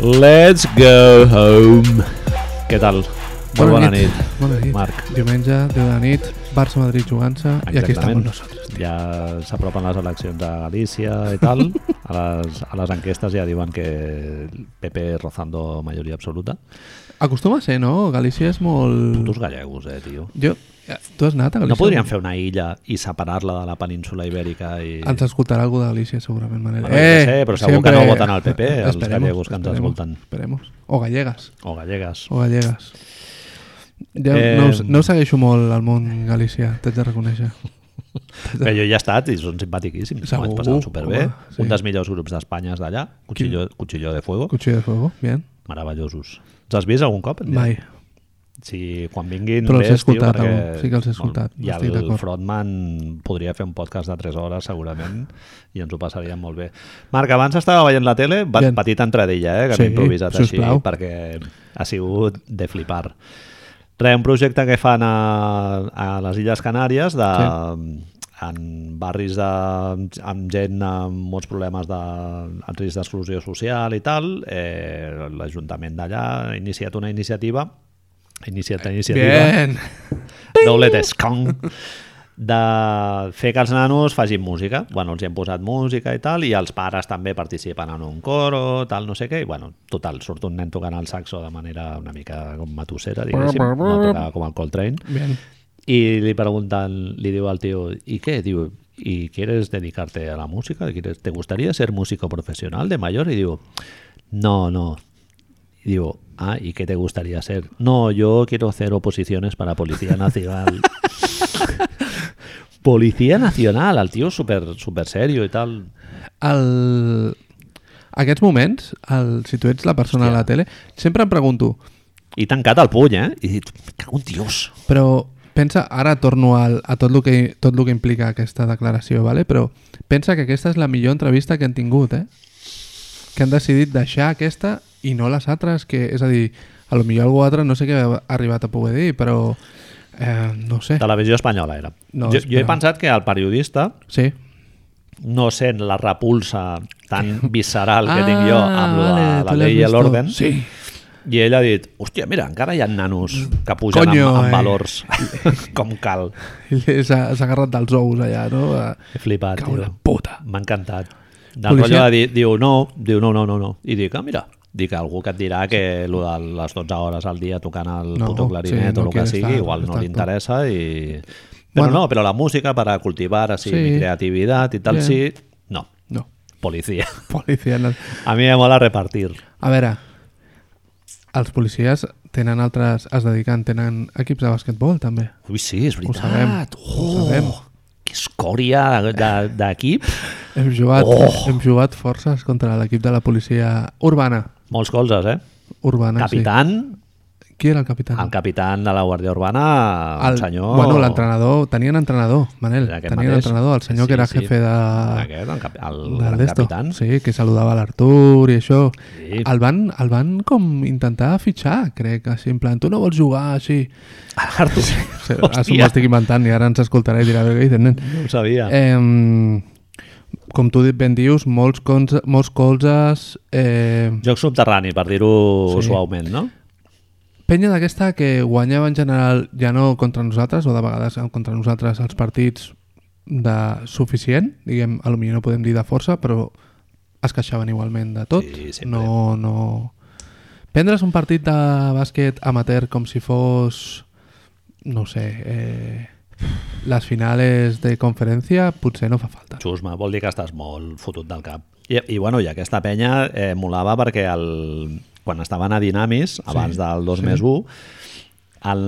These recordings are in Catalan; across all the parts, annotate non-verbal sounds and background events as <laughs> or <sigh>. Let's go home. Què tal? Molt bona nit, Bona nit. Marc. Diumenge, 10 de la nit, Barça-Madrid jugant-se i aquí estem Exactament. nosaltres. Ja s'apropen les eleccions a Galícia i tal. A les, a les enquestes ja diuen que el PP rozando majoria absoluta. Acostuma a ser, no? Galícia és molt... Putos gallegos, eh, tio. Jo... Tu has anat a Galícia? No podríem fer una illa i separar-la de la península ibèrica i... Ens escoltarà algú de Galícia, segurament, Manel. Eh, Bueno, jo què sé, però segur que no voten al PP, els gallegos que ens esperemos, escolten. Esperemos. O gallegues. O gallegues. O gallegues. Ja Eh, eh... no, us- no us segueixo molt al món Galícia, t'haig de reconèixer. Oh. Bé, jo hi he estat i són simpatiquíssims. M'ho Segur, vaig passar superbé. home, sí. Un dels millors grups d'Espanya és d'allà, Cuchillo, Cuchillo de Fuego. Cuchillo de fuego, bien. Meravellosos. Els has vist algun cop? Mai. Si quan vinguin... Però els he vés, tio, escoltat, perquè- algun. Sí que els he escoltat, Bueno, estic I el d'acord. Frontman podria fer un podcast de 3 hores, segurament, i ens ho passaríem molt bé. Marc, abans estava veient la tele, va, Bien. petita entradilla, eh, que Sí, sí, m'he improvisat sisplau. així, perquè ha sigut de flipar. Re, un projecte que fan a, a les Illes Canàries de... Sí en barris de, amb gent amb molts problemes de en risc d'exclusió social i tal, eh, l'Ajuntament d'allà ha iniciat una iniciativa iniciat una iniciativa Bien. Double Descon de fer que els nanos facin música. Bueno, els hi han posat música i tal, i els pares també participen en un coro, tal, no sé què, i bueno, total, surt un nen tocant el saxo de manera una mica com matussera, diguéssim, no tocava com el Coltrane, Bien. i li pregunten, li diu al tio, ¿y qué? Diu, ¿y quieres dedicarte a la música? ¿Quieres- ¿Te gustaría ser músico profesional de mayor? Y digo, no, no. Y digo, ah, ¿y qué te gustaría ser? No, yo quiero hacer oposiciones para Policía Nacional. <laughs> Policía Nacional, al tío súper super serio y tal. el... aquests moments, el... si tu ets la persona Hòstia. a la tele, sempre em pregunto, Y tan cata al puño, ¿eh? Y dic, "Me cago en <laughs> Dios. però pensa, ara torno al, a tot el, que, tot el que implica aquesta declaració, vale? però pensa que aquesta és la millor entrevista que han tingut, eh? que han decidit deixar aquesta i no les altres, que és a dir, a lo millor algú altre no sé què ha arribat a poder dir, però eh, no ho sé. Televisió espanyola era. No, jo, jo he espera. pensat que el periodista Sí. no sent la repulsa tan visceral que ah, tinc jo amb la, vale, la tu l'has llei i vist l'orden, tot. Sí. <laughs> i ell ha dit, hòstia, mira, encara hi ha nanos que pugen Coño, amb, amb eh." valors <laughs> com cal. Ell s'ha s'ha agarrat dels ous allà, no? He flipat, Cau la tio. puta. M'ha encantat. Del Policia- rotllo de dir, diu, no, diu, no, no, no, no. I dic, ah, mira, dic algú que et dirà que lo de les 12 hores al dia tocant el No, no, puto clarinet sí, no o el que quiere sigui, estar, igual no li exacto. interessa i... Però Bueno. no, però la música para cultivar así Sí. mi creatividad y tal, Bien. sí. No, No. <laughs> policía. Policia. No. A mi me mola repartir. A veure, els policies tenen altres... es dediquen, tenen equips de basquetbol, també. Ui, sí, és veritat. sabem, Oh, ho sabem. Que escòria de- de- d'equip. Hem jugat, Oh! hem jugat forces contra l'equip de la policia urbana. Molts colzes, eh? Ah, Urbana, Capitan, sí. Qui era el capitán? el capitan de la Guàrdia Urbana, un senyor... Ah. Bueno, l'entrenador... Tenien entrenador, Manel. Era aquest Tenien mateix. entrenador, el senyor Sí, que era sí. jefe de... Aquest, el, cap, el, de gran d'esto. capitan. Sí. Sí, que saludava l'Artur i això. Sí. El, van, el van com intentar fitxar, crec, així, en plan, tu no vols jugar, així. Artur, sí. <laughs> Sí, Això m'ho estic inventant i ara ens escoltarà i dirà, "Bé, què dices, nen? no ho sabia. Eh, Eh, com tu ben dius, molts, cons, molts colzes... Eh, Joc subterrani, per dir-ho Sí. sí. suaument, no? penya d'aquesta que guanyava en general ja no contra nosaltres, o de vegades contra nosaltres els partits de suficient, diguem, a lo millor no podem dir de força, però es queixaven igualment de tot. Sí, sempre. no, no... Prendre's un partit de bàsquet amateur com si fos, no ho sé, eh, les finales de conferència potser no fa falta. Xusma, vol dir que estàs molt fotut del cap. I, i bueno, i aquesta penya eh, molava perquè el, quan estaven a Dinamis, abans sí, del 2 sí. més 1, el,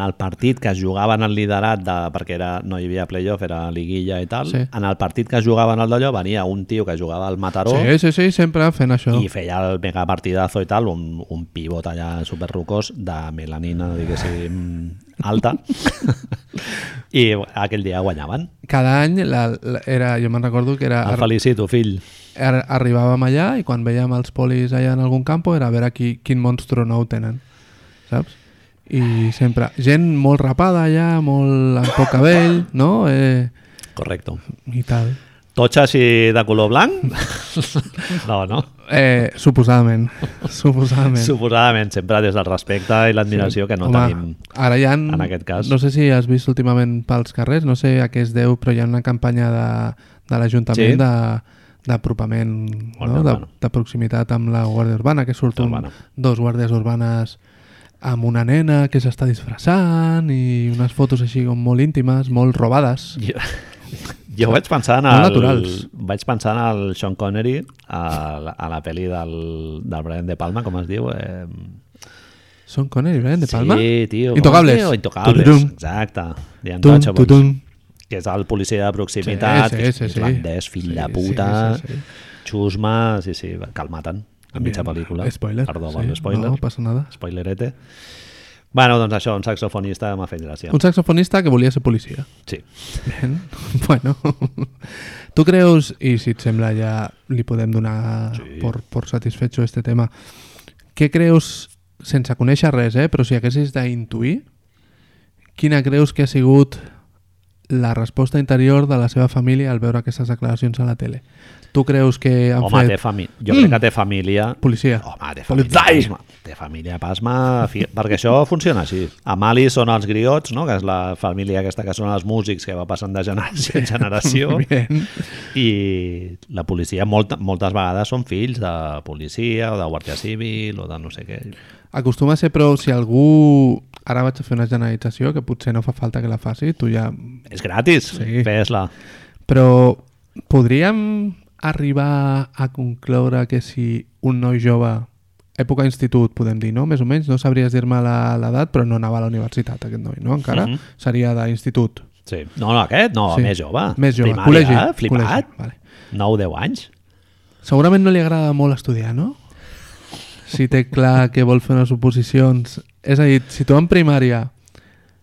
el partit que es jugaven el liderat, de, perquè era, no hi havia playoff, era liguilla i tal, Sí. sí. en el partit que es jugaven al d'allò venia un tio que jugava al Mataró Sí, sí, sí, sempre fent això. i feia el megapartidazo i tal, un, un pivot allà superrucós de melanina, diguéssim, <laughs> alta. <laughs> I aquell dia guanyaven. Cada any la, la, era, jo me'n recordo que era, El ar, felicito, fill. ar, arribàvem allà i quan veiem els polis allà en algun campo era a veure qui, quin monstru nou tenen, saps? I sempre, gent molt rapada allà, molt amb poc cabell, no? Eh, Correcto. I tal. Totxa així de color <laughs> blanc? no, no? Eh, suposadament. <laughs> suposadament. Suposadament, sempre des del respecte i l'admiració que no Home, tenim. ara hi ha, en aquest cas. No sé si has vist últimament pels carrers, no sé a què es deu, però hi ha una campanya de, de Sí. l'Ajuntament de d'apropament, Guàrdia no? de, Urbana. de proximitat amb la Guàrdia Urbana, que surt un, Urbana. dos guàrdies urbanes amb una nena que s'està disfressant i unes fotos així com molt íntimes, molt robades. Jo, jo vaig pensar en Molt el, naturals. vaig pensar en el Sean Connery a, la- a la pel·li del, del Brian De Palma, com es diu? Eh, Són Connery, Brian De Palma? Sí, tio. com Intocables. es diu? Intocables, Tururum. exacte. The Tum, Untouchables, tutum. que és el policia de proximitat, Sí, sí, que és sí, sí. irlandès, fill Sí, de sí, puta, sí, sí. xusma, sí, sí, que el maten a mitja Bien. pel·lícula. Spoiler. Perdó, sí. bueno, spoiler. No passa nada. Spoilerete. Bueno, doncs això, un saxofonista m'ha fet gràcia. Un saxofonista que volia ser policia. Sí. Ben, <laughs> bueno. Tu creus, i si et sembla ja li podem donar Sí. por, por satisfecho este tema, què creus, sense conèixer res, eh, però si haguessis d'intuir, quina creus que ha sigut la resposta interior de la seva família al veure aquestes declaracions a la tele? Tu creus que han Home, té fet... Mm. família. Jo crec que té família. Policia. Home, té família Politzai! pasma. Té família pasma, fi... perquè això funciona així. A Mali són els griots, no? que és la família aquesta que són els músics que va passant de generació en <laughs> generació. Bien. I la policia molt, moltes vegades són fills de policia o de guàrdia civil o de no sé què. Acostuma a ser, però, si algú... Ara vaig a fer una generalització que potser no fa falta que la faci, tu ja... És gratis, Sí. fes-la. Però podríem arribar a concloure que si un noi jove, època institut, podem dir, no? Més o menys, no sabries dir-me la- l'edat, però no anava a la universitat aquest noi, no? Encara Mhm. seria d'institut. Sí. No, no, aquest, no, Sí. més jove. Més jove, Primària, col·legi. Ah, eh? Flipat. Col·legi. Vale. 9-10 anys. Segurament no li agrada molt estudiar, no? Si té clar que vol fer unes oposicions... És a dir, si tu en primària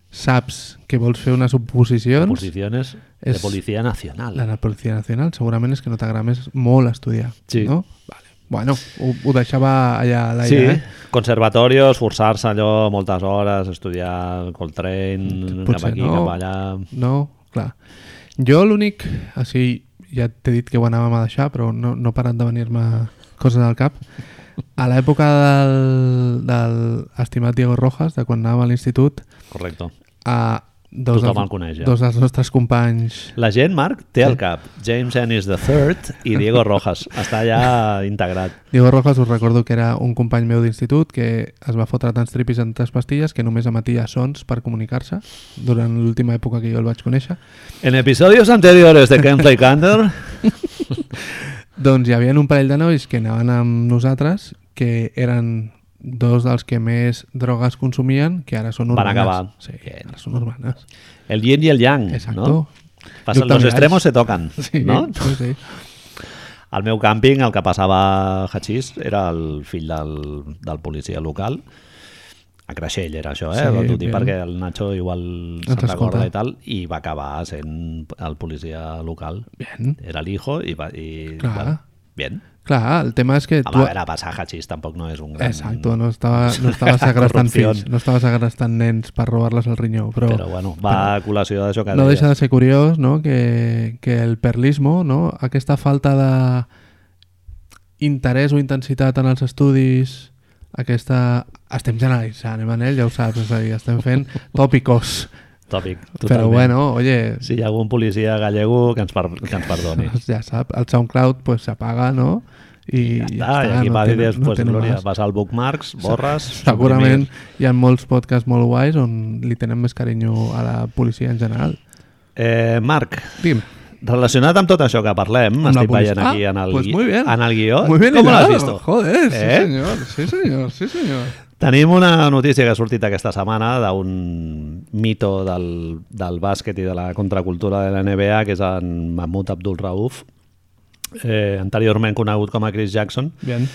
saps que vols fer unes oposicions, Posiciones de és- Policia Nacional. la Policia Nacional segurament és que no t'agrada més molt estudiar, Sí. no? Vale. Bueno, ho, ho deixava allà a Sí, l'aire, eh? conservatorio, esforçar-se allò moltes hores, estudiar Coltrane, cap Mm, Potser aquí, no. cap allà... No, clar. Jo l'únic... O sigui, ja t'he dit que ho anàvem a deixar, però no, no paren de venir-me coses al cap. A l'època del, del estimat Diego Rojas, de quan anàvem a l'institut, Correcte. a dos, Tothom dels, el coneix, ja. dos dels nostres companys La gent, Marc, té al cap James Ennis III i <laughs> Diego Rojas. Està ja integrat. Diego Rojas us recordo que era un company meu d'institut que es va fotre tants tripis en tantes pastilles que només emetia sons per comunicar-se durant l'última època que jo el vaig conèixer En episodios anteriores de Can Play Canter... doncs hi havia un parell de nois que anaven amb nosaltres que eren dos dels que més drogues consumien que ara són Van urbanes acabar. sí, Bien. ara són urbanes El yin y el yang, Exacto. no? Passen, Doctor los Mirage. extremos se toquen, sí, no? sí, sí. Al meu càmping el que passava a Hachís era el fill del, del policia local a Creixell era això, eh? Sí, Sí, dir bien. perquè el Nacho igual se'n Ens escolta. recorda i tal, i va acabar sent el policia local. Bien. Era l'hijo i... Va, i Clar. bien. clar, el tema és que Home, a veure, passar a Hachís tampoc no és un gran... Exacto, no estava, <laughs> no estava Gran segrestant corrupció. fills, no estava segrestant nens per robar-les al rinyó, però, Però bueno, va a col·lació d'això que no deies. deixa de ser curiós no? que, que el perlismo, no? aquesta falta de interès o intensitat en els estudis, aquesta... Estem generalitzant, eh, Manel? Ja ho saps, és a dir, estem <laughs> fent tòpicos. Tòpic, Però totalment. bueno, oye, Si hi ha algun policia gallego que ens, per, que ens perdoni. ja sap, el SoundCloud pues, s'apaga, no? I Ja, està, i aquí no va dir, tenen- no pues, tenen Glòria, més. vas al bookmarks, borres... Segurament suprimir. hi ha molts podcasts molt guais on li tenen més carinyo a la policia en general. Eh, Marc, Digue'm. relacionat amb tot això que parlem, Amb la estic policia. veient aquí Ah, en el, pues gui- muy bien. en el guió. Muy bien Com l'has hilado, vist? Eh? Joder, sí señor, sí señor, sí señor. Tenim una notícia que ha sortit aquesta setmana d'un mito del, del bàsquet i de la contracultura de la NBA, que és en Mahmoud Abdul Rauf, eh, anteriorment conegut com a Chris Jackson, Bien.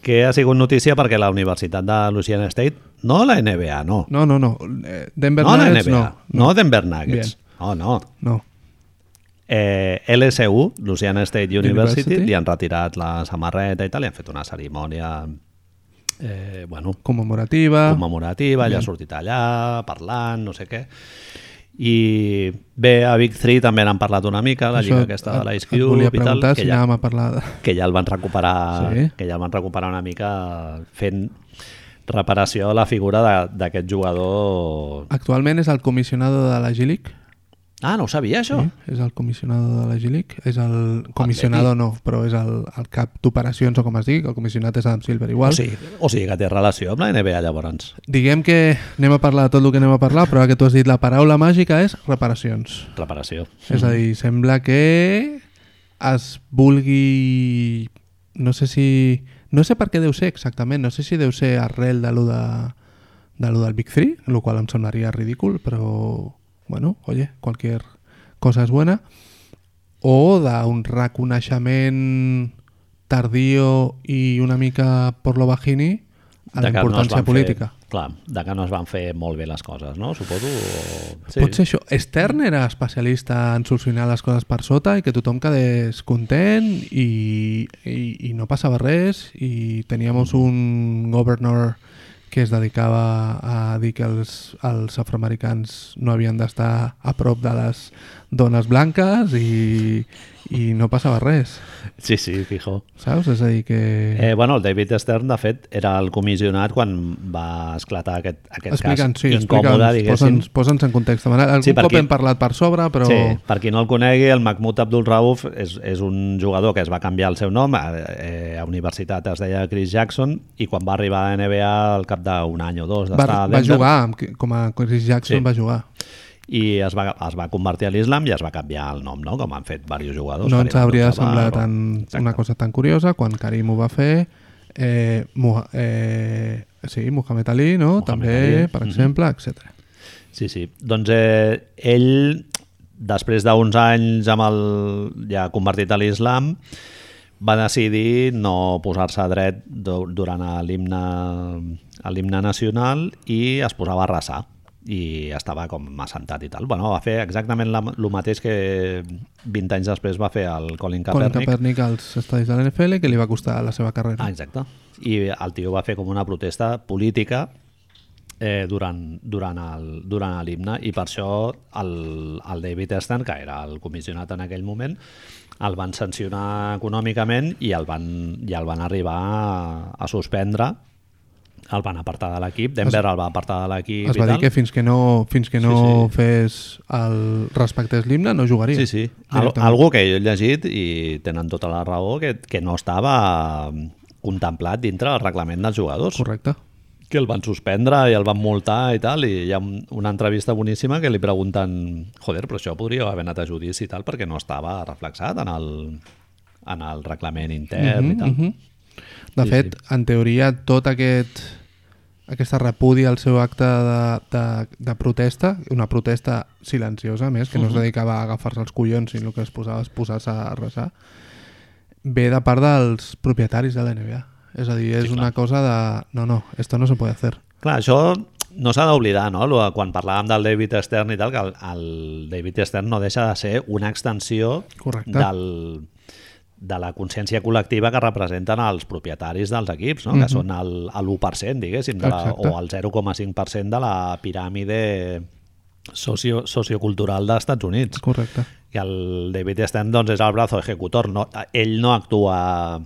que ha sigut notícia perquè la Universitat de Louisiana State, no la NBA, no, No, no, no. Eh, Denver no la Nuggets, NBA, no, no. no Denver Nuggets, Bien. no, no, No. Eh, LSU, Louisiana State University, University. li han retirat la samarreta i tal, li han fet una cerimònia eh, bueno, Commemorativa. commemorativa, ella ha sortit allà parlant, no sé què. I bé, a Big 3 també n'han parlat una mica, la lliga aquesta de l'Ice et Cube volia i tal, preguntar que si ja, anàvem a parlar de... que ja el van recuperar Sí? que ja el van recuperar una mica fent reparació a la figura de- d'aquest jugador Actualment és el comissionador de la G-League. ah, no ho sabia això? Sí, és el comissionador de la G-League. És el comissionador, no, però és el, el cap d'operacions o com es digui, que el comissionat és Adam Silver o, igual. sigui, o sigui que té relació amb la NBA llavors Diguem que anem a parlar de tot el que anem a parlar, però ara que tu has dit la paraula màgica és reparacions. reparació És a dir, sembla que es vulgui... No sé si... No sé per què deu ser exactament, no sé si deu ser arrel de lo, de, de lo del Big Three, el qual em semblaria ridícul, però, bueno, oye, qualsevol cosa és buena. O d'un reconeixement tardío i una mica por lo bajini a la de que no es importància van política. fer, clar, de que no es van fer molt bé les coses, no? Suposo o... Sí. Pot ser això. Stern era especialista en solucionar les coses per sota i que tothom quedés content i, i, i no passava res i teníamos un governor que es dedicava a dir que els, els afroamericans no havien d'estar a prop de les dones blanques i, i no passava res, Sí, sí, fijo. saps? És a dir que... Eh, bueno, el David Stern, de fet, era el comissionat quan va esclatar aquest, Eh, aquest Explica'ns, cas sí, incòmode, explica'ns, diguéssim. posa'ns posa'ns en context. Algun Sí, sí, cop perquè- hem parlat per sobre, però... Sí, per qui no el conegui, el Mahmoud Abdul Rauf és, és un jugador que es va canviar el seu nom, a, eh, a universitat es deia Chris Jackson, i quan va arribar a la NBA al cap d'un any o dos va, d'estar a va Denver, jugar, amb- com a Chris Jackson Sí. sí. va jugar. i es va, es va convertir a l'islam i es va canviar el nom, no? com han fet diversos jugadors. No Karim ens hauria de Abdul-Jabbar, o- semblar tan, Exacte. una cosa tan curiosa quan Karim ho va fer eh, Muha, eh, sí, Muhammad Ali, no? Muhammad també, Ali, per mhm. exemple, etc. Sí, sí. Doncs eh, ell, després d'uns anys amb el, ja convertit a l'islam, va decidir no posar-se a dret du- durant a l'himne a l'himne nacional i es posava a resar i estava com assentat i tal. Bueno, va fer exactament la, el mateix que 20 anys després va fer el Colin Colin Kaepernick. Kaepernick als estadis de la NFL que li va costar la seva carrera. Ah, exacte. I el tio va fer com una protesta política eh, durant, durant el- durant l'himne i per això el, el David Stern, que era el comissionat en aquell moment, el van sancionar econòmicament i el van, i el van arribar a, a suspendre el van apartar de l'equip, Denver el va apartar de l'equip es i va dir tal. que fins que no, fins que no sí, sí. fes el respectés l'himne no jugaria. Sí, sí. Al, Directament. algo que jo he llegit i tenen tota la raó que, que no estava mm, contemplat dintre del reglament dels jugadors. Correcte. que el van suspendre i el van multar i tal, i hi ha un- una entrevista boníssima que li pregunten joder, però això podria haver anat a judici i tal perquè no estava reflexat en el, en el reglament intern Mhm, mm -hmm, i tal. Mm -hmm. De Sí, sí, fet, sí. en teoria, tot aquest aquesta repúdia al seu acte de, de, de protesta, una protesta silenciosa, a més, que no es dedicava a agafar-se els collons, sinó que es posava es posar-se a resar, ve de part dels propietaris de la NBA. És a dir, és sí, una cosa de... No, no, esto no se puede hacer. Clar, això no s'ha d'oblidar, no? Lo- Quan parlàvem del David Stern i tal, que el, el David Stern no deixa de ser una extensió Correcte. del, de la consciència col·lectiva que representen els propietaris dels equips, no? mm -hmm. que són el, el 1%, diguéssim, de la, Exacte. o el 0,5% de la piràmide socio, sociocultural dels Estats Units. Correcte. I el David Stern doncs, és el brazo ejecutor. No, ell no actua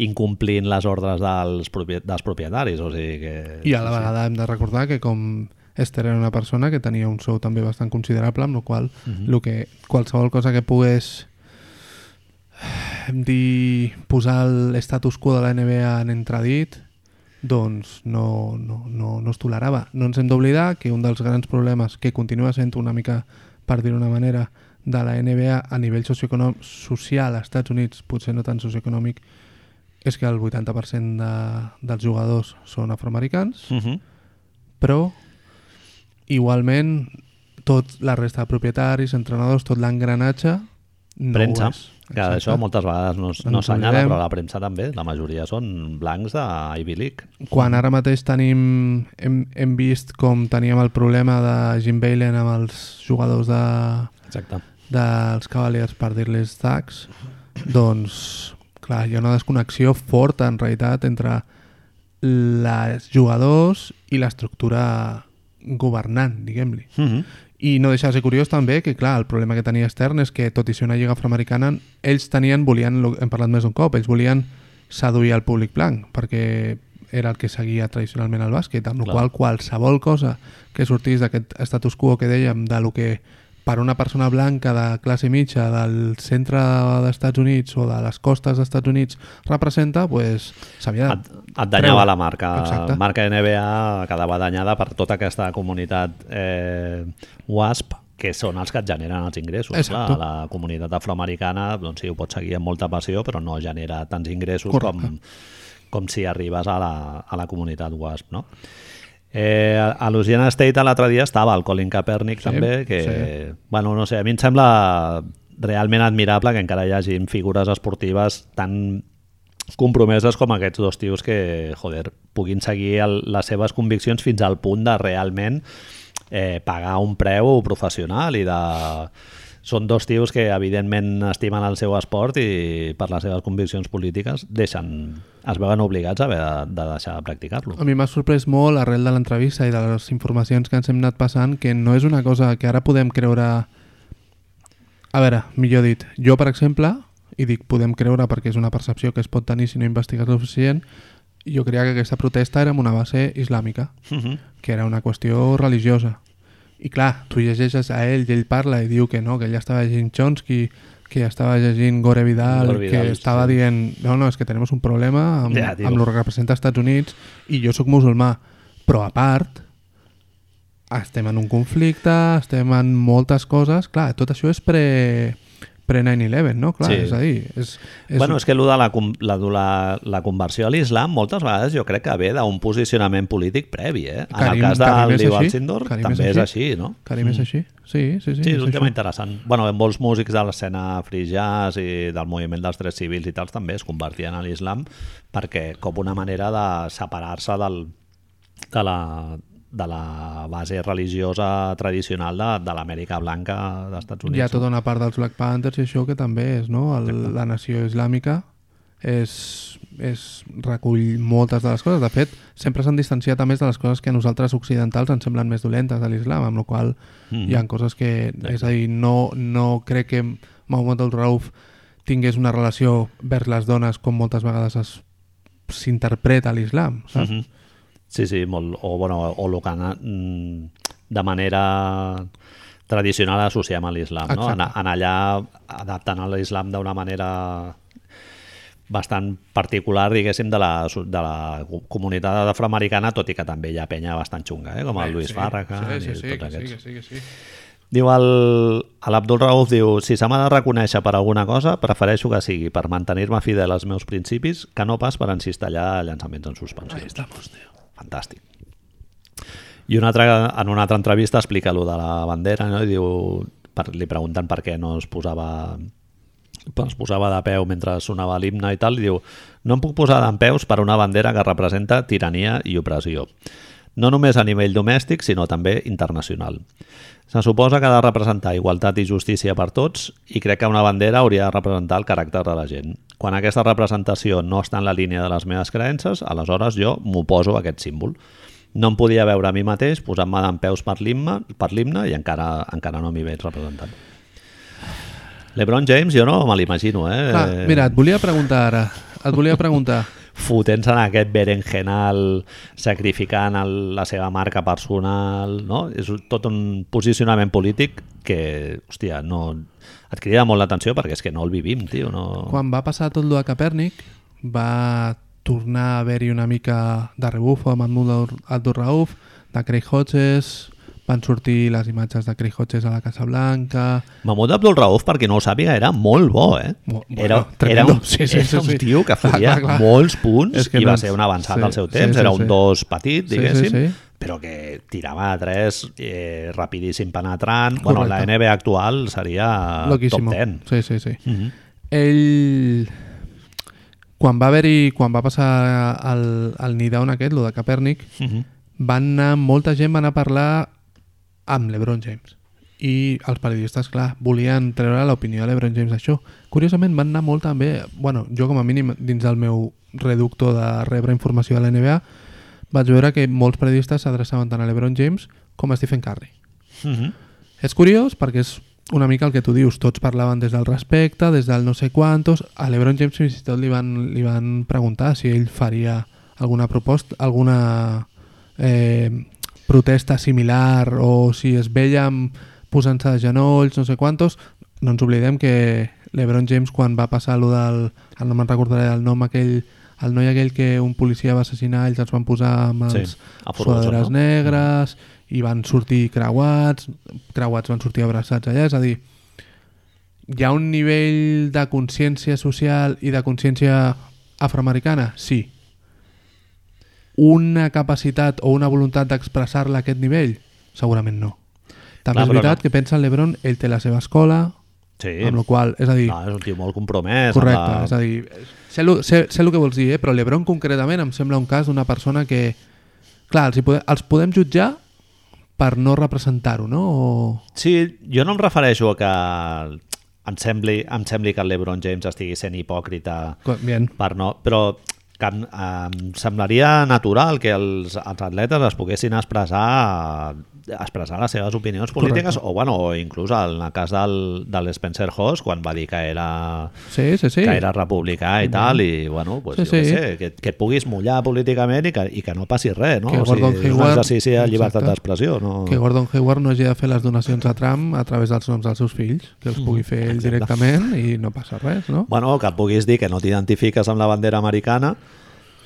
incomplint les ordres dels, propie- dels propietaris. O sigui que... I a la vegada hem de recordar que com Esther era una persona que tenia un sou també bastant considerable, amb la qual cosa lo que, qualsevol cosa que pogués eh, dir posar l'estatus quo de la NBA en entredit doncs no, no, no, no es tolerava. No ens hem d'oblidar que un dels grans problemes que continua sent una mica, per dir una manera, de la NBA a nivell socioeconòmic social als Estats Units, potser no tan socioeconòmic, és que el 80% de, dels jugadors són afroamericans, Uh -huh. però igualment tot la resta de propietaris, entrenadors, tot l'engranatge no premsa, ho és. que això Exacte. Doncs moltes vegades no, es- no Ens s'anyala, oblidem. però la premsa també, la majoria són blancs d'Ivy League. Quan ara mateix tenim, hem, hem vist com teníem el problema de Jim Balen amb els jugadors de, Exacte. dels Cavaliers per dir-les tacs, doncs clar, hi ha una desconnexió forta en realitat entre els jugadors i l'estructura governant, diguem-li. Uh -huh. I no deixar de ser curiós també que, clar, el problema que tenia Stern és que, tot i ser una lliga afroamericana, ells tenien, volien, lo- hem parlat més d'un cop, ells volien seduir al públic blanc, perquè era el que seguia tradicionalment el bàsquet, amb la Clar. qual cosa qualsevol cosa que sortís d'aquest status quo que dèiem, de lo que per una persona blanca de classe mitja del centre d'Estats Units o de les costes dels Estats Units representa, pues, s'havia Et, de... et danyava Treu. la marca. Exacte. La marca NBA quedava danyada per tota aquesta comunitat eh, WASP, que són els que et generen els ingressos. Exacte. Clar, la comunitat afroamericana, doncs sí, ho pots seguir amb molta passió, però no genera tants ingressos Correcte. com, com si arribes a la, a la comunitat WASP, no? Eh, a a Louisiana State l'altre dia estava el Colin Kaepernick Sí, també, que, sí. bueno, no sé, a mi em sembla realment admirable que encara hi hagin figures esportives tan compromeses com aquests dos tios que, joder, puguin seguir el, les seves conviccions fins al punt de realment eh, pagar un preu professional i de... Són dos tios que, evidentment, estimen el seu esport i, per les seves conviccions polítiques, deixen, es veuen obligats a haver de, de deixar de practicar-lo. A mi m'ha sorprès molt, arrel de l'entrevista i de les informacions que ens hem anat passant, que no és una cosa que ara podem creure... A veure, millor dit, jo, per exemple, i dic podem creure perquè és una percepció que es pot tenir si no investigues lo suficient, jo creia que aquesta protesta era amb una base islàmica, Mhm. que era una qüestió religiosa. I clar, tu llegeixes a ell i ell parla i diu que no, que ell estava llegint Chomsky, que estava llegint Gore Vidal, Gore Vidal, que estava sí. dient no, no, és que tenim un problema amb, Ja, ja, tio. amb lo que representa als Estats Units i jo sóc musulmà, però a part estem en un conflicte, estem en moltes coses, clar, tot això és pre pre 9-11, no? Clar, Sí. és a dir, és, és, És... Bueno, és que allò de la, com- la, de la, la conversió a l'islam moltes vegades jo crec que ve d'un posicionament polític previ, eh? En Karim- el cas Karim del és Liu així? Alcindor Karim també és és així? així, no? Karim és així? Sí, sí, sí. Mm. Sí, és un això. tema interessant. bueno, molts músics de l'escena free jazz i del moviment dels drets civils i tals també es convertien a l'islam perquè com una manera de separar-se del, de, la, de la base religiosa tradicional de, de l'Amèrica blanca dels Estats Units. Hi ha tota una part dels Black Panthers i això que també és, no? El, la nació islàmica és, és, recull moltes de les coses. De fet, sempre s'han distanciat a més de les coses que a nosaltres occidentals ens semblen més dolentes de l'islam, amb la qual Mhm. hi ha coses que... És a dir, no, no crec que Mahmoud al-Rauf tingués una relació vers les dones com moltes vegades es- s'interpreta a l'islam, saps? Mhm. Sí, sí, molt, o, bueno, o el que na- mm, de manera tradicional associem a l'islam, no? En, Exacte. en allà adaptant a l'islam d'una manera bastant particular, diguéssim, de la, so- de la co- comunitat afroamericana, tot i que també hi ha penya bastant xunga, eh? com el Luis Farrakhan sí, sí, i sí, tots que sí, aquests. que sí, que sí. Diu el, a l'Abdul Rauf, diu, si se m'ha de reconèixer per alguna cosa, prefereixo que sigui per mantenir-me fidel als meus principis que no pas per encistallar llançaments en suspensió. Ahí estamos, tio. Fantàstic. I una altra, en una altra entrevista explica allò de la bandera, no? I diu, per, li pregunten per què no es posava per- es posava de peu mentre sonava l'himne i tal, i diu, no em puc posar d'en peus per una bandera que representa tirania i opressió. No només a nivell domèstic, sinó també internacional. Se suposa que ha de representar igualtat i justícia per tots i crec que una bandera hauria de representar el caràcter de la gent. Quan aquesta representació no està en la línia de les meves creences, aleshores jo m'oposo a aquest símbol. No em podia veure a mi mateix posant-me d'en peus per l'himne per l'himne i encara, encara no m'hi veig representat. LeBron James jo no me l'imagino, eh? Clar, Ah, mira, et volia preguntar ara, et volia <laughs> preguntar... fotent-se en aquest berenjenal, sacrificant el, la seva marca personal, no? És un- tot un posicionament polític que, hòstia, no... Et crida molt l'atenció perquè és que no el vivim, tio, no... Oh. Quan va passar tot el de Capernic, va tornar a haver-hi una mica de rebufo amb Mahmoud Abdurrauf, de Craig Hodges, van sortir les imatges de Craig Hodges a la Casa Blanca... Mahmoud Abdul Rauf, per qui no ho sàpiga, era molt bo, eh? Mo- bueno, era, era, tremendo. un, Sí, sí, era sí, un sí. tio que Clar, fotia clar, clar. molts punts És que i va no ens- ser un avançat sí, del seu sí, temps, sí, era sí. un dos petit, Sí, sí, diguéssim, sí. però que tirava a tres eh, rapidíssim penetrant. Bueno, la Correcte. NBA actual seria Loquíssimo. top 10. Sí, sí, sí. Mm -hmm. Ell... Quan va haver-hi... Quan va passar el, el Nidown aquest, el de Capernic, Mhm. van anar, molta gent va anar a parlar amb l'Ebron James i els periodistes, clar, volien treure l'opinió de l'Ebron James d'això. Curiosament van anar molt també, bueno, jo com a mínim dins del meu reductor de rebre informació de la NBA vaig veure que molts periodistes s'adreçaven tant a l'Ebron James com a Stephen Curry. Mhm. És curiós perquè és una mica el que tu dius, tots parlaven des del respecte, des del no sé quantos, a l'Ebron James fins i tot li van, li van preguntar si ell faria alguna proposta, alguna eh, protesta similar o si es veia amb- posant-se de genolls, no sé quantos. No ens oblidem que l'Ebron James quan va passar allò del... ara No me'n recordaré el nom aquell... El noi aquell que un policia va assassinar, ells els van posar amb Sí, els, a furgons, sudaderes no? negres i van sortir creuats, creuats van sortir abraçats allà, és a dir, hi ha un nivell de consciència social i de consciència afroamericana? Sí. Una capacitat o una voluntat d'expressar-la a aquest nivell? Segurament no. També Clar, és però veritat no. que pensa en l'Ebron, ell té la seva escola, Sí, amb la qual cosa, és a dir, no, és un tio molt compromès. Correcte, amb és a dir, sé el, sé, sé el que vols dir, eh? però l'Ebron concretament em sembla un cas d'una persona que... Clar, els, hi podem, els podem jutjar per no representar-ho, no? O... Sí, jo no em refereixo a que em sembli, em sembli que el LeBron James estigui sent hipòcrita Co- Bien. per no, però que em, em semblaria natural que els, els atletes es poguessin expressar expressar les seves opinions polítiques o, bueno, o inclús en el cas del, de l'Spencer Hoss quan va dir que era Sí, sí, sí. que era republicà i tal, i bueno, pues, Sí, sí, jo sí. sí. sé, que, que et puguis mullar políticament i que, i que no passi res, no? Que o sigui, Gordon és un Hayward- exercici de llibertat Exacte. d'expressió, no? Que Gordon Hayward no hagi de fer les donacions a Trump a través dels noms dels seus fills, que els pugui fer ell directament i no passa res, no? Bueno, que et puguis dir que no t'identifiques amb la bandera americana,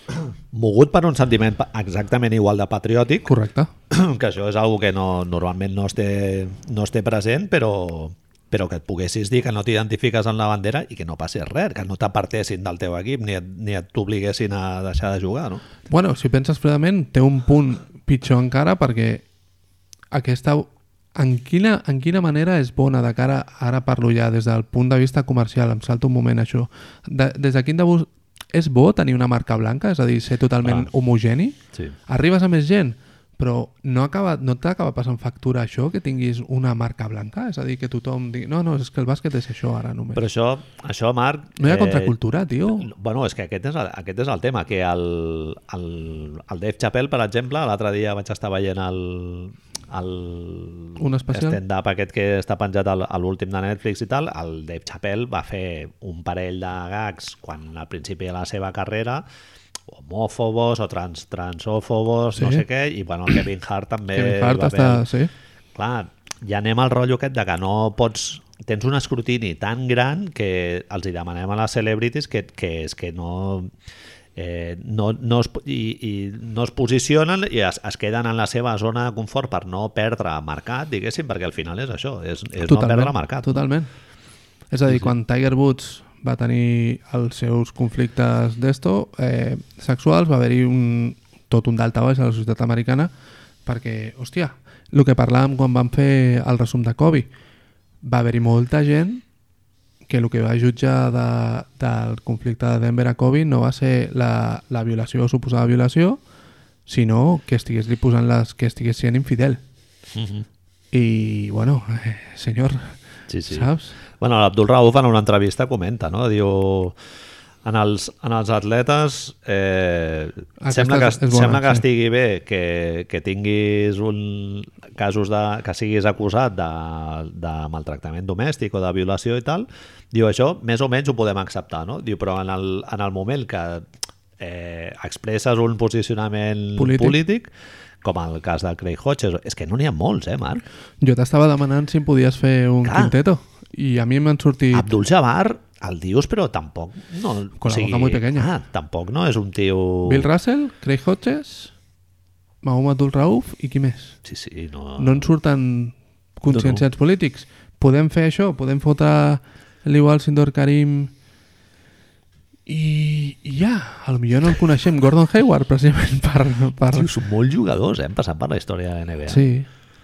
<clears throat> mogut per un sentiment pa- exactament igual de patriòtic, <clears throat> Correcte. que això és algo que no, normalment no es té, no es té present, però, però que et poguessis dir que no t'identifiques amb la bandera i que no passi res, que no t'apartessin del teu equip ni, et- ni et t'obliguessin a deixar de jugar, no? Bueno, si penses fredament, té un punt pitjor encara perquè aquesta... En quina, en quina manera és bona de cara... Ara parlo ja des del punt de vista comercial, em salto un moment això. De, des de quin de vos... És bo tenir una marca blanca? És a dir, ser totalment Clar. homogeni? Sí. Arribes a més gent, però no, acaba, no t'acaba passant factura això que tinguis una marca blanca? És a dir, que tothom digui... No, no, és que el bàsquet és això ara només. Però això, això Marc... no hi ha eh, contracultura, tio. Bueno, és que aquest és el, aquest és el tema, que el, el, el Dave Chappelle, per exemple, l'altre dia vaig estar veient el, el Un especial? stand-up aquest que està penjat al- a l'últim de Netflix i tal, el Dave Chappelle va fer un parell de gags quan al principi de la seva carrera homòfobos o trans, transòfobos, Sí. no sé què, i bueno, el Kevin Hart també Kevin Hart eh, va està... haver- Sí. Clar, ja anem al rotllo aquest de que no pots... Tens un escrutini tan gran que els hi demanem a les celebrities que, que és que no... Eh, no, no es, i, i no es posicionen i es, es queden en la seva zona de confort per no perdre mercat, diguéssim, perquè al final és això, és, és no perdre mercat. Totalment. És a dir, quan Tiger Woods va tenir els seus conflictes d'esto eh, sexuals, va haver-hi un, tot un daltabaix a la societat americana perquè, hòstia, el que parlàvem quan vam fer el resum de Kobe, va haver-hi molta gent que el que va jutjar de, del conflicte de Denver a Kobe no va ser la, la violació o suposada violació, sinó que estigués li posant les que estigués sent infidel. I, bueno, eh, senyor, Mhm. Sí, sí. saps? Bueno, l'Abdul Rauf en una entrevista comenta, no? Diu... En els, en els atletes eh, Aquesta sembla, que, és- és bona, sembla que sí. estigui bé que, que tinguis un casos de, que siguis acusat de, de maltractament domèstic o de violació i tal, diu això més o menys ho podem acceptar, no? Diu, però en el, en el moment que eh, expresses un posicionament Polític. polític. polític com el cas del Craig Hodges, és que no n'hi ha molts, eh, Marc? Jo t'estava demanant si em podies fer un Clar. quinteto. I a mi m'han sortit... Abdul Jabbar el dius, però tampoc... No, Con la boca muy pequeña. Ah, tampoc no és un tio... Bill Russell, Craig Hodges, Mahoma Abdul Rauf i qui més? Sí, sí, no... No en surten conscienciats polítics. Podem fer això? Podem fotre l'igual Sindor Karim i, i ja, a lo millor no el coneixem Gordon Hayward precisament per, per, Tio, són molts jugadors, eh? Hem passat per la història de NBA. Sí,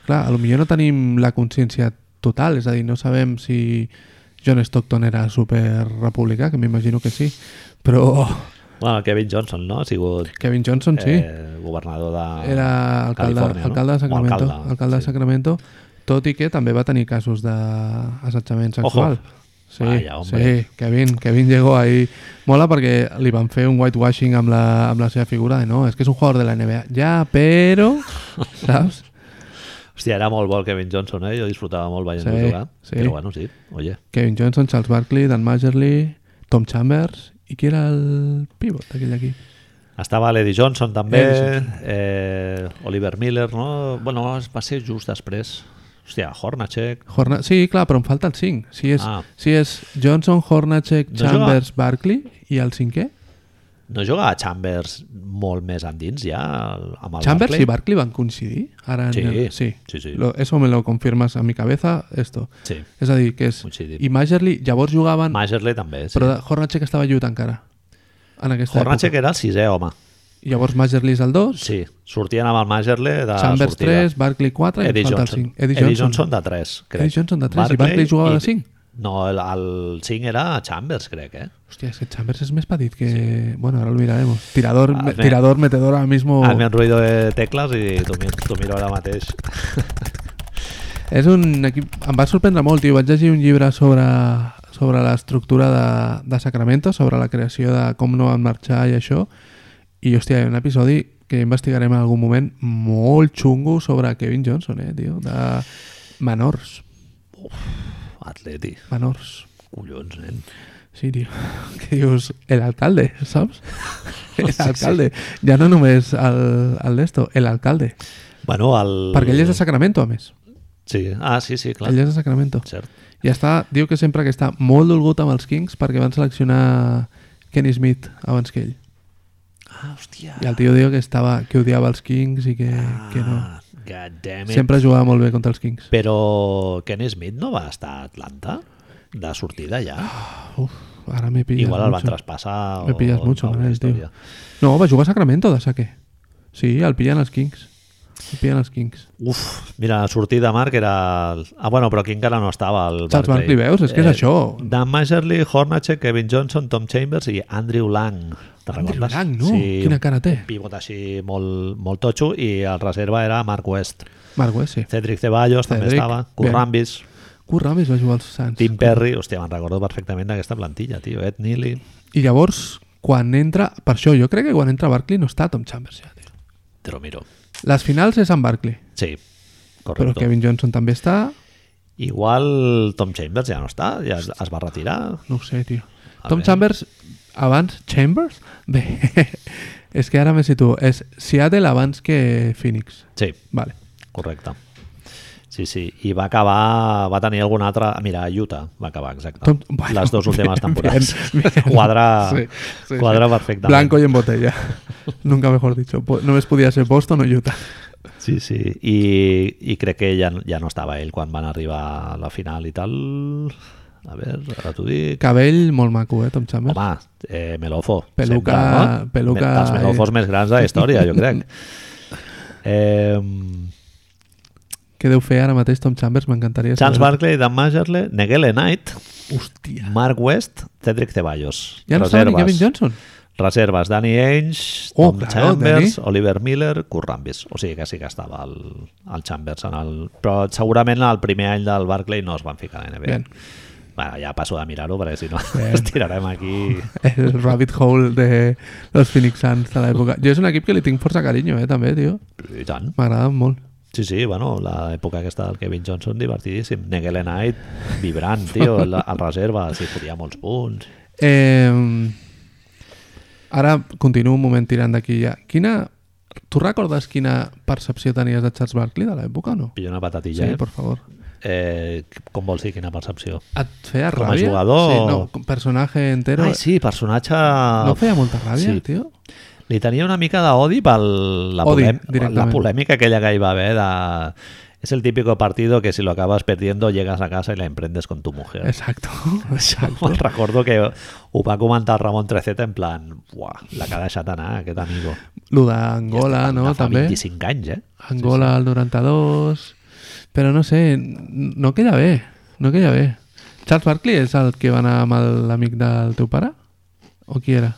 clar, a lo millor no tenim la consciència total, és a dir, no sabem si John Stockton era super republicà, que m'imagino que sí, però Bueno, el Kevin Johnson, no? Ha sigut Kevin Johnson sí, eh, eh, governador de era alcalde, Califòrnia, no? alcalde de O Sacramento, alcalde, alcalde, alcalde sí. de sí. Sacramento, tot i que també va tenir casos d'assetjament Ojo. sexual. Sí, Vaya, hombre. sí, Kevin, Kevin llegó ahí. Mola perquè li van fer un whitewashing amb <laughs> la, amb la seva figura de no, és que és un jugador de la NBA. Ja, però... Saps? Hòstia, era molt bo el Kevin Johnson, eh? Jo disfrutava molt veient-lo Sí, jugar. sí. Però bueno, sí, oye. Kevin Johnson, Charles Barkley, Dan Majerly, Tom Chambers... I qui era el pivot aquell d'aquí? Estava l'Eddie Johnson també, Eddie Johnson. eh, Oliver Miller, no? Bueno, es va ser just després. Hòstia, Hornacek... Horna... Sí, clar, però em falta el 5. Si és, Ah. si és Johnson, Hornacek, No Chambers, Barkley i el cinquè? No jugava Chambers molt més endins ja amb el Chambers Barkley? y Barkley van a coincidir ahora en Sí, el- sí, sí. Lo- eso me lo confirmas a mi cabeza, esto. Sí. Es decir, que es... Coincidim. Y Majerly, llavors jugaban, Majerle també, sí. pero Hornacek estaba lluit encara. En aquesta Hornacek era el sisè home. època. Llavors Majerly és el 2, Sí, sortien amb el Majerle de Chambers sortida. 3, Barkley 4 i em Eddie falta el Johnson. 5. Eddie Johnson. de 3, crec. Eddie Johnson de tres, i Barkley jugava de cinc? No, el, el 5 era Chambers, crec, eh? Hòstia, és que Chambers es més petit que... Bueno, ahora lo miraremos. Tirador, Ah, me- bé. tirador metedor ahora mismo... Ah, m'he ruïdo de tecles i t'ho mi- t'ho miro ara mateix. És un equip... Em va sorprendre molt, tio. Vaig llegir un llibre sobre, sobre l'estructura de, de Sacramento, sobre la creació de com no van marxar i això. I, hòstia, hi ha un episodi que investigarem en algun moment molt xungo sobre Kevin Johnson, eh, tio? De menors. Atleti, Menors. collons, nen. Sí, tio. <laughs> Que dius, el alcalde, saps? El alcalde. Ja no només el, el d'esto, el alcalde. Bueno, el... Perquè ell és de Sacramento, a més. Sí, ah, sí, sí, clar. Ell és de Sacramento. Cert. I està, diu que sempre que està molt dolgut amb els Kings perquè van seleccionar Kenny Smith abans que ell. Ah, hòstia. I el tio diu que estava que odiava els Kings i que, que no. Ah, God damn it. Sempre jugava molt bé contra els Kings. Però Ken Smith no va estar a Atlanta de sortida ja. Uf, ara m'he pillat Igual el van Ah, mucho. traspassar. Me o- pillas o mucho, alguna Manel, tio. història. No, va jugar a Sacramento de saque. Sí, el pillen els Kings. El pillen els Kings. Uf, mira, la sortida de Marc era... el- Ah, bueno, però aquí encara no estava el Charles Barkley, veus? És que Eh, és això. Dan Majerly, Hornacek, Kevin Johnson, Tom Chambers i Andrew Lang. Te Andrew recordes? Lang, no? Sí, Quina cara té. un pivot així molt, molt totxo i el reserva era Mark West. Marc West, sí. Cedric Ceballos també Cedric, estava, bé. Currambis, Kurt Ramis va jugar als Suns. Tim Perry, hòstia, me'n recordo perfectament d'aquesta plantilla, tio, Ed Neely. I llavors, quan entra... Per això, jo crec que quan entra Barkley no està Tom Chambers ja, tio. Te lo miro. Les finals és amb Barkley. Sí, Però correcte. Kevin Johnson també està... Igual Tom Chambers ja no està, ja es, es va retirar. No ho sé, tio. A Tom veure. Chambers, abans Chambers? Bé, <laughs> és que ara me situo. És Seattle abans que Phoenix. Sí, Vale. correcte. Sí, sí, i va acabar, va tenir algun altre... Mira, a Utah va acabar, exacte. Tom- bueno, Les dues últimes <laughs> bien, temporades. bien, <laughs> bien. Quadra, Sí, sí, quadra sí. perfectament. Blanco y en <laughs> botella. Nunca mejor dicho. Po- Només podia ser Boston o Utah. Sí, sí, i, i crec que ja, no- ja no estava ell quan van arribar a la final i tal. A veure, ara t'ho dic. Cabell molt maco, eh, Tom Chambers. Home, eh, Melofo. Peluca- sempre, no? peluca- eh. Dels Melofos més grans de la història, jo <laughs> crec. Eh, Què deu fer ara mateix Tom Chambers? M'encantaria Charles saber. Barkley, Dan Majerle, Negele Knight, Hòstia. Mark West, Cedric Ceballos. Ja no estava ni Kevin Johnson. Reserves, Danny Ainge, Oh, Tom claro, Chambers, Danny. Oliver Miller, Kurt Rambis. O sigui que sí que estava el, el Chambers. En el... Però segurament el primer any del Barclay no es van ficar a la NBA. Bien. <laughs> Bueno, ja passo de mirar-ho perquè si no <laughs> Bien. ens tirarem aquí... El rabbit hole de los Phoenix Suns de l'època. Jo és un equip que li tinc força carinyo, eh, també, tio. I tant. M'agrada molt. Sí, sí, bueno, l'època aquesta del Kevin Johnson, divertidíssim. Negele Knight, vibrant, tio, el, el reserva, s'hi fotia molts punts. Eh, ara continuo un moment tirant d'aquí ja. Quina... Tu recordes quina percepció tenies de Charles Barkley de l'època o no? Pillo una patatilla, Sí, eh? por favor. Eh, com vols dir quina percepció? Et feia Com a ràbia? jugador? Sí, no, com personatge entero. Ai, sí, personatge... No feia molta ràbia, Sí. tio? Li tenia una mica d'odi per la, Odi, polèm... la directament. polèmica aquella que hi va haver de... Es el típico partido que si lo acabas perdiendo llegas a casa y la emprendes con tu mujer. <laughs> Exacto. <laughs> Exacto. Recordo que ho va comentar Ramon Treceta en plan, buah, la que ha deixat anar aquest amigo. Lo d'Angola, no? De fa També. 25 anys, eh? Angola al 92... Però no sé, no queda bé. No queda bé. Charles Barkley és el que va anar amb l'amic del teu pare? O qui era?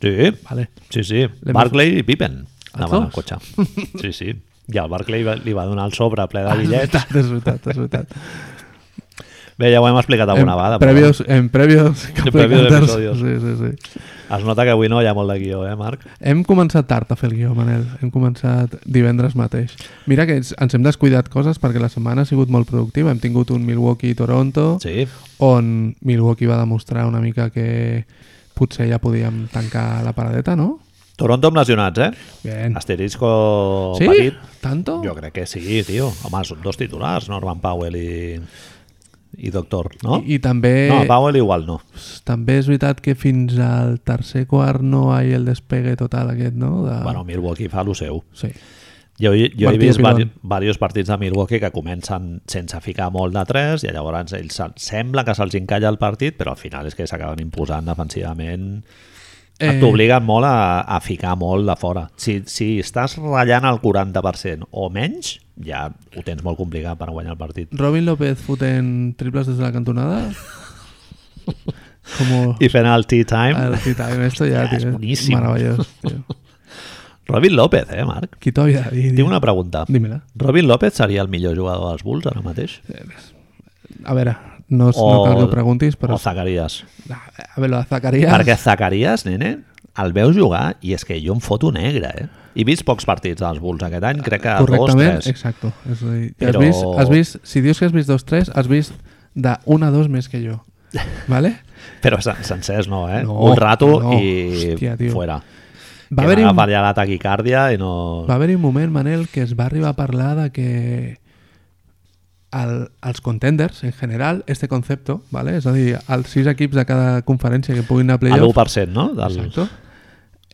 Sí, Vale. sí, sí. L'hem- Ah, Barclay i Pippen. Els Anaven en dos? cotxe. <laughs> Sí, sí. I al Barclay va- li va donar el sobre ple de Ah, És bitllets veritat, és veritat, és veritat. Bé, ja ho hem explicat <laughs> alguna en vegada. però Previos, en <laughs> previos, previos capítols. episodios. Sí, sí, sí. bueno, Es nota que avui no hi ha molt de guió, eh, Marc? Hem començat tard a fer el guió, Manel. Hem començat divendres mateix. Mira que ens, ens hem descuidat coses perquè la setmana ha sigut molt productiva. Hem tingut un Milwaukee-Toronto Sí. on Milwaukee va demostrar una mica que potser ja podíem tancar la paradeta, no? Toronto amb lesionats, eh? Bien. Asterisco Sí? petit. Tanto? Jo crec que sí, tio. Home, són dos titulars, Norman Powell i, i Doctor, no? I, eh, I també... No, Powell igual no. També és veritat que fins al tercer quart no hi ha el despegue total aquest, no? De... Bueno, Milwaukee fa lo seu. Sí. Jo, jo he Martí vist Pilon. vari, diversos partits de Milwaukee que comencen sense ficar molt de 3 i llavors ells se- sembla que se'ls encalla el partit, però al final és que s'acaben imposant defensivament. Eh... Eh. T'obliguen molt a, a ficar molt de fora. Si, si estàs ratllant el 40% o menys, ja ho tens molt complicat per guanyar el partit. Robin López fotent triples des de la cantonada? <laughs> Com I fent el tea time, el Tea Time, esto <laughs> ja, Hòstia, és tio, boníssim. Meravellós, tio. Robin López, eh, Marc? Qui t'ho havia de dir? Tinc una pregunta. Dímela. Robin López seria el millor jugador dels Bulls ara mateix? A veure, no, no cal que ho preguntis, però... O Zacarias? A veure, lo de Zacarías... Perquè Zacarias, nene, el veus jugar i és que jo em foto negre, eh? He vist pocs partits dels Bulls aquest any, crec que dos, Correctament, tres. exacto. És a dir, Però- has, vist, has vist, si dius que has vist dos, tres, has vist de un a dos més que jo. ¿Vale? Però sen- sencers no, eh? No, un rato no. i Hòstia, tio. fuera. Va que haver-hi un, m'agafa ja la taquicàrdia i no... va haver un moment, Manel, que es va arribar a parlar de que el, els contenders, en general, este concepto, ¿vale? és a dir, els sis equips de cada conferència que puguin anar a A playoff, l'1%, no? Del... exacto,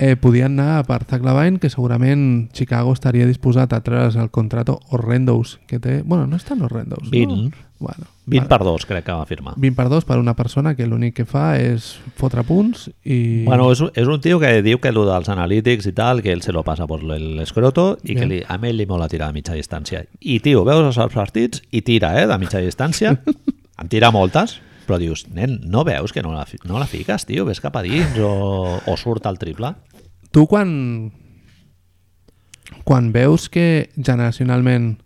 eh, podien anar per Zach Lavine, que segurament Chicago estaria disposat a treure's el contrato horrendous que té... Bueno, no és tan horrendous, Vint. no? Bueno, 20 per 2, crec que va firmar. 20 per 2 per una persona que l'únic que fa és fotre punts i... Bueno, és, un- és un tio que diu que lo dels analítics i tal, que ell se lo passa por l'escroto i que li, a ell li mola tirar a mitja distància. I, tio, veus els partits i tira, eh, de mitja distància. <laughs> em tira moltes, però dius, nen, no veus que no la, fi- no la fiques, tio? Ves cap a dins o, o surt al triple? Tu quan... Quan veus que generacionalment...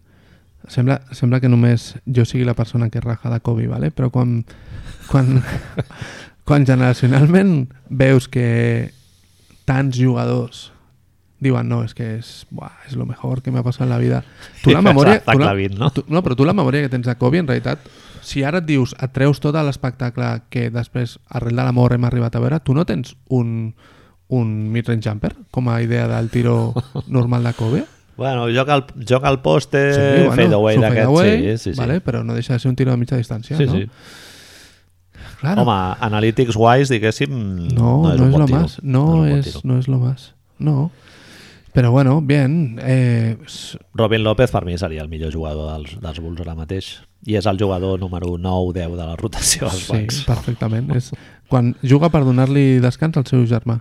Sembla, sembla que només jo sigui la persona que raja de Kobe, ¿vale? però quan, quan, quan generacionalment veus que tants jugadors diuen no, és que és, buah, és lo mejor que m'ha passat en la vida. Tu la Exacte, memòria... tu la- Clavin, no? Tu, no, però tu la memòria que tens de Kobe, en realitat, si ara et dius, et treus tot l'espectacle que després, arrel de l'amor, hem arribat a veure, tu no tens un, un mid-range jumper com a idea del tiro normal de Kobe? Bueno, joc al, joc al poste, Sí, sí, bueno, fadeaway su d'aquest, fadeaway, sí, sí, sí. Vale, però no deixa de ser un tiro de mitja distància, sí, no? sí. Claro. Home, analytics wise, diguéssim, no, un no, es bon lo tio. más. No, un bon es, tio. no es lo más. No. Pero bueno, bien. eh, s- Robin López per mi seria el millor jugador dels, dels Bulls ara mateix i és el jugador número 9-10 de la rotació als sí, bancs. perfectament. És, quan juga per donar-li descans al seu germà,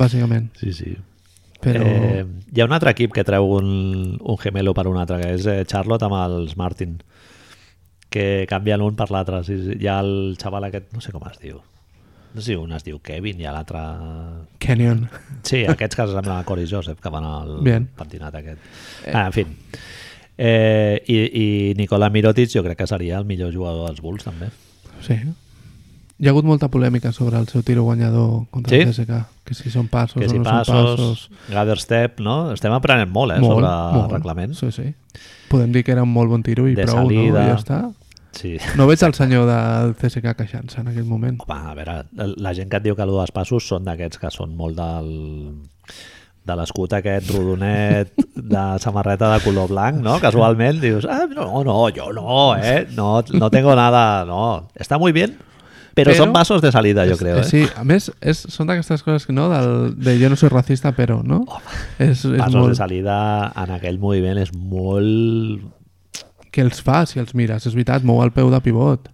bàsicament. Sí, sí. Però... Eh, hi ha un altre equip que treu un, un gemelo per un altre, que és eh, Charlotte amb els Martin, que canvien un per l'altre. Sí, sí. Hi ha el xaval aquest, no sé com es diu, no sé si un es diu Kevin i l'altre... Canyon. Sí, aquests que semblen a Cory Joseph, que van al Bien. pentinat aquest. Ah, en fi. Eh, i, I Nicola Mirotic jo crec que seria el millor jugador dels Bulls, també. Sí. Hi ha hagut molta polèmica sobre el seu tiro guanyador contra Sí? el CSK. Que si són passos que o si no són passos. passos, gather step, no? Estem aprenent molt, eh, molt, sobre molt. reglament. Sí, sí. Podem dir que era un molt bon tiro i De prou, no? salida. I ja està. Sí. No veig el senyor del CSK queixant-se en aquell moment. Home, a veure, la gent que et diu que allò dels passos són d'aquests que són molt del de l'escut aquest rodonet de samarreta de color blanc, no? Casualment dius, ah, no, no, jo no, eh? No, no tengo nada, no. Està muy bien, pero, Pero- son pasos de salida, jo crec, eh? Sí, a més, és, són d'aquestes coses que no, del, de jo no soy racista, però, no? és, és Passos de molt... salida en aquell moviment és molt... Que els fa, si els mires, és veritat, mou el peu de pivot.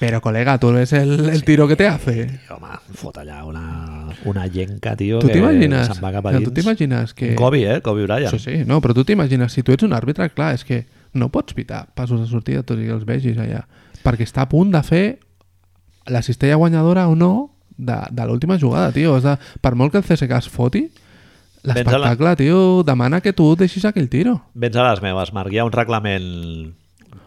Però, col·lega, tu ves el, el tiro que te hace. Home, fot allà una, una llenca, tio, Tu que t'imagines? se'n va cap a no, dins. Tu t'imagines que... Kobe, eh? Kobe Bryant. Sí, sí, no, però tu t'imagines, si tu ets un àrbitre, clar, és que no pots pitar passos de sortida tot i que els vegis allà, perquè està a punt de fer la cistella guanyadora o no de, de l'última jugada, tio. Has de, per molt que el CSK es foti, l'espectacle, tio, demana que tu deixis aquell tiro. Vens a les meves, Marc. Hi ha un reglament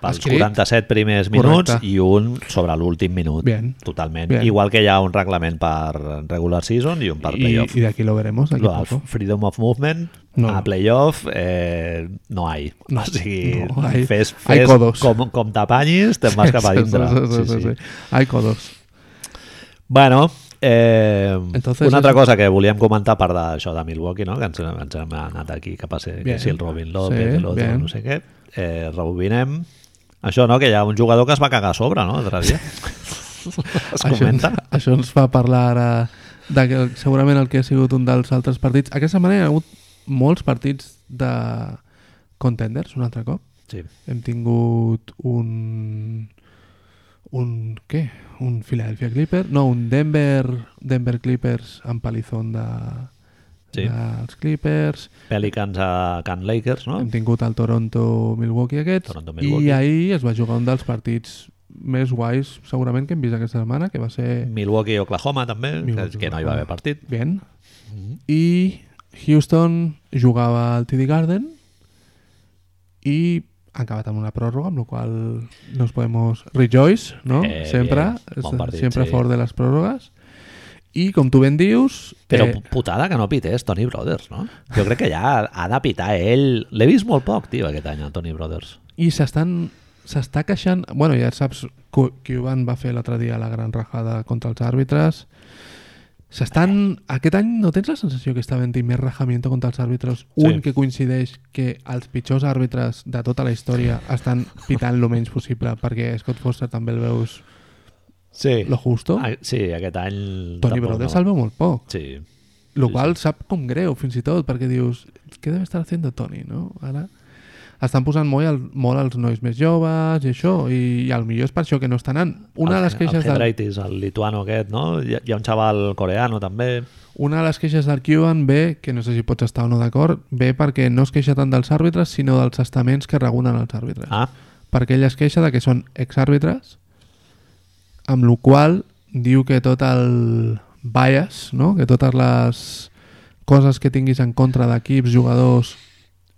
pels Escrit. 47 primers minuts Correcte. i un sobre l'últim minut. Bien. Totalment. Bien. Igual que hi ha un reglament per regular season i un per Y, playoff. y de aquí lo veremos. de aquí Lo a del poco. freedom of movement No. a playoff eh, no hay. No, o sigui, no hay. fes, Hay fes codos. com, com t'apanyis, te'n vas <laughs> cap a dintre. Sí, sí, sí, sí. Hay codos. Bueno, eh, Entonces, una altra eso- cosa que volíem comentar a part d'això de Milwaukee, no? que ens, ens hem anat aquí cap a ser Bien. que si el Robin López, Sí, sí, l'altre, bien. no sé què, eh, rebobinem. Això, no? Que hi ha un jugador que es va cagar a sobre, no? L'altre <laughs> dia. es Això, ens- comenta. <laughs> això ens fa parlar ara de que segurament el que ha sigut un dels altres partits. Aquesta setmana hi ha hagut molts partits de contenders, un altre cop. Sí. Hem tingut un... un... què? Un Philadelphia Clippers? No, un Denver, Denver Clippers amb palizón de, Sí. dels Clippers. Pelicans a Can Lakers, no? Hem tingut el Toronto-Milwaukee aquests. Toronto-Milwaukee. I ahir es va jugar un dels partits més guais segurament que hem vist aquesta setmana, que va ser Milwaukee Oklahoma també, Milwaukee, que, que no hi va haver Oklahoma. partit. Mm-hmm. Bien. I Houston jugava al TD Garden i ha acabat amb una pròrroga, amb la qual cosa nos podemos rejoice, no? Eh, sempre, bien. Bon partit, sempre sí. fort de les pròrrogues. I com tu ben dius... Però eh, putada que no pités Tony Brothers, no? Jo crec que ja ha de pitar eh. ell. L'he vist molt poc, tio, aquest any, el Tony Brothers. I s'estan s'està queixant... Bueno, ja saps que Cuban va fer l'altre dia la gran rajada contra els àrbitres. S'estan... Aquest any no tens la sensació que està havent-hi més rajamiento contra els àrbitres? Sí. Un que coincideix que els pitjors àrbitres de tota la història estan pitant lo menys possible perquè Scott Foster també el veus Sí. lo justo. Ah, sí, aquest any... Tony tampoc Brothers no. el veu molt poc. Sí. Lo Sí, qual sap com greu, fins i tot, perquè dius, què deu estar fent Toni, no? Ara estan posant molt, al, molt als nois més joves i això, i, i al millor és per això que no estan anant. Una, de les queixes El del, Hedraitis, el lituano aquest, no? Hi, ha- hi ha un xaval coreano també. una de les queixes del Cuban ve, que no sé si pots estar o no d'acord, ve perquè no es queixa tant dels àrbitres, sinó dels estaments que regulen els àrbitres. Ah, Perquè ell es queixa de que són exàrbitres, amb la qual diu que tot el bias, no? que totes les coses que tinguis en contra d'equips, jugadors,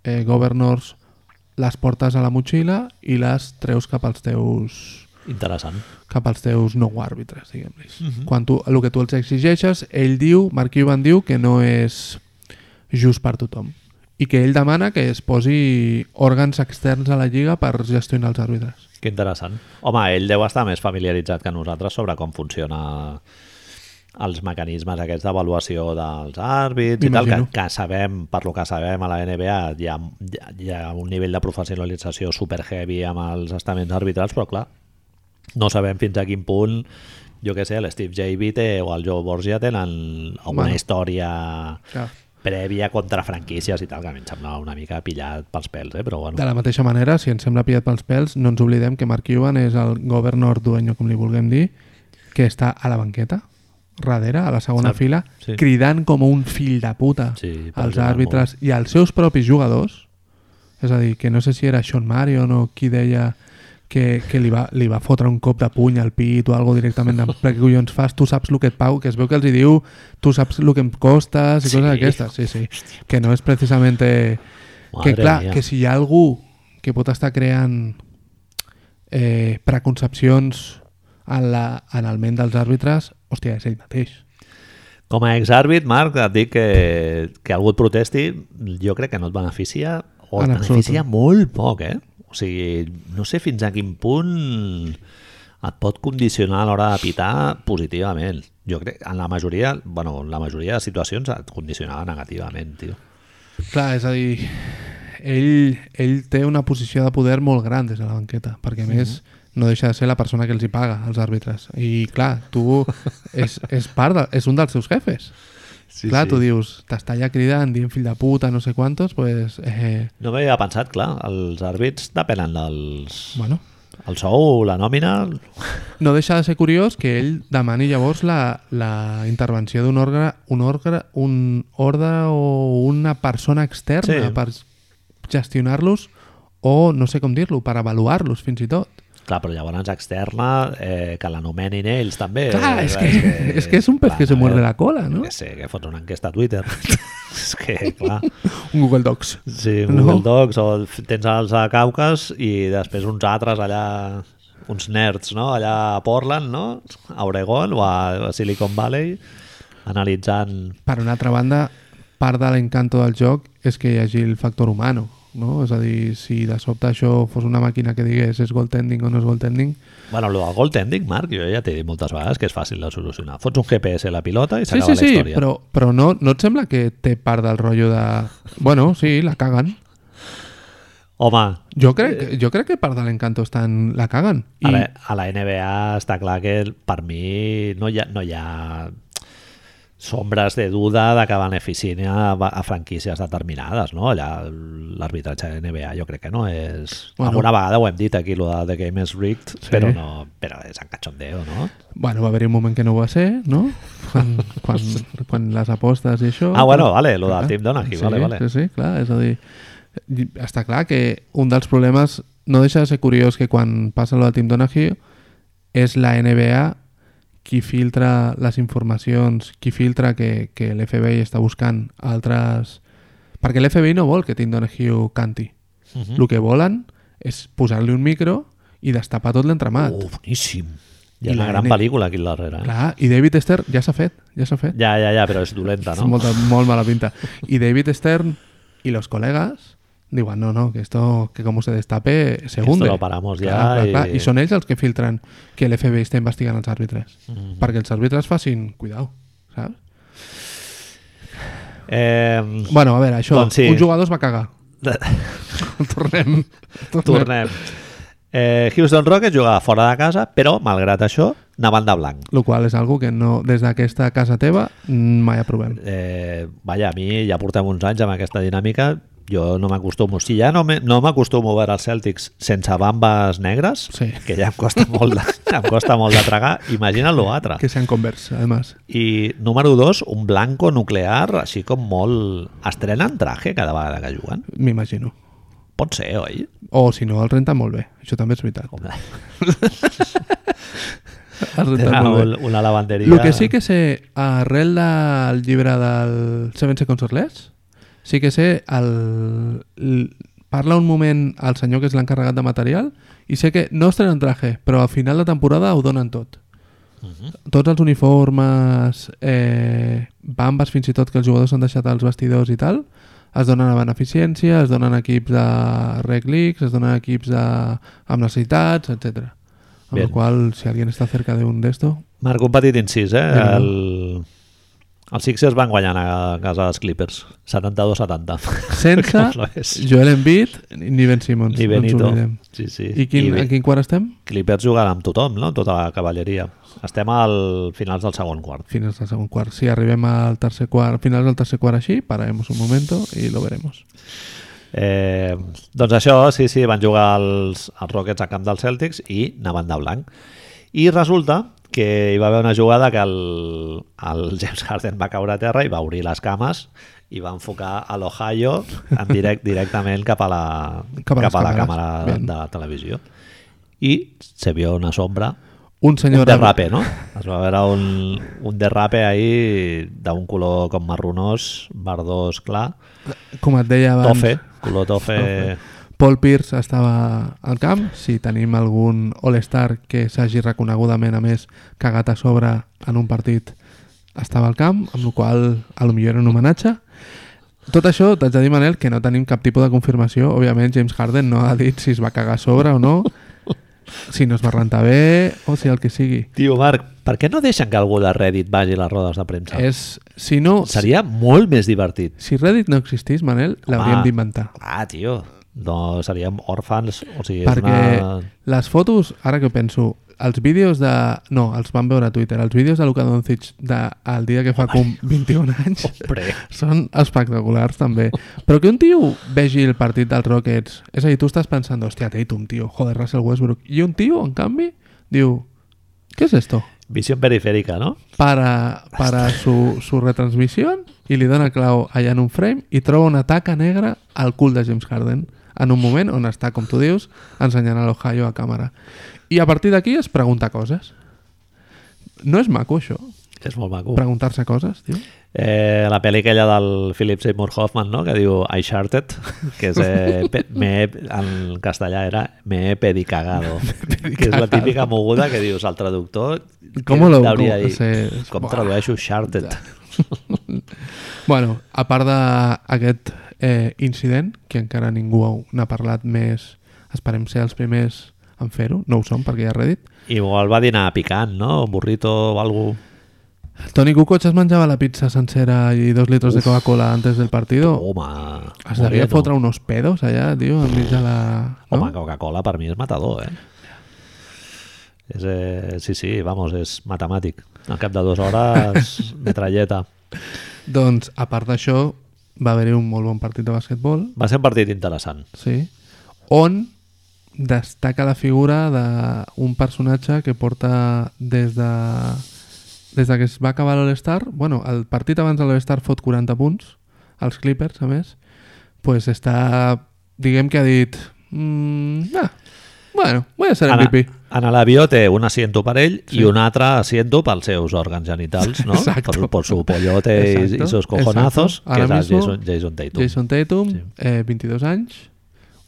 eh, governors, les portes a la motxilla i les treus cap als teus interessant. cap als teus nou àrbitres, diguem-ne. Quan tu, el que tu els exigeixes, ell diu, Mark Cuban diu que no és just per tothom i que ell demana que es posi òrgans externs a la lliga per gestionar els àrbitres. Que interessant. Home, ell deu estar més familiaritzat que nosaltres sobre com funciona els mecanismes aquests d'avaluació dels àrbits i tal, que, M'imagino. que sabem, per lo que sabem a la NBA, hi ha, hi ha un nivell de professionalització super heavy amb els estaments arbitrals, però clar, no sabem fins a quin punt jo que sé, l'Steve J. té o el Joe Borgia tenen alguna Bueno. història Clar. prèvia contra franquícies i tal, que a mi em sembla una mica pillat pels pèls, eh? però bueno. De la mateixa manera, si ens sembla pillat pels pèls, no ens oblidem que Mark Cuban és el governador dueño, com li vulguem dir, que està a la banqueta, darrere, a la segona Cert, fila, sí. cridant com un fill de puta Sí, per als jugar àrbitres i als seus propis jugadors. És a dir, que no sé si era Sean Marion o qui deia que, que li, va, li va fotre un cop de puny al pit o algo directament de, "Però què collons fas, tu saps el que et pago, que es veu que els hi diu tu saps el que em costes i Sí. coses d'aquestes, sí, sí. Que no és precisament... Eh, Madre que clar, mía. que si hi ha algú que pot estar creant eh, preconcepcions en, la, en el ment dels àrbitres, hòstia, és ell mateix. Com a exàrbit, Marc, et dic que, que algú et protesti, jo crec que no et beneficia, o et En absolut. beneficia molt poc, eh? O sigui, no sé fins a quin punt et pot condicionar a l'hora de pitar positivament. Jo crec en la majoria, bueno, en la majoria de situacions et condicionava negativament, tio. Clar, és a dir, ell, ell té una posició de poder molt gran des de la banqueta, perquè a més no deixa de ser la persona que els hi paga, els àrbitres. I clar, <laughs> tu és, és, part de, és un dels seus jefes. Sí, clar, tu dius, t'està allà cridant, dient fill de puta, no sé quantos, pues, eh, No m'havia pensat, clar, els àrbits depenen dels... bueno, El sou, la nòmina... No deixa de ser curiós que ell demani llavors la, la intervenció d'un òrgan, un òrgan, un ordre o una persona externa Sí. per gestionar-los o no sé com dir-lo, per avaluar-los fins i tot. Clar, però llavors externa, eh, que l'anomenin ells també. Clar, Eh, és que, <laughs> és que és un pez clar, eh, que se a muerde veure, la cola, Ah, no? Que sé, que fots una enquesta a <laughs> Twitter. és que, clar, Un Google Docs. sí, No. Google Docs o el- tens els a Caucas i després uns altres allà, uns nerds, no? Allà a Portland, no? A Oregon o a Silicon Valley analitzant... Per una altra banda, part de l'encanto del joc és que hi hagi el factor humano, no? És a dir, si de sobte això fos una màquina que digués és goaltending o no és goaltending... Bueno, el del goaltending, Marc, jo ja t'he dit moltes vegades que és fàcil de solucionar. Fots un GPS a la pilota i Sí, s'acaba sí, la sí, història. però, però no, no et sembla que té part del rotllo de... Bueno, sí, la caguen. Home, Jo crec, jo crec que part de l'encanto està en la caguen. A, la, I, a la NBA està clar que el- per mi no hi ha, no hi ha sombres de duda de que beneficien a, a franquícies determinades, no? Allà l'arbitratge de NBA jo crec que no és... Bueno. Bueno. Alguna vegada ho hem dit aquí, lo de The Game is Rigged, Sí. sí. però, no, però és en cachondeo, no? bueno, va haver-hi un moment que no ho va ser, no? Quan, <laughs> quan, quan les apostes i això... Ah, bueno, vale, lo del Clar. Tim Donaghy, sí, vale, vale. Sí, sí, clar, és a dir, i està clar que un dels problemes no deixa de ser curiós que quan passa lo del Tim Donaghy és la NBA qui filtra les informacions, qui filtra que, que l'FBI està buscant altres... Perquè l'FBI no vol que Tim Donaghy canti. Uh El que volen és posar-li un micro i destapar tot l'entramat. Uh, boníssim! Hi I ha una la gran N- pel·lícula aquí al darrere. Eh? Clar, i David Stern ja s'ha fet, ja s'ha fet. Ja, ja, ja, però és dolenta, Es no? Molta, molt mala pinta. Y David Stern y los colegas diuen, no, no, que esto, que como se destape, se Esto hunde. lo paramos ya Clar, clar, clar. y- I són ells els que filtran que l'FBI està investigant els àrbitres. Mhm. Perquè els àrbitres facin, cuidao, saps? Eh, Bueno, a veure, això, Doncs sí. un jugador es va cagar. <laughs> tornem. Tornem. Eh, Houston Rockets jugava fora de casa, però, malgrat això, anàvem de blanc. Lo qual és algo que no, des d'aquesta casa teva mm, mai aprovem. Eh, vaja, a mi ja portem uns anys amb aquesta dinàmica, jo no m'acostumo. Si ja no me- no m'acostumo a veure els Celtics sense bambes negres, Sí. que ja em costa molt de, em costa molt de tragar, imagina't l'altre. Que sean converts, además. I número dos, un blanco nuclear, així com molt... Estrenen traje cada vegada que juguen? M'imagino. Pot ser, oi? O si no, el renta molt bé. Això també és <laughs> veritat. Com Ah, El renta molt bé. Tenen una lavanderia... El que sí que sé, arrel del llibre del Seven Seconds or Less, sí que sé, el, l- parla un moment al senyor que és l'encarregat de material i sé que no es trenen traje, però al final de temporada ho donen tot. Tots els uniformes, eh, bambes fins i tot que els jugadors han deixat als vestidors i tal, es donen a beneficència, es donen a equips de rec leagues, es donen a equips de, amb necessitats, etc. Amb la Bien. qual cosa, si alguien està cerca d'un d'esto, Marc, un petit incís, eh? Vinga. El... Els Sixers van guanyant a casa dels Clippers, 72-70. Sense <laughs> Com la ves? Joel Embiid ni Ben Simmons. Ni No ens Benito. oblidem. Sí, sí. I quin, I en quin quart estem? Clippers jugant amb tothom, no? Tota la cavalleria. Estem al finals del segon quart. Finals del segon quart. Si arribem al tercer quart, finals del tercer quart així, pararemos un momento i lo veremos. Eh, doncs això, sí, sí, van jugar els, els Rockets a camp dels Celtics i anaven de blanc. I resulta que hi va haver una jugada que el, el <laughs> James Harden va caure a terra i va obrir les cames i va enfocar a l'Ohio en <laughs> direct, directament cap a la, Cap cap a a les la càmeres. càmera de, Bien. de la televisió. I se vio una sombra, Un senyor... un derrape, no? Es va veure un, un derrape ahir d'un color com marronós, verdós clar, Com et deia abans, tofe, color tofe Paul Pierce estava al camp. Si tenim algun All-Star que s'hagi reconegudament, a més, cagat a sobre en un partit, estava al camp, amb la qual cosa a lo millor era un homenatge. Tot això, t'haig de dir, Manel, que no tenim cap tipus de confirmació. Òbviament, James Harden no ha dit si es va cagar a sobre o no, si no es va rentar bé o si el que sigui. Tio, Marc, per què no deixen que algú de Reddit vagi a les rodes de premsa? És, si no, Seria molt més divertit. si Reddit no existís, Manel, l'hauríem d'inventar. Ah, tio, no seríem òrfans, o sigui, és Perquè una... les fotos, ara que ho penso, els vídeos de... No, els van veure a Twitter. Els vídeos de Luka Doncic de, el dia que fa com 21 anys Pre. són espectaculars, també. Però que un tio vegi el partit dels Rockets... És a dir, tu estàs pensant, hòstia, Tatum, tio, joder, Russell Westbrook. I un tio, en canvi, diu... Què és esto? Visió perifèrica, no? Para, para su, su retransmisión i li dona clau allà en un frame i troba una taca negra al cul de James Harden en un moment on està, com tu dius, ensenyant a l'Ohio a càmera. I a partir d'aquí es pregunta coses. No és maco, això? És molt maco. Preguntar-se coses, tio? Eh, la pel·li aquella del Philip Seymour Hoffman, no? que diu I sharted, que és, <laughs> eh, pe- me he, en castellà era me he <laughs> pedicagado, que és la típica moguda que dius al traductor Com que lo- t'hauria com- dit, sí. com Buah. tradueixo sharted? Bueno, a part d'aquest eh, incident, que encara ningú n'ha parlat més, esperem ser els primers en fer-ho, no ho som perquè ja Reddit, Igual va dinar picant, no? Un burrito o alguna Tony Kukoc es menjava la pizza sencera y dos litros de Coca-Cola antes del partido. Home, es devia moreno. fotre unos pedos allà, tio, enmig de la... No? Home, Coca-Cola per mi és matador, eh? És, eh? Sí, sí, vamos, és matemàtic. Al cap de dues <laughs> hores, metralleta. Doncs, a part d'això, va haver-hi un molt bon partit de basquetbol, Va ser un partit interessant. sí, on destaca la figura d'un personatge que porta des de... Des de que es va acabar l'All-Star, bueno, el partit abans de l'All-Star fot 40 punts, als Clippers, a més, pues està, diguem que ha dit... Mm, ah, bueno, voy a ser En, MVP. en l'avió té un asiento per ell sí. i un altre asiento pels seus òrgans genitals, no? Exacto. Por, por su pollote i, Exacto, i sus cojonazos, exacto. Ara que és el mismo, Jason, Jason Tatum. Jason Tatum, Sí. eh, 22 anys,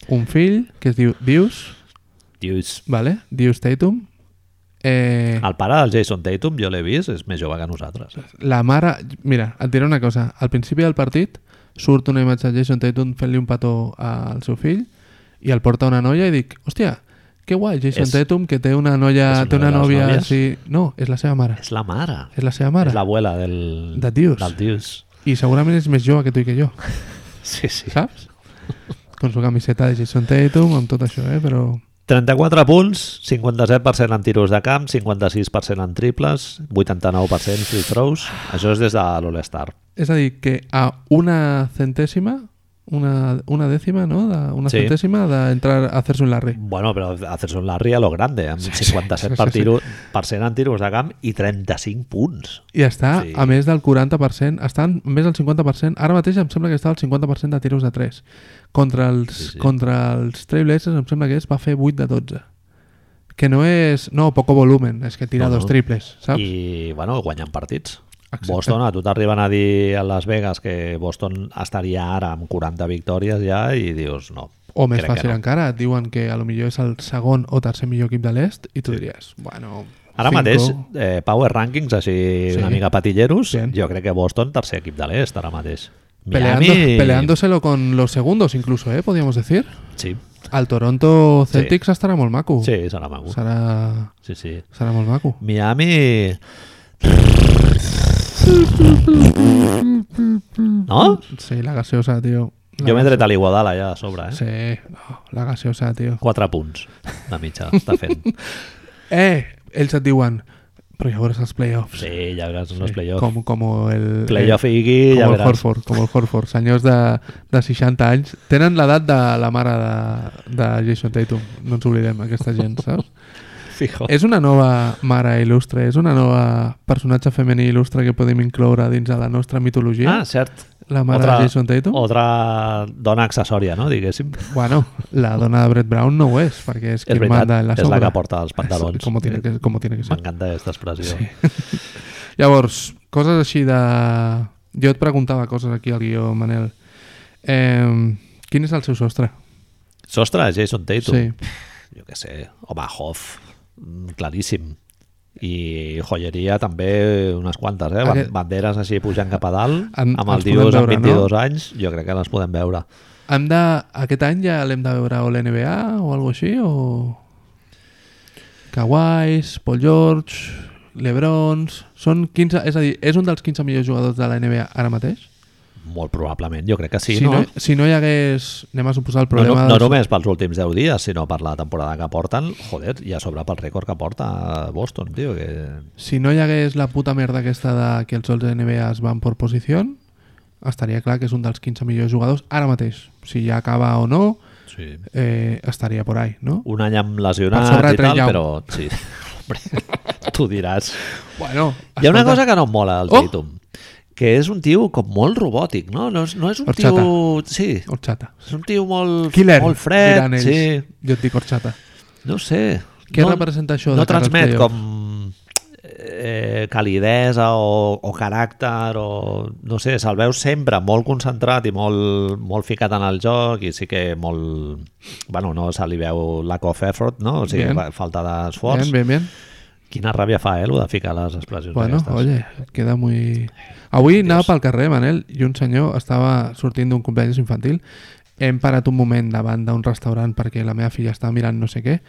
un fill que es diu Dius, Dius, vale? Dius Tatum. Eh, el pare del Jason Tatum, jo l'he vist, és més jove que nosaltres. La mare... Mira, et diré una cosa. Al principi del partit surt una imatge de Jason Tatum fent-li un petó al seu fill i el porta una noia i dic, hòstia, que guai, Jason És- Tatum, que té una noia, és una té una de les nòvia... nòvies? Així... No, és la seva mare. És la mare. És la seva mare. És l'abuela del... De Dius. Del Dius. I segurament és més jove que tu i que jo, Sí, sí. saps? Con su camiseta de Jason Tatum, amb tot això, eh? Però... 34 punts, 57% en tiros de camp, 56% en triples, 89% free throws. Això és des de l'All-Star. És a dir, que a una centèsima, una, una dècima, no? De, una Sí. centèsima d'entrar a hacer-se un Larry. Bueno, però hacerse un Larry a lo grande, amb 57% per tiro, percent en tiros de camp i 35 punts. I està Sí. sí. a més del 40%, està en- més del 50%, ara mateix em sembla que està al 50% de tiros de 3. Contra els, sí, sí. sí. contra els Trailblazers em sembla que és, va fer 8 de 12. Que no és... No, poco volumen, és que tira No, no, no. dos triples, saps? I... I, bueno, guanyant partits. Exacte. Boston, a tu t'arriben a dir a Las Vegas que Boston estaria ara amb 40 victòries ja i dius no. O més crec que fàcil no. encara, et diuen que a lo millor és el segon o tercer millor equip de l'est i tu diries, bueno... Ara cinco. mateix, eh, Power Rankings, així sí. Sí. una mica patilleros, Bien. jo crec que Boston, tercer equip de l'est, ara mateix. Peleando, peleándoselo con los segundos incluso, eh, podríamos decir. Sí, Al Toronto Celtics estarà molt maco. sí, serà maco. Serà, Sí, sí. serà molt maco. Miami... No? Sí, la gaseosa, tio. La Jo m'he tret a l'Iguadala ja a sobre, eh? Sí. Sí, no, la gaseosa, tio. 4 punts de mitja està <laughs> fent. Eh, ells et diuen, però ja veuràs els playoffs. Eh, Sí, ja veuràs sí. els playoffs. Com, com el... Playoff eh, Iggy, com ja el veràs. Horford, com el Horford, senyors de, de 60 anys. Tenen l'edat de la mare de, de Jason Tatum, no ens oblidem, aquesta gent, <laughs> saps? Fijo. És una nova mare il·lustre, és una nova personatge femení il·lustre que podem incloure dins de la nostra mitologia, Ah, cert. la mare Otra- Oh. de Jason Tatum. Otra dona accessòria, no? Diguéssim. Bueno, la dona de Brett Brown no ho és, perquè És és, qui veritat, manda en la és sombra. la que porta els pantalons. Com tiene que, com tiene que ser. M'encanta aquesta expressió. Sí. Llavors, coses així de... Jo et preguntava coses aquí al guió, Manel. Eh, quin és el seu sostre? Sostre, Jason Tatum. Sí. Jo què sé, home, Hoff, mm, claríssim. I joieria també unes quantes, eh? Aquest... Aquest- Banderes així pujant cap a dalt, En- amb el els podem dius amb veure, 22 no? anys, jo crec que les podem veure. Hem de... Aquest any ja l'hem de veure o l'NBA o alguna així, o... Kawais, Paul George, Lebrons... Són 15... És a dir, és un dels 15 millors jugadors de la NBA ara mateix? Molt probablement, jo crec que sí, si, no? no, si no hi hagués... Anem a suposar el No, no, problema... no dels- només pels últims 10 dies, sinó per la temporada que porten, joder, i a sobre pel rècord que porta Boston, tio, que... Si no hi hagués la puta merda aquesta de que els 11 NBA es van per posició, estaria clar que és un dels 15 millors jugadors ara mateix. Si ja acaba o no, Sí. eh, estaria por ahí, no? Un any amb lesionat Per sobre i Trey tal, Young. però... Sí, <laughs> hombre, tu diràs. Bueno, Hi ha una cosa que no em mola del Oh! Tatum, que és un tio com molt robòtic, no? No és, no és un Horchata. tio... Sí, Horchata. és un tio molt, Killer, molt fred, diran ells. sí. Jo et dic horchata. No ho sé. Què no, representa això No de cara als transmet playoffs? com eh, calidesa o, o caràcter o no sé, se'l veu sempre molt concentrat i molt, molt ficat en el joc i sí que molt bueno, no se li veu lack of effort no? o sigui, Bien. fa- falta d'esforç Bien, bien, bien. quina ràbia fa, eh, el de ficar les expressions Bueno, aquestes. oye, queda muy... Avui anava pel carrer, Manel, i un senyor estava sortint d'un cumpleaños infantil. Hem parat un moment davant d'un restaurant perquè la meva filla estava mirant no sé què.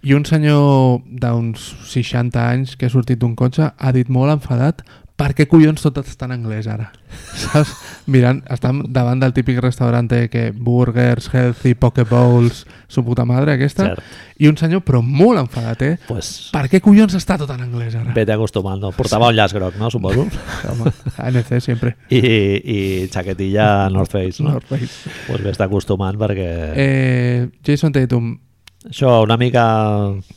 I un senyor d'uns 60 anys que ha sortit d'un cotxe ha dit molt enfadat per què collons tot està en anglès ara? <laughs> Saps? Mirant, estem davant del típic restaurant que burgers, healthy, poke bowls, su puta madre aquesta. Cert. I un senyor, però molt enfadat, eh? pues, Per què collons està tot en anglès ara? vete acostumant, no? portava un llaç groc, no, <laughs> suposo Home, ANC <laughs> sempre. i, i xaquetilla North Face no? North Face. pues vés acostumant perquè eh. Eh, Jason Tatum, això una mica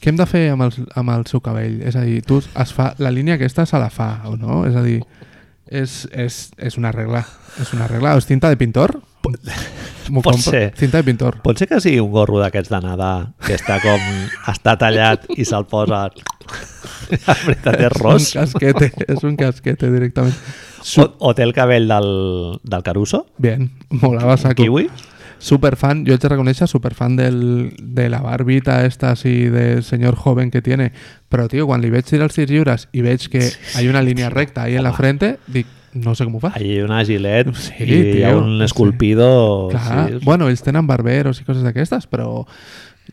què hem de fer amb el, amb el seu cabell? És a dir, tu es fa, la línia aquesta se la fa, o no? És a dir, és, és, és una regla. És una regla. És cinta de pintor? M'ho pot compro. ser. Cinta de pintor. Pot ser que sigui un gorro d'aquests de nedar que està com... està tallat i se'l posa... <laughs> La veritat és ros. És un casquete, és un casquete directament. O, o té el cabell del, del Caruso, Bien, molava saco. kiwi. Superfan, yo te reconozco, superfan del, de la barbita esta así del señor joven que tiene. Pero, tío, cuando le veis tirar sis lliures y veis que hay una línea recta ahí en la frente, dic, no sé cómo va. Hi ha una gilet Sí, sí, i hi ha tio, un sí. esculpido... Clar, oh, Sí. bueno, ells tenen barberos i coses d'aquestes, però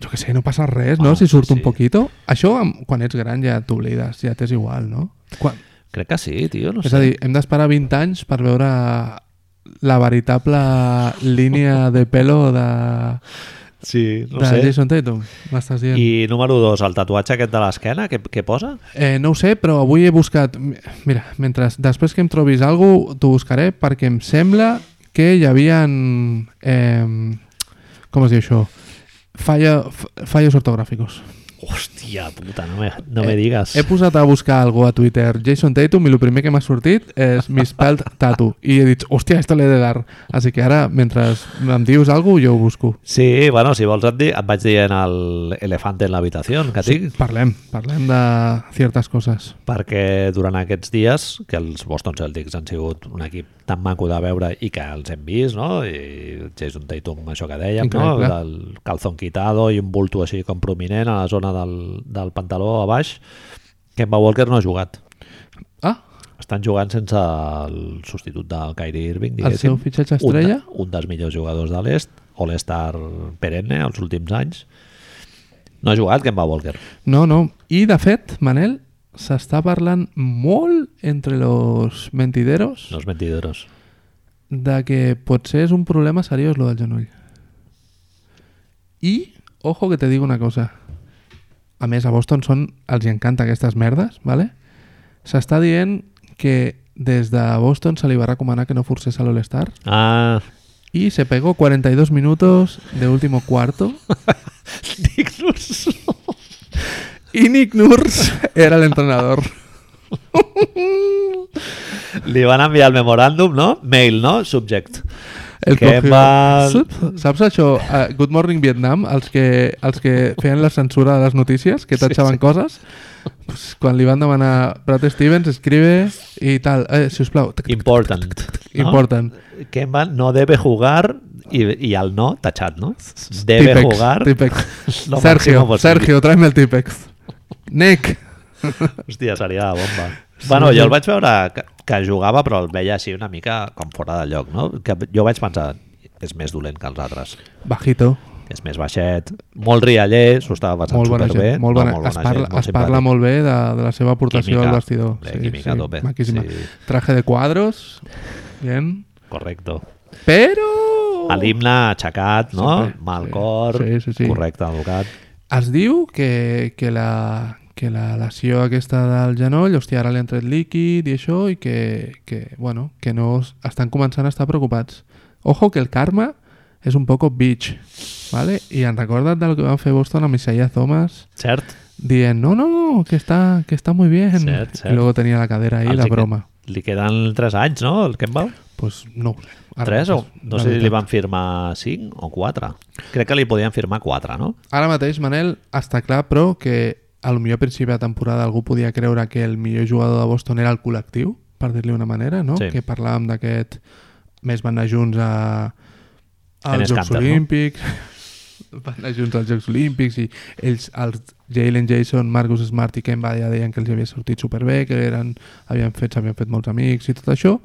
jo que sé, no passa res, no? Bueno, si surt un Ah, sí. poquito. Això, amb- quan ets gran, ja t'oblides, ja t'és igual, no? Quan, Crec que sí, tio, no és sé. a dir, hem d'esperar 20 anys per veure la veritable línia de pelo de, sí, no de sé. Jason Tatum, m'estàs dient. I número dos, el tatuatge aquest de l'esquena, què, què posa? Eh, no ho sé, però avui he buscat... mi- Mira, mentre, després que em trobis alguna t'ho buscaré perquè em sembla que hi havia... Eh, com es diu això? Falla, f- fallos ortogràficos. Hòstia puta, no me, no Eh, me digues. He posat a buscar algú a Twitter, Jason Tatum, i el primer que m'ha sortit és misspelled Tatu. I he dit, hòstia, esto l'he de dar. Així que ara, mentre em dius alguna jo ho busco. Sí, bueno, si vols et, di, et vaig dient el elefante en l'habitació, que tinc. Parlem, parlem de ciertes coses. perquè durant aquests dies que els Boston Celtics han sigut un equip tan maco de veure i que els hem vist, no? I Jason Tatum, això que dèiem, Increïble. no? Del calzón quitado i un bulto així com prominent a la zona del, del pantaló a baix. Kemba Walker no ha jugat. Ah, Estan jugant sense el substitut del Kyrie Irving, el diguéssim. seu fitxatge Un de- estrella? Un, dels millors jugadors de l'est, All-Star perenne els últims anys. No ha jugat Kemba Walker. No, no. I, de fet, Manel, s'està parlant molt entre los mentideros No és mentideros. de que potser és un problema seriós lo del genoll. I, ojo que te digo una cosa. A més, a Boston són, els hi encanta aquestes merdes, ¿vale? s'està dient que des de Boston se li va recomanar que no forcés a l'All-Star Ah, <laughs> i se pegó 42 minutos de último cuarto Nick Nurse. y Nick Nurse era el entrenador. Li van enviar el memoràndum, no? Mail, no? Subject. El Que cogió- va- Sup, Saps això? eh, Good Morning Vietnam, els que, els que feien la censura de les notícies, que tatxaven coses, pues, quan li van demanar Brad Stevens, escribe i tal, eh, si us plau, Ah. tic, tic, Important. No? important. Kemba no debe jugar i, i el no tachat, no? Debe Típex, jugar. Típex. <laughs> Lo máximo Sergio, posible. Sergio, tráeme el Típex. Nick. Hòstia, seria la bomba. bueno, jo el vaig veure que, que jugava, però el veia així una mica com fora de lloc, no? Que jo vaig pensar, és més dolent que els altres. Bajito. És més baixet, molt rialler, s'ho estava passant Molt bona gent. superbé. molt bona, no, molt es parla, gent, molt es parla simpàtic. molt bé de, de la seva aportació Química, al vestidor. hombre, química a tope, maquíssima. sí. Traje de cuadros. Bien. Correcto. Però... A l'himne aixecat, no? Sempre, Mal sí. cor, Sí, sí, sí. correcte, educat. Es diu que, que, la, que la lesió aquesta del genoll, hòstia, ara li han tret líquid i això, i que, que, bueno, que no es- estan començant a estar preocupats. Ojo que el karma és un poco bitch, ¿vale? I han recordat del que van fer Boston amb Isaiah Thomas Cert? dient, no, no, que està, que està muy bien. Cert, cert. I luego tenia la cadera ahí, Els la hi que- broma. Li queden 3 anys, no, el Kemba? pues no ho sé. Ara 3 o... mateix, No la sé si li veritat. van firmar 5 o 4. Crec que li podien firmar 4, no? Ara mateix, Manel, està clar, però, que a lo millor a principi de temporada algú podia creure que el millor jugador de Boston era el col·lectiu, per dir-li una manera, no? Sí. Que parlàvem d'aquest... Més van anar junts a... En als Jocs Scanter, no? Olímpics... <laughs> Van anar junts als Jocs Olímpics i ells, els Jalen Jason, Marcus Smart i Kemba ja deien que els havia sortit superbé, que eren, havien fet, s'havien fet molts amics i tot això,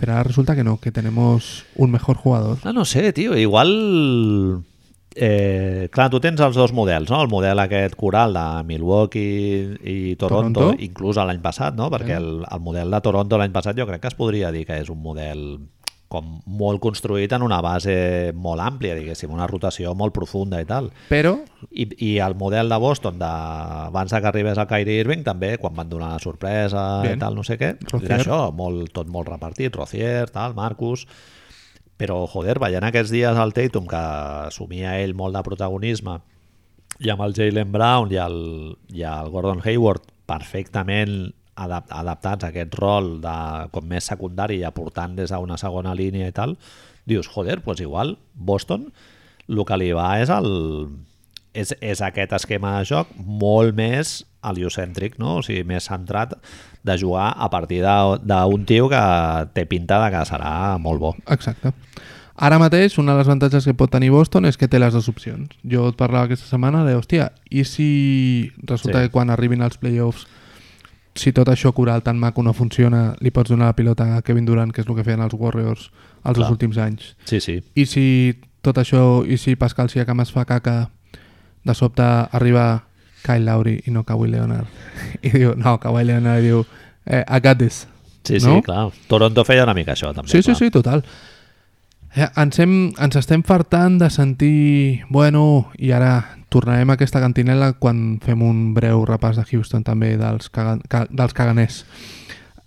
però ara resulta que no, que tenemos un mejor jugador. Ah, No, no sé, tio, igual... Eh, clar, tu tens els dos models, no? El model aquest coral de Milwaukee i Toronto, Toronto. Toronto. inclús l'any passat, no? Perquè el, el model de Toronto l'any passat jo crec que es podria dir que és un model com molt construït en una base molt àmplia, diguéssim, una rotació molt profunda i tal. Però I, i el model de Boston de, abans de que arribés a Kyrie Irving també, quan van donar la sorpresa Bien. i tal, no sé què, Rozier. era això, molt, tot molt repartit, Rocier, tal, Marcus però joder, veient aquests dies al Tatum que assumia ell molt de protagonisme i amb el Jalen Brown i el, i el Gordon Hayward perfectament adap adaptats a aquest rol de, com més secundari i aportant des d'una segona línia i tal, dius, joder, doncs igual Boston el que li va és el és, és aquest esquema de joc molt més heliocèntric, no? o sigui, més centrat de jugar a partir de- d'un tio que té pinta de que serà molt bo. Exacte. Ara mateix, un dels avantatges que pot tenir Boston és que té les dues opcions. Jo et parlava aquesta setmana de, hòstia, i si resulta Sí. sí. que quan arribin als playoffs si tot això coral tan maco no funciona, li pots donar la pilota a Kevin Durant, que és el que feien els Warriors els dos Clar. últims anys. Sí, sí. I si tot això, i si Pascal Siakam es fa caca, de sobte arriba Kyle Lowry i no Kawhi Leonard. <laughs> I diu, no, Kawhi Leonard, i diu, eh, I got this. Sí, sí, no? clar. Toronto feia una mica això, també. Sí, sí, clar. sí, total. Eh, Ens, hem, ens estem fartant de sentir... Bueno, i ara tornarem a aquesta cantinela quan fem un breu repàs de Houston també dels, caga, ca, dels caganers.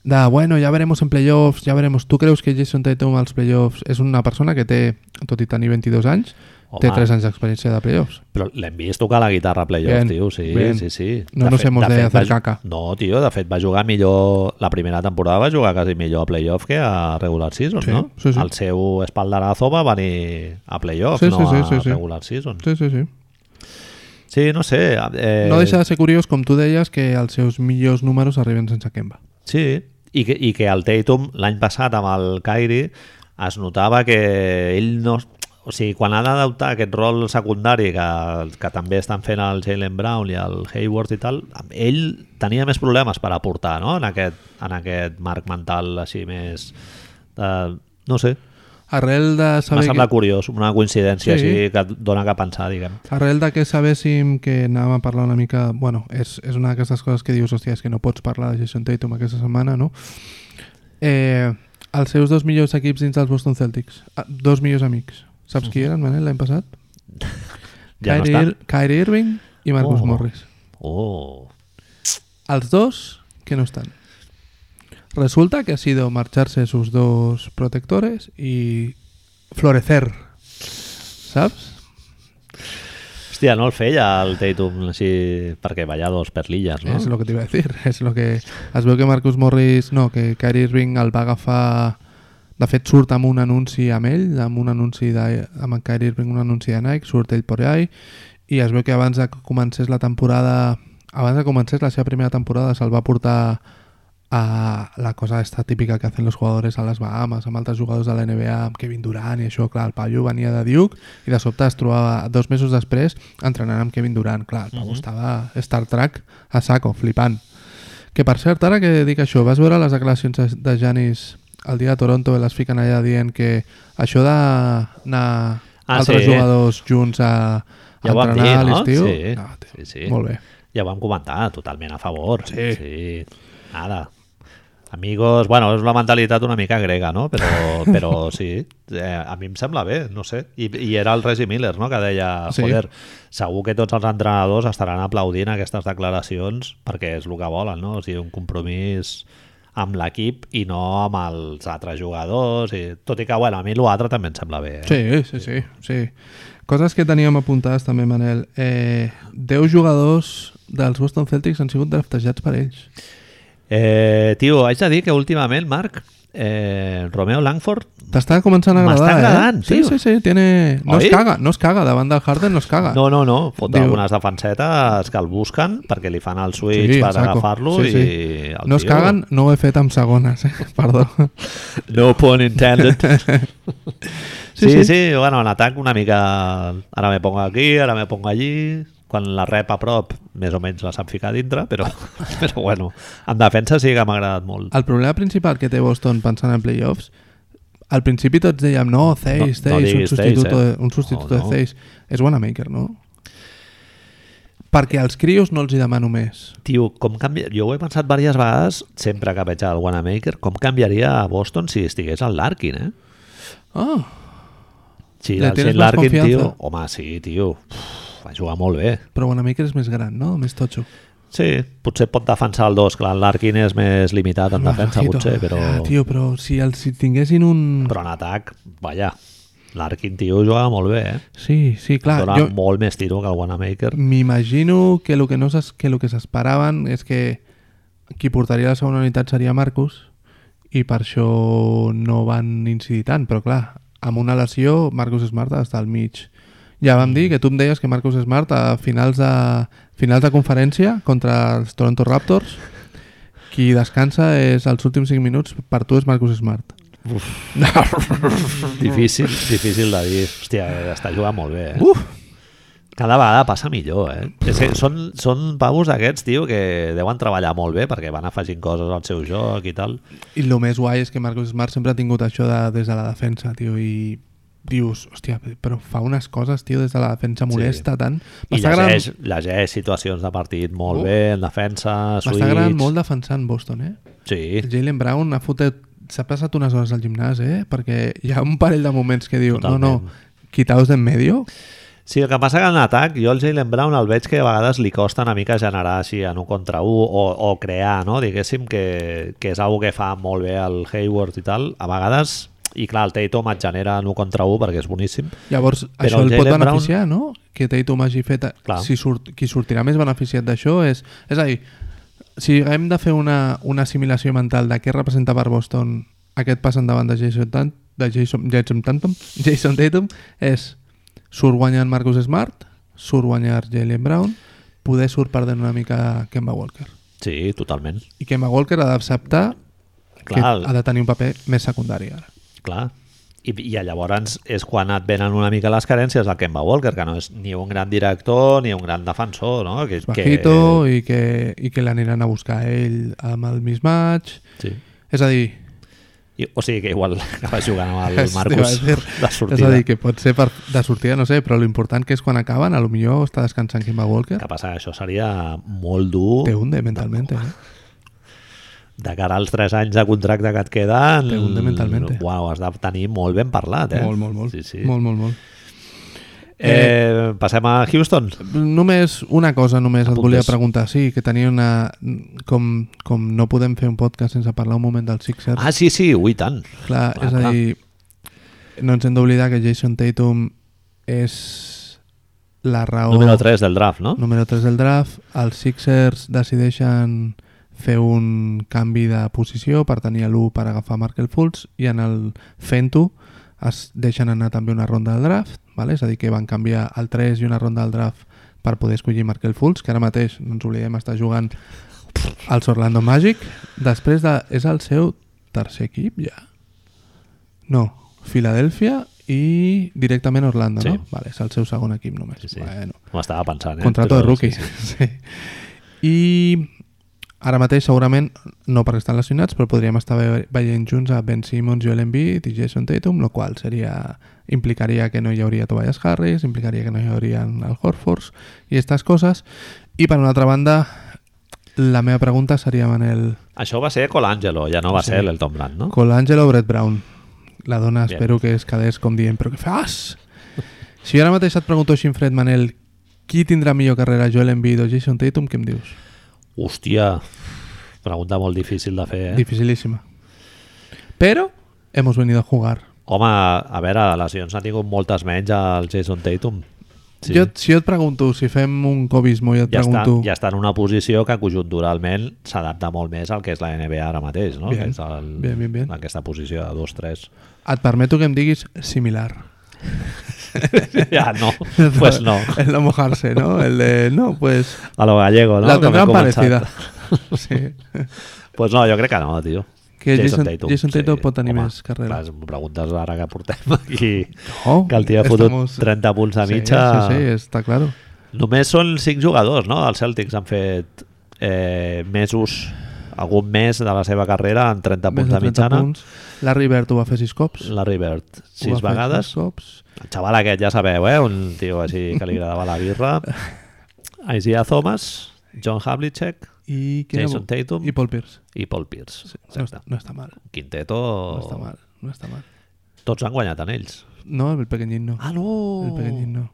De, bueno, ja veremos en playoffs, ja veremos. Tu creus que Jason Tatum als playoffs és una persona que té, tot i tenir 22 anys, Home. té Home. 3 anys d'experiència de playoffs? Però l'hem vist tocar la guitarra a playoff, Bien, tio, sí, bien. sí, sí. No nos hemos de va hacer ju- caca. No, tio, de fet va jugar millor... La primera temporada va jugar quasi millor a playoff que a regular season, Sí, no? sí, sí. El seu espaldarazo va venir a playoff, Sí, no sí, sí, a sí, sí. regular season. Sí, Sí, sí, sí. no sé... Eh, No deixa de ser curiós, com tu deies, que els seus millors números arriben sense Kemba. Sí, i que, i que el Tatum l'any passat amb el Kyrie es notava que ell no... O sigui, quan ha d'adoptar aquest rol secundari que, que també estan fent el Jalen Brown i el Hayward i tal, ell tenia més problemes per aportar no? en, aquest, en aquest marc mental així més... Eh, no sé, Arrel de m'ha saber... que- semblat curiós, una coincidència Sí. sí. així que et dona que pensar, diguem. Arrel de que sabéssim que anàvem a parlar una mica... Bueno, és, és una d'aquestes coses que dius, hòstia, és que no pots parlar de Jason Tatum aquesta setmana, no? Eh, els seus dos millors equips dins dels Boston Celtics. Ah, dos millors amics. Saps qui eren, Manel, l'any passat? Ja Kyrie, no Ir- Kyrie Irving i Marcus Oh. Morris. està. Oh, Els dos que no están. Resulta que ha sido marcharse sus dos protectores y florecer. ¿Sabes? hòstia, no el feia el Tatum així perquè vallados per l'illes, no? Es lo que te iba a <laughs> decir. Es lo que... Es veu que Marcus Morris... No, que Kyrie Irving el va agafar... De fet, surt amb un anunci amb ell, amb un anunci de... amb en Kyrie Irving, un anunci de Nike, surt ell per allà i es veu que abans de que comencés la temporada... Abans de que comencés la seva primera temporada se'l va portar a la cosa esta típica que hacen los jugadores a les Bahamas, amb altres jugadors de la NBA, amb Kevin Durant i això, clar, el Paio venia de Duke i de sobte es trobava dos mesos després entrenant amb Kevin Durant, clar, el Pau Mhm. estava Star Trek a saco, flipant. Que per cert, ara que dic això, vas veure les declaracions de- de Janis el dia de Toronto i les fiquen allà dient que això d'anar Ah, altres sí. jugadors junts a, a Ja ho vam entrenar dir, a no? l'estiu, Sí. no, tio, Sí, sí. molt bé. Ja ho vam comentar, totalment a favor. Sí. sí. Nada. Amigos, bueno, és una mentalitat una mica grega, no? <laughs> Però, però sí, eh, a mi em sembla bé, no sé. I, i era el Reggie Miller, no?, que deia, Sí. joder, segur que tots els entrenadors estaran aplaudint aquestes declaracions perquè és el que volen, no? O sigui, un compromís amb l'equip i no amb els altres jugadors. I, tot i que, bueno, a mi l'altre també em sembla bé. Eh? Sí, sí, sí, sí. Coses que teníem apuntades també, Manel. Eh, 10 jugadors dels Boston Celtics han sigut draftejats per ells. Eh, tio, haig de dir que últimament, Marc, eh, Romeo Langford T'està començant a M'està agradar, agradant, eh? Sí, tio. sí, sí, tiene... No Oi? es caga, no es caga, davant del Harden no es caga. no, no, no, fot Ah. Diu- algunes defensetes que el busquen perquè li fan el switch Sí, per a saco. agafar-lo Sí, sí. i el no es tio- caguen, no ho he fet amb segones, eh? <laughs> Perdó. No pun intended. sí, <laughs> Sí, sí. sí, sí, bueno, en atac una mica... Ara me pongo aquí, ara me pongo allí... Quan la rep a prop, més o menys la sap ficar a dintre, però, <laughs> però bueno, en defensa sí que m'ha agradat molt. El problema principal que té Boston pensant en playoffs al principi tots dèiem, no, No- no Theis, Theis, un diguis Theis, substituto, eh? de, un substituto No, de no. Theis. És Wanamaker, no? Perquè als crios no els hi demano més. Tio, com canvia... Jo ho he pensat diverses vegades, sempre que veig el Wanamaker, com canviaria a Boston si estigués al Larkin, eh? Ah, Si Le el tienes Shane más Larkin, tio... confianza. Home, sí, tio, uf, va jugar molt bé. però Wanamaker és més gran, no? Més totxo. Sí, potser pot defensar el 2, clar, el Larkin és més limitat en defensa, Bajito. potser, però... Ja, Ah, tio, però si els si tinguessin un... però en atac, vaja, l'Arkin, tio, jugava molt bé, eh? Sí, sí, clar. Dona Ah, Jo Mm. molt més tiro que el Wanamaker. m'imagino que el que, no s'es- que el que s'esperaven és que qui portaria la segona unitat seria Marcus i per això no van incidir tant, però clar, amb una lesió Marcus Smart ha d'estar al mig. Ja vam dir que tu em deies que Marcus Smart a finals de, finals de conferència contra els Toronto Raptors qui descansa és els últims 5 minuts per tu és Marcus Smart. <laughs> Difícil, difícil de dir. Hòstia, està jugant molt bé, eh? Uf! Cada vegada passa millor, eh? És que són, són pavos aquests, tio, que deuen treballar molt bé perquè van afegint coses al seu joc i tal. I el més guai és que Marcus Smart sempre ha tingut això de, des de la defensa, tio, i dius, hòstia, però fa unes coses, tio, des de la defensa molesta tant. I M'està agradant, llegeix, llegeix situacions de partit molt Uh. bé, en defensa, m'està agradant switch... molt defensant Boston, eh? Sí, Jalen Brown ha fotet, s'ha passat unes hores al gimnàs, eh? Perquè hi ha un parell de moments que diu, no, Totalment. no, quitaos d'en medio, Sí, el que passa que en atac, jo el Jalen Brown el veig que a vegades li costa una mica generar així en un contra un o, o crear, no? diguéssim, que, que és algo que fa molt bé el Hayward i tal. A vegades, i clar, el Tatum et genera en un contra un perquè és boníssim. Llavors, Però això el el, pot Jalen Brown- beneficiar, no? Que Tatum hagi fet... Clar. Si surt, qui sortirà més beneficiat d'això és... És a dir, si hem de fer una, una assimilació mental de què representa per Boston aquest pas endavant de Jason, Tan, de Jason, Jason, Tatum, <laughs> Jason Tatum és surt guanyant Marcus Smart, surt guanyar Jalen Brown, poder surt perdent una mica Kemba Walker. Sí, totalment. I Kemba Walker ha d'acceptar que Clar, el- ha de tenir un paper més secundari ara. Clar. I, I llavors és quan et venen una mica les carències del Kemba Walker, que no és ni un gran director ni un gran defensor, no? Que, bajito i que, i que l'aniran a buscar ell amb el mismatch. Que... Sí. És a dir, I, o sigui que igual <laughs> acabes jugant amb el T'hi va Marcus de dir. és a sortida. dir, que pot ser per, de sortida, no sé, però l'important que és quan acaben, a lo millor està descansant Kemba Walker. Que passa, això seria molt dur Te hunde mentalment, eh? de cara als 3 anys de contracte que et queden Te hunde mentalmente. uau, has de tenir molt ben parlat eh? Molt, molt, molt. sí, sí. Molt, molt, molt. Eh, passem a Houston Només una cosa només et Apuntes. volia preguntar. Sí, que tenia una... Com, com no podem fer un podcast sense parlar un moment del Sixers. ah sí, sí, ui tant Clar, Clar, és a clar. dir, no ens hem d'oblidar que Jason Tatum és la raó... número 3 del draft, no? Número 3 del draft, els Sixers decideixen fer un canvi de posició per tenir l'1 per agafar Markel Fultz i en el fent-ho es deixen anar també una ronda del draft, vale? és a dir, que van canviar el 3 i una ronda del draft per poder escollir Markel Fultz, que ara mateix, no ens oblidem, està jugant als Orlando Magic. Després de... és el seu tercer equip, ja? No, Filadèlfia i directament Orlando, Sí. no? Vale, és el seu segon equip només. Sí, sí. Bueno, m'ho estava pensant eh? Contrato de Però rookie. sí, sí. <laughs> Sí. I ara mateix segurament, no perquè estan lesionats, però podríem estar ve- veient junts a Ben Simmons, Joel Embiid i Jason Tatum, el qual seria, implicaria que no hi hauria Tobias Harris, implicaria que no hi hauria el Horford i aquestes coses. I per una altra banda, la meva pregunta seria, Manel, això va ser Colangelo, ja no va Sí. ser l'Elton Brand no? Colangelo Brett Brown. La dona Oh. Bien. espero que es quedés com dient però què fas? Si jo ara mateix et pregunto així en fred, Manel, qui tindrà millor carrera, Joel Embiid o Jason Tatum, què em dius? hòstia pregunta molt difícil de fer eh? Dificilísima. Pero hemos venido a jugar. home, a veure, lesions n'ha tingut moltes menys el Jason Tatum Sí. Jo, si jo et pregunto, si fem un cobismo i et ja està, pregunto... ja està en una posició que conjunturalment s'adapta molt més al que és la NBA ara mateix, no? Bien. que és el, Bien, bien, bien. aquesta posició de 2-3. <laughs> Et permeto que em diguis similar. ja no, doncs <laughs> pues <laughs> no. El no mojarse, ¿no? El de, no, pues... A lo gallego, no? la Que m'he tendrán començat. parecida. <laughs> sí. Pues no, jo crec que no, tio. Que Jason- Jason Tatum pot tenir més carrera. Clar, em preguntes ara que portem <laughs> aquí No, que el tio ha fotut estamos- 30 punts a Sí, mitja. Sí, sí, está claro. Només són 5 jugadors, no? Els Celtics han fet eh, mesos, algun mes de la seva carrera en 30 Més punts de de 30 mitjana. punts. Larry Bird ho va fer sis cops. Larry Bird, 6 Ho va fer vegades. sis cops. El xaval aquest ja sabeu, eh? Un tio així que li agradava la birra. Isaiah Thomas, John Havlicek I qui era- Jason Tatum. I Paul Pierce. i Paul Pierce. Sí, no, Exacte. està, no està mal. Quinteto... Oh. No està mal. No està mal. Tots han guanyat en ells. No, el pequeñín no. Ah, no! El pequeñín no.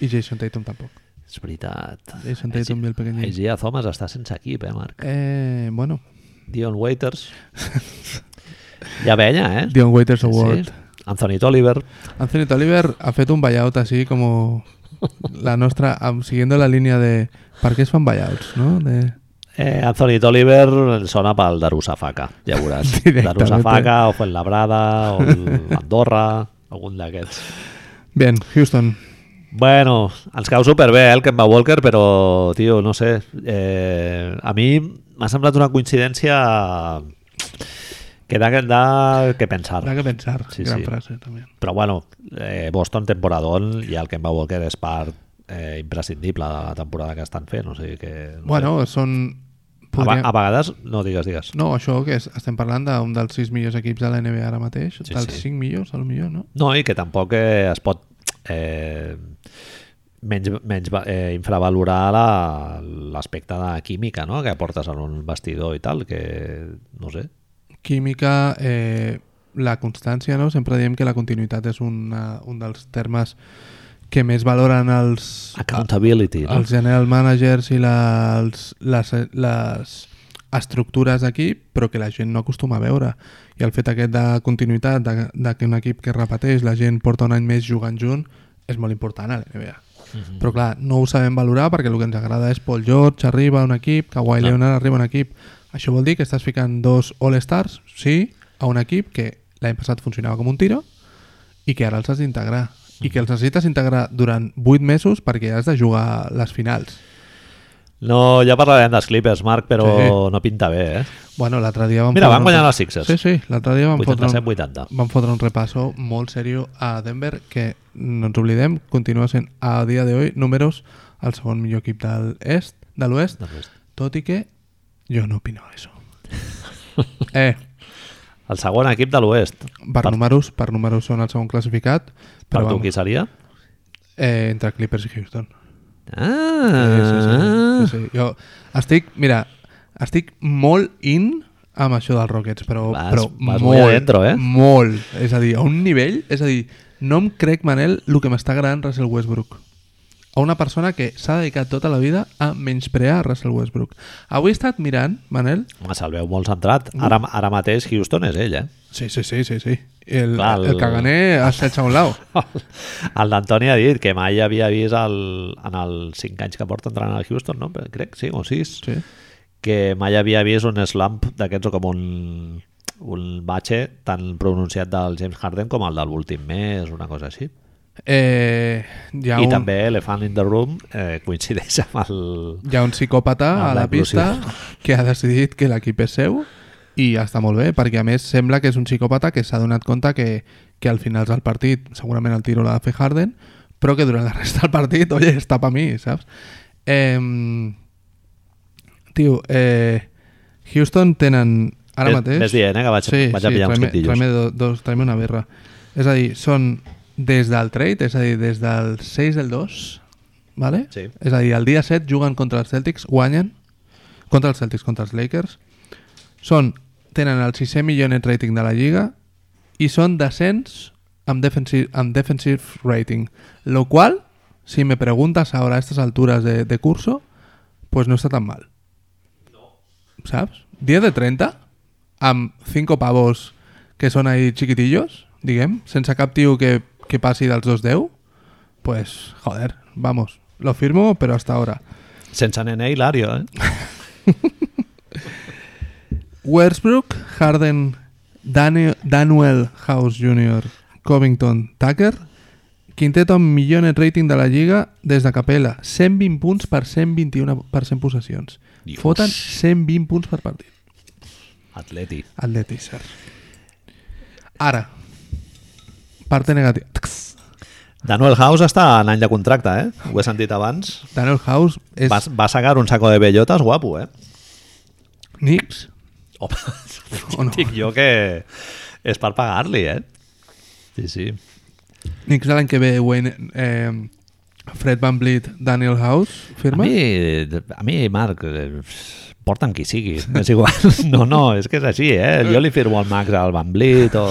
I Jason Tatum tampoc. És veritat. Jason Tatum i el pequeñín. Isaiah Thomas està sense equip, eh, Marc? Eh, bueno, Dion Waiters. Ja vella, eh? <laughs> Dion Waiters Award. Sí. Anthony Tolliver. Anthony Tolliver ha fet un buyout así como la nostra, am- siguiendo la línea de per què es fan buyouts, no? De, Eh, Anthony Tolliver sona pel Darusafaka, ja veuràs. <laughs> Directament. Darusafaka, o Fuenlabrada, o el Andorra, algun d'aquests. Bien, Houston. Bueno, ens cau superbé eh, el Kemba Walker, però, tio, no sé. Eh, a mi m'ha semblat una coincidència que da, da que pensar. Habrá que pensar. Sí, Gran sí. frase también. Però bueno, eh, Boston temporadón i el Kemba Walker és part eh, imprescindible de la temporada que estan fent. O sigui que, no Bueno, són... sé. a, podríem- ve- a vegades, no digues, digues. No, això que és, estem parlant d'un dels 6 millors equips de la NBA ara mateix, Sí, sí, dels sí. 5 millors, al millor, no? No, i que tampoc eh, es pot eh, menys, menys va- eh, infravalorar la- l'aspecte de química no? que portes en un vestidor i tal, que no sé. Química, eh, la constància, no? Sempre diem que la continuïtat és una, un dels termes que més valoren els, Accountability, no? els general managers i les, les, les estructures d'equip, però que la gent no acostuma a veure. I el fet aquest de continuïtat, de, de que un equip que es repeteix, la gent porta un any més jugant junt, és molt important a l'NBA. Però clar, no ho sabem valorar perquè el que ens agrada és Paul George arriba a un equip, Kawhi Leonard arriba a un equip. Això vol dir que estàs ficant dos All-Stars, sí, a un equip que l'any passat funcionava com un tiro, i que ara els has d'integrar i Mhm. que els necessites integrar durant 8 mesos perquè has de jugar les finals No, ja parlarem dels Clippers, Marc, però Sí. no pinta bé, eh? bueno, l'altre dia van Mira, fotre van guanyar un- les Sixers. sí, sí, l'altre dia van fotre, un, 87-80. van fotre un repasso molt seriós a Denver que no ens oblidem, continua sent a dia d'avui números el segon millor equip del est, de l'oest Doncs tot i que jo no opino això <laughs> eh, El segon equip de l'Oest. per, Per- números per números són el segon classificat Per però tu, vamos, qui seria? eh, entre Clippers i Houston Ah! sí, sí, sí. Jo estic, mira, estic molt in amb això dels Rockets, però, Vas- però vas muy molt, adentro, eh? molt. És a dir, a un nivell, és a dir, no em crec, Manel, el que m'està agradant Russell Westbrook. A una persona que s'ha dedicat tota la vida a menysprear Russell Westbrook. Avui he estat mirant, Manel... Home, se'l veu molt centrat. Ara, ara mateix Houston és ell, eh? Sí, sí, sí, sí, sí. El, Clar, Clar, el- el... el caganer has hecho a un lado. El d'Antoni ha dit que mai havia vist el, en els 5 anys que porta entrant al Houston, no? Crec, sí, o 6. Sí. Que mai havia vist un slump d'aquests o com un, un batxe tan pronunciat del James Harden com el de l'últim mes, una cosa així. Eh, hi ha I un... també Elephant in the Room eh, coincideix amb el... hi ha un psicòpata Ah, a la l'eclusiu. pista que ha decidit que l'equip és seu i ja està molt bé, perquè a més sembla que és un psicòpata que s'ha donat compte que, que al final del partit segurament el tiro l'ha de fer Harden, però que durant la resta del partit, oye, està per mi, saps? Eh, tio, eh, Houston tenen ara Ves- mateix... ves dient, eh, que vaig- vaig a pillar uns tráeme- quitillos. tráeme do- dos, tráeme una birra. És a dir, són des del trade, és a dir, des del 6 del 2, ¿vale? Sí. és a dir, el dia 7 juguen contra els Celtics, guanyen contra els Celtics, contra els Lakers, són, tenen el 6è millor net rating de la Lliga i són descents amb defensive, amb defensive rating. Lo cual, si me preguntas ahora a estas alturas de, de curso, pues no está tan mal. ¿Sabes? 10 de 30 amb 5 pavos que són ahí chiquitillos, diguem, sense cap tio que, que passi dels 2-10, pues joder, vamos, lo firmo, pero hasta ahora. Sense nene Hilario, eh? Westbrook, Harden, Dani- Daniel House Jr., Covington, Tucker, quinteto amb millor net rating de la Lliga des de Capella, 120 punts per 121 per 100 possessions. Dios. Foten 120 punts per partit. Atleti. Atleti, cert. Ara, parte negativa. Tx. Daniel House està en any de contracte, eh? Ho he sentit abans. Daniel House és Va, va sacar un saco de bellotes guapo, eh? <laughs> Knicks Home, o no? dic jo que és per pagar-li, eh? Sí, sí. Knicks de l'any que ve, Wayne, eh, Fred Van Vliet, Daniel House, firma? A mi, a mi Marc, eh, porta'm qui sigui, <laughs> és igual. No, no, és que és així, eh? Jo li firmo el Max al Van Blit o...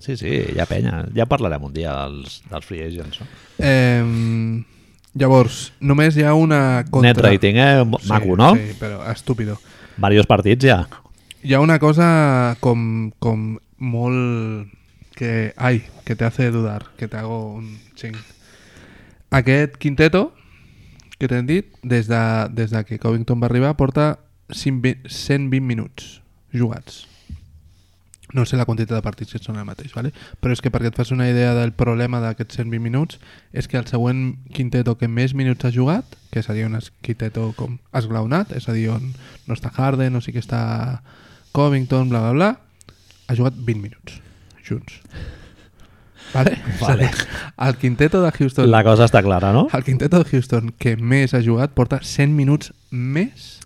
Sí, sí, ja penya. Ja parlarem un dia dels, dels free agents, no? Eh, llavors, només hi ha una contra... Net rating, eh? Sí, Maco, no? Sí, però estúpido. Varios partits ja. Hi ha una cosa com, com molt... Que, ai, que te hace dudar, que te hago un xing. Aquest quinteto que t'hem dit, des de, des de que Covington va arribar, porta 120 120 minuts jugats. No sé la quantitat de partits que són el mateix, ¿vale? però és que perquè et fas una idea del problema d'aquests 120 minuts, és que el següent quinteto que més minuts ha jugat, que seria un es- quinteto com esglaonat, és a dir, on no està Harden, no sí que està Covington, bla, bla, bla, ha jugat 20 minuts junts. Vale? <laughs> Vale. És a dir, El quinteto de Houston... La cosa està clara, no? El quinteto de Houston que més ha jugat porta 100 minuts més.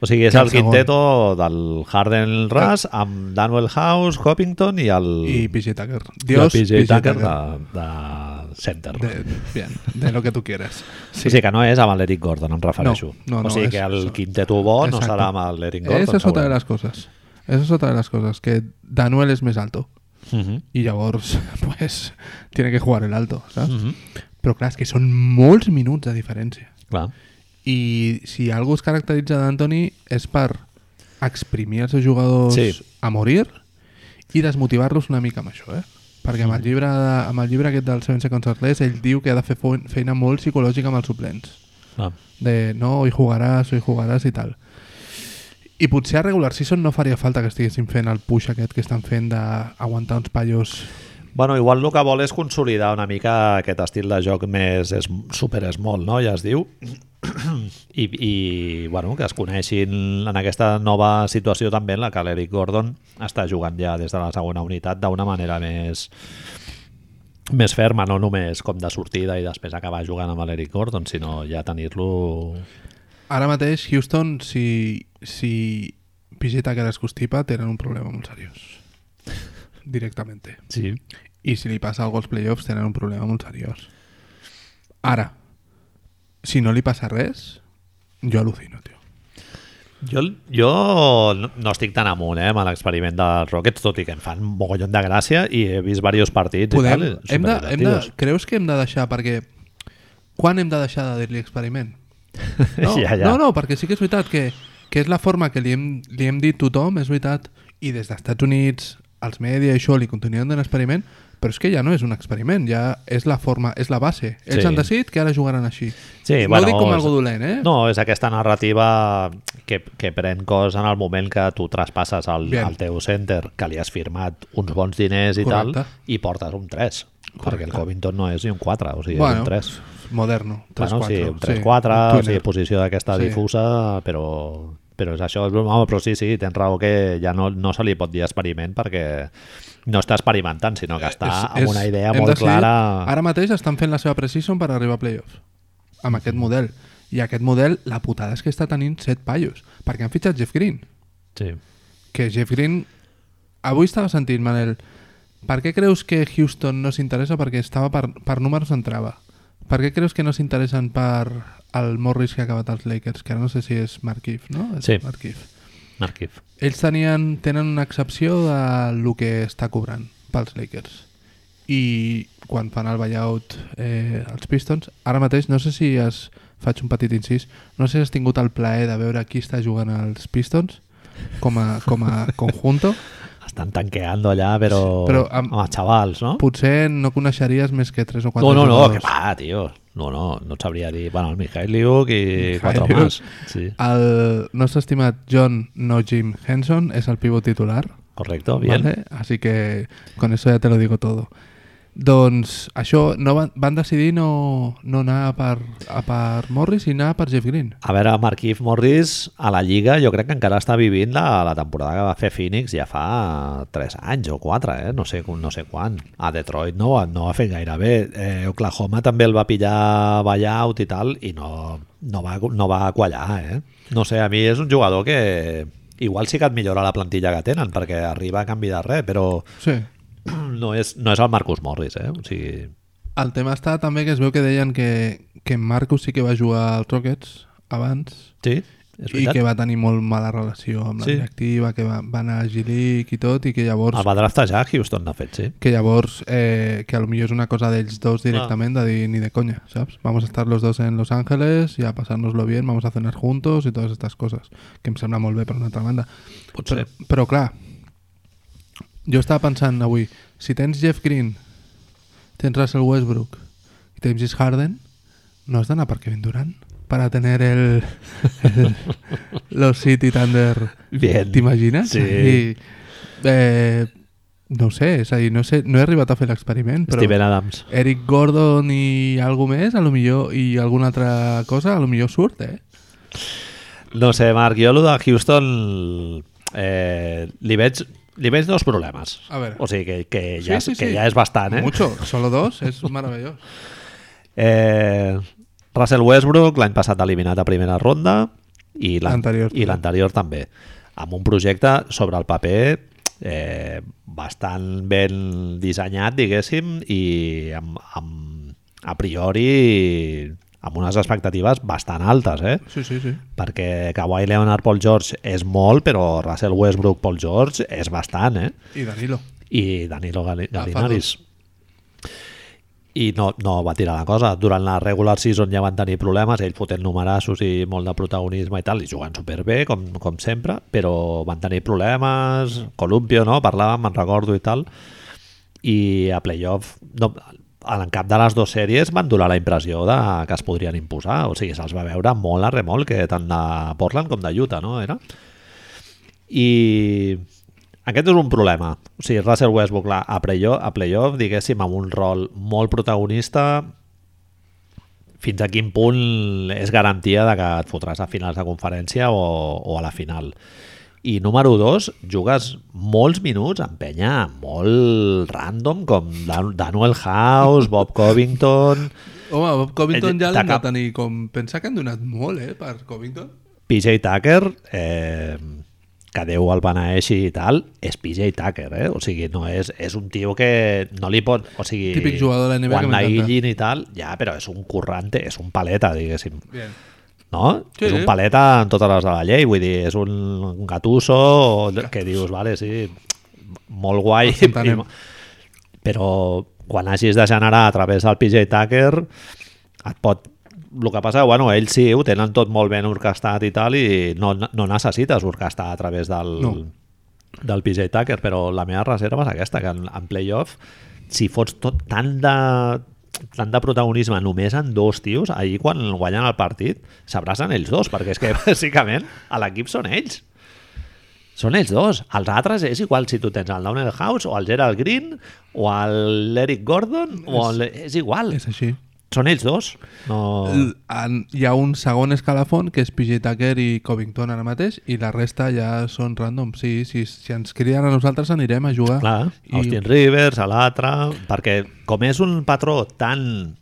O sigui, és El el segon. quinteto del Harden Ras amb Daniel House, Copington i el... I PJ Tucker. i el Dios, PJ Tucker de, Tucker. de center. De, bien, de lo que tú quieras. Sí. O sigui que no és amb el Eric Gordon, em refereixo. No, no, no, o sigui és- que el és- quinteto bo no Exacto. serà amb el Eric Gordon. Esa es otra segurament. de las cosas. Esa es otra de las cosas, que Danuel es más alto. Mhm. Y Javors, <laughs> pues, tiene que jugar el alto, ¿sabes? Mhm. Però clar, és que són molts minuts de diferència. Clar. I si algú es caracteritza d'Antoni és per exprimir els seus jugadors Sí. a morir i desmotivar-los una mica amb això, eh? Perquè amb el llibre, de, amb el llibre aquest del Seven Seconds or Less ell diu que ha de fer fo- feina molt psicològica amb els suplents. Clar. De no, hoy jugaràs, hoy jugaràs i tal. I potser a regular season no faria falta que estiguessin fent el push aquest que estan fent d'aguantar uns pallos... Bueno, igual el que vol és consolidar una mica aquest estil de joc més és super small, no? Ja es diu. <clears throat> I, i bueno, que es coneixin en aquesta nova situació també en la que l'Eric Gordon està jugant ja des de la segona unitat d'una manera més més ferma, no només com de sortida i després acabar jugant amb l'Eric Gordon, sinó ja tenir-lo... Ara mateix, Houston, si, si Pigeta que es constipa, tenen un problema molt seriós. Directament. Sí. I si li passa algo als playoffs tenen un problema molt seriós. Ara, si no li passa res, jo al·lucino, tio. Jo, jo no- no estic tan amunt eh, amb l'experiment dels Rockets, tot i que em fan un mogollon de gràcia i he vist diversos partits Podem, i tal, eh? hem de, hem de, superdivertidos. creus que hem de deixar, perquè... Quan hem de deixar de dir-li experiment? <laughs> No, ja, ja. no, no, perquè sí que és veritat que, que és la forma que li hem, li hem dit tothom, és veritat, i des dels Estats Units, els media i això li continuen d'un experiment, però és que ja no és un experiment, ja és la forma, és la base. Ells Sí. han decidit que ara jugaran així. Sí, no bueno, dic com és- algo dolent, eh? No, és aquesta narrativa que, que pren cos en el moment que tu traspasses al, Bien. al teu center, que li has firmat uns bons diners i Correcte. tal, i portes un 3. Perquè el Correcte. Covington no és ni un 4, o sigui, és Bueno, un 3. Moderno, 3-4. bueno, sí, un 3-4, un sí, o sigui, tweener. posició d'aquesta Sí. difusa, però, però és això, home, però sí, sí, tens raó que ja no, no se li pot dir experiment perquè no està experimentant, sinó que està Eh, És- amb és- una idea hem molt decidit- clara. Ara mateix estan fent la seva precision per arribar a playoffs, amb aquest model. I aquest model, la putada és que està tenint set paios, perquè han fitxat Jeff Green, Sí. que Jeff Green... Avui estava sentint, Manel, per què creus que Houston no s'interessa? Perquè estava per, per números entrava. Per què creus que no s'interessen per el Morris que ha acabat als Lakers? Que ara no sé si és Markif, no? És Sí. Markieff. Marquif. Ells tenien, tenen una excepció de lo que està cobrant pels Lakers. I quan fan el buyout eh, els Pistons, ara mateix, no sé si es, faig un petit incís, no sé si has <laughs> tingut el plaer de veure qui està jugant als Pistons com a, com a conjunto, estan tanqueando allà, però, Però però amb- amb... amb els xavals, no? Potser no coneixeries més que 3 o 4 No, no, no, que jugadors. va, tio. No, no, no et sabria dir... Bueno, el Mikhailiuk i quatre Mikhailiuk. més. Sí, Ah. El nostre estimat John, no Jim Henson, es el pivot titular. correcto, bien. ¿vale? Así que con eso ya te lo digo todo. Doncs això, no van, van decidir no, no anar a per, a per Morris i anar per Jeff Green. A veure, Marquise Morris a la Lliga jo crec que encara està vivint la, la temporada que va fer Phoenix ja fa 3 anys o 4, eh? no, sé, no sé quan. A Detroit no, va- no va fer gaire bé. Eh, Oklahoma també el va pillar buyout i tal i no, no, va, no va quallar. Eh? No sé, a mi és un jugador que igual sí que et millora la plantilla que tenen perquè arriba a canvi de res, però <clears throat> Sí. no és, no és el Marcus Morris. Eh? O sigui, El tema està també que es veu que deien que, que en Marcus sí que va jugar als Rockets abans sí, és i veritat. que va tenir molt mala relació amb la Sí. directiva, que va, va anar a G-League i tot, i que llavors El va draftejar Houston, de fet, sí. que llavors, eh, que a lo millor és una cosa d'ells dos Ah. directament, de dir ni de coña, ¿sabes? Vamos a estar los dos en Los Ángeles y a pasárnoslo bien, vamos a cenar juntos y todas estas cosas, que em sembla molt bé per una altra banda. Potser. Però, però clar, jo estava pensant avui, si tens Jeff Green, tens Russell Westbrook i tens James Harden, no has d'anar per Kevin Durant para tener el, <laughs> el los City Thunder Bien. T'imagines? Sí. I, eh, no ho sé, és a dir, no, sé, no he arribat a fer l'experiment, però Steven Adams. Eric Gordon i algú més, a lo millor, i alguna altra cosa, a lo millor surt, eh? No sé, Marc, jo el de Houston eh, li, veig, li veig dos problemes. A veure. O sigui, que, que, ja, sí, sí, que ja és bastant, eh? Mucho, solo dos, és meravellós. eh Russell Westbrook l'any passat eliminat a primera ronda i l'an- L'anterior i també. l'anterior també. Amb un projecte sobre el paper eh, bastant ben dissenyat, diguéssim, i amb, amb, a priori amb unes expectatives bastant altes, eh? Sí, sí, sí. perquè Kawhi Leonard Paul George és molt, però Russell Westbrook Paul George és bastant, eh? I Danilo. I Danilo Gal- Ah, fa Galinaris. I no, no va tirar la cosa. Durant la regular season ja van tenir problemes, ell fotent numerassos i molt de protagonisme i tal, i jugant superbé, com, com sempre, però van tenir problemes, Columpio, no? Parlàvem, me'n recordo i tal, i a playoff no, en cap de les dues sèries van donar la impressió de que es podrien imposar, o sigui, se'ls va veure molt a remolc, que tant de Portland com de Utah, no? Era? I aquest és un problema. O sigui, Russell Westbrook clar, a playoff, a playoff diguéssim, amb un rol molt protagonista, fins a quin punt és garantia de que et fotràs a finals de conferència o, o a la final. I número dos, jugues molts minuts amb penya molt random, com Dan- Daniel House, Bob Covington, Home, Bob Covington Ell- ja l'han de Eh, t'acab- tenir com... Pensa que han donat molt, eh, per Covington. PJ Tucker, eh, que Déu el beneeixi i tal, és PJ Tucker, eh? O sigui, no és, és un tio que no li pot... O sigui, Típic jugador de la NBA que Quan m'encanta. l'aïllin i tal, ja, però és un currante, és un paleta, diguéssim, Bien. no? Sí. És un paleta en totes les de la llei, vull dir, és un gatuso que dius, vale, sí, molt guai, Ens <laughs> entenem. i- però quan hagis de generar a través del PJ Tucker et pot el que passa, bueno, ells sí, ho tenen tot molt ben orquestat i tal, i no, no necessites orquestar a través del, No. del PJ Tucker, però la meva reserva és aquesta, que en, en playoff, si fots tot tant de, tant de protagonisme només en dos tios, ahir quan guanyen el partit s'abracen ells dos, perquè és que <laughs> bàsicament a l'equip són ells. Són ells dos. Els altres és igual si tu tens el Downhill House o el Gerald Green o el l'Eric Gordon o el... és igual. És així. Són ells dos. No... L- en- Hi ha un segon escalafon que és PJ Tucker i Covington ara mateix i la resta ja són random. Sí, si, si ens criden a nosaltres anirem a jugar. Clar, Ah, I- Austin Rivers, a l'altre... Perquè com és un patró tan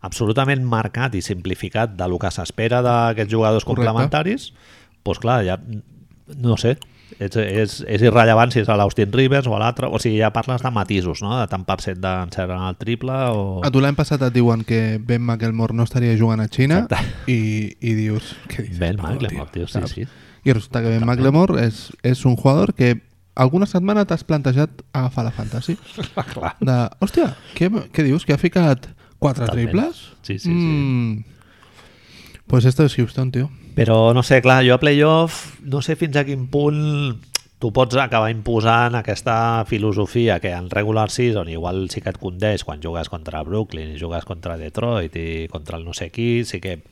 absolutament marcat i simplificat de lo que s'espera d'aquests jugadors Correcte. complementaris, doncs clar, ja no sé, és, és, és irrellevant si és a l'Austin Rivers o a l'altre, o sigui, ja parles de matisos, no? de tant per cent d'encert en el triple o... A tu l'any passat et diuen que Ben McElmore no estaria jugant a Xina i, i dius... Què dices, Ben Pablo, McLemore, tio, sí, saps? sí. I resulta que Ben McLemore és, és un jugador que alguna setmana t'has plantejat agafar la fantasy. clar. De, hòstia, què, què dius? Que ha ficat quatre Totalment. triples? Sí, sí, sí. Mm. Pues esto es Houston, tio. Però no sé, clar, jo a playoff no sé fins a quin punt tu pots acabar imposant aquesta filosofia que en regular season igual sí que et condeix quan jugues contra Brooklyn i jugues contra Detroit i contra el no sé qui, sí que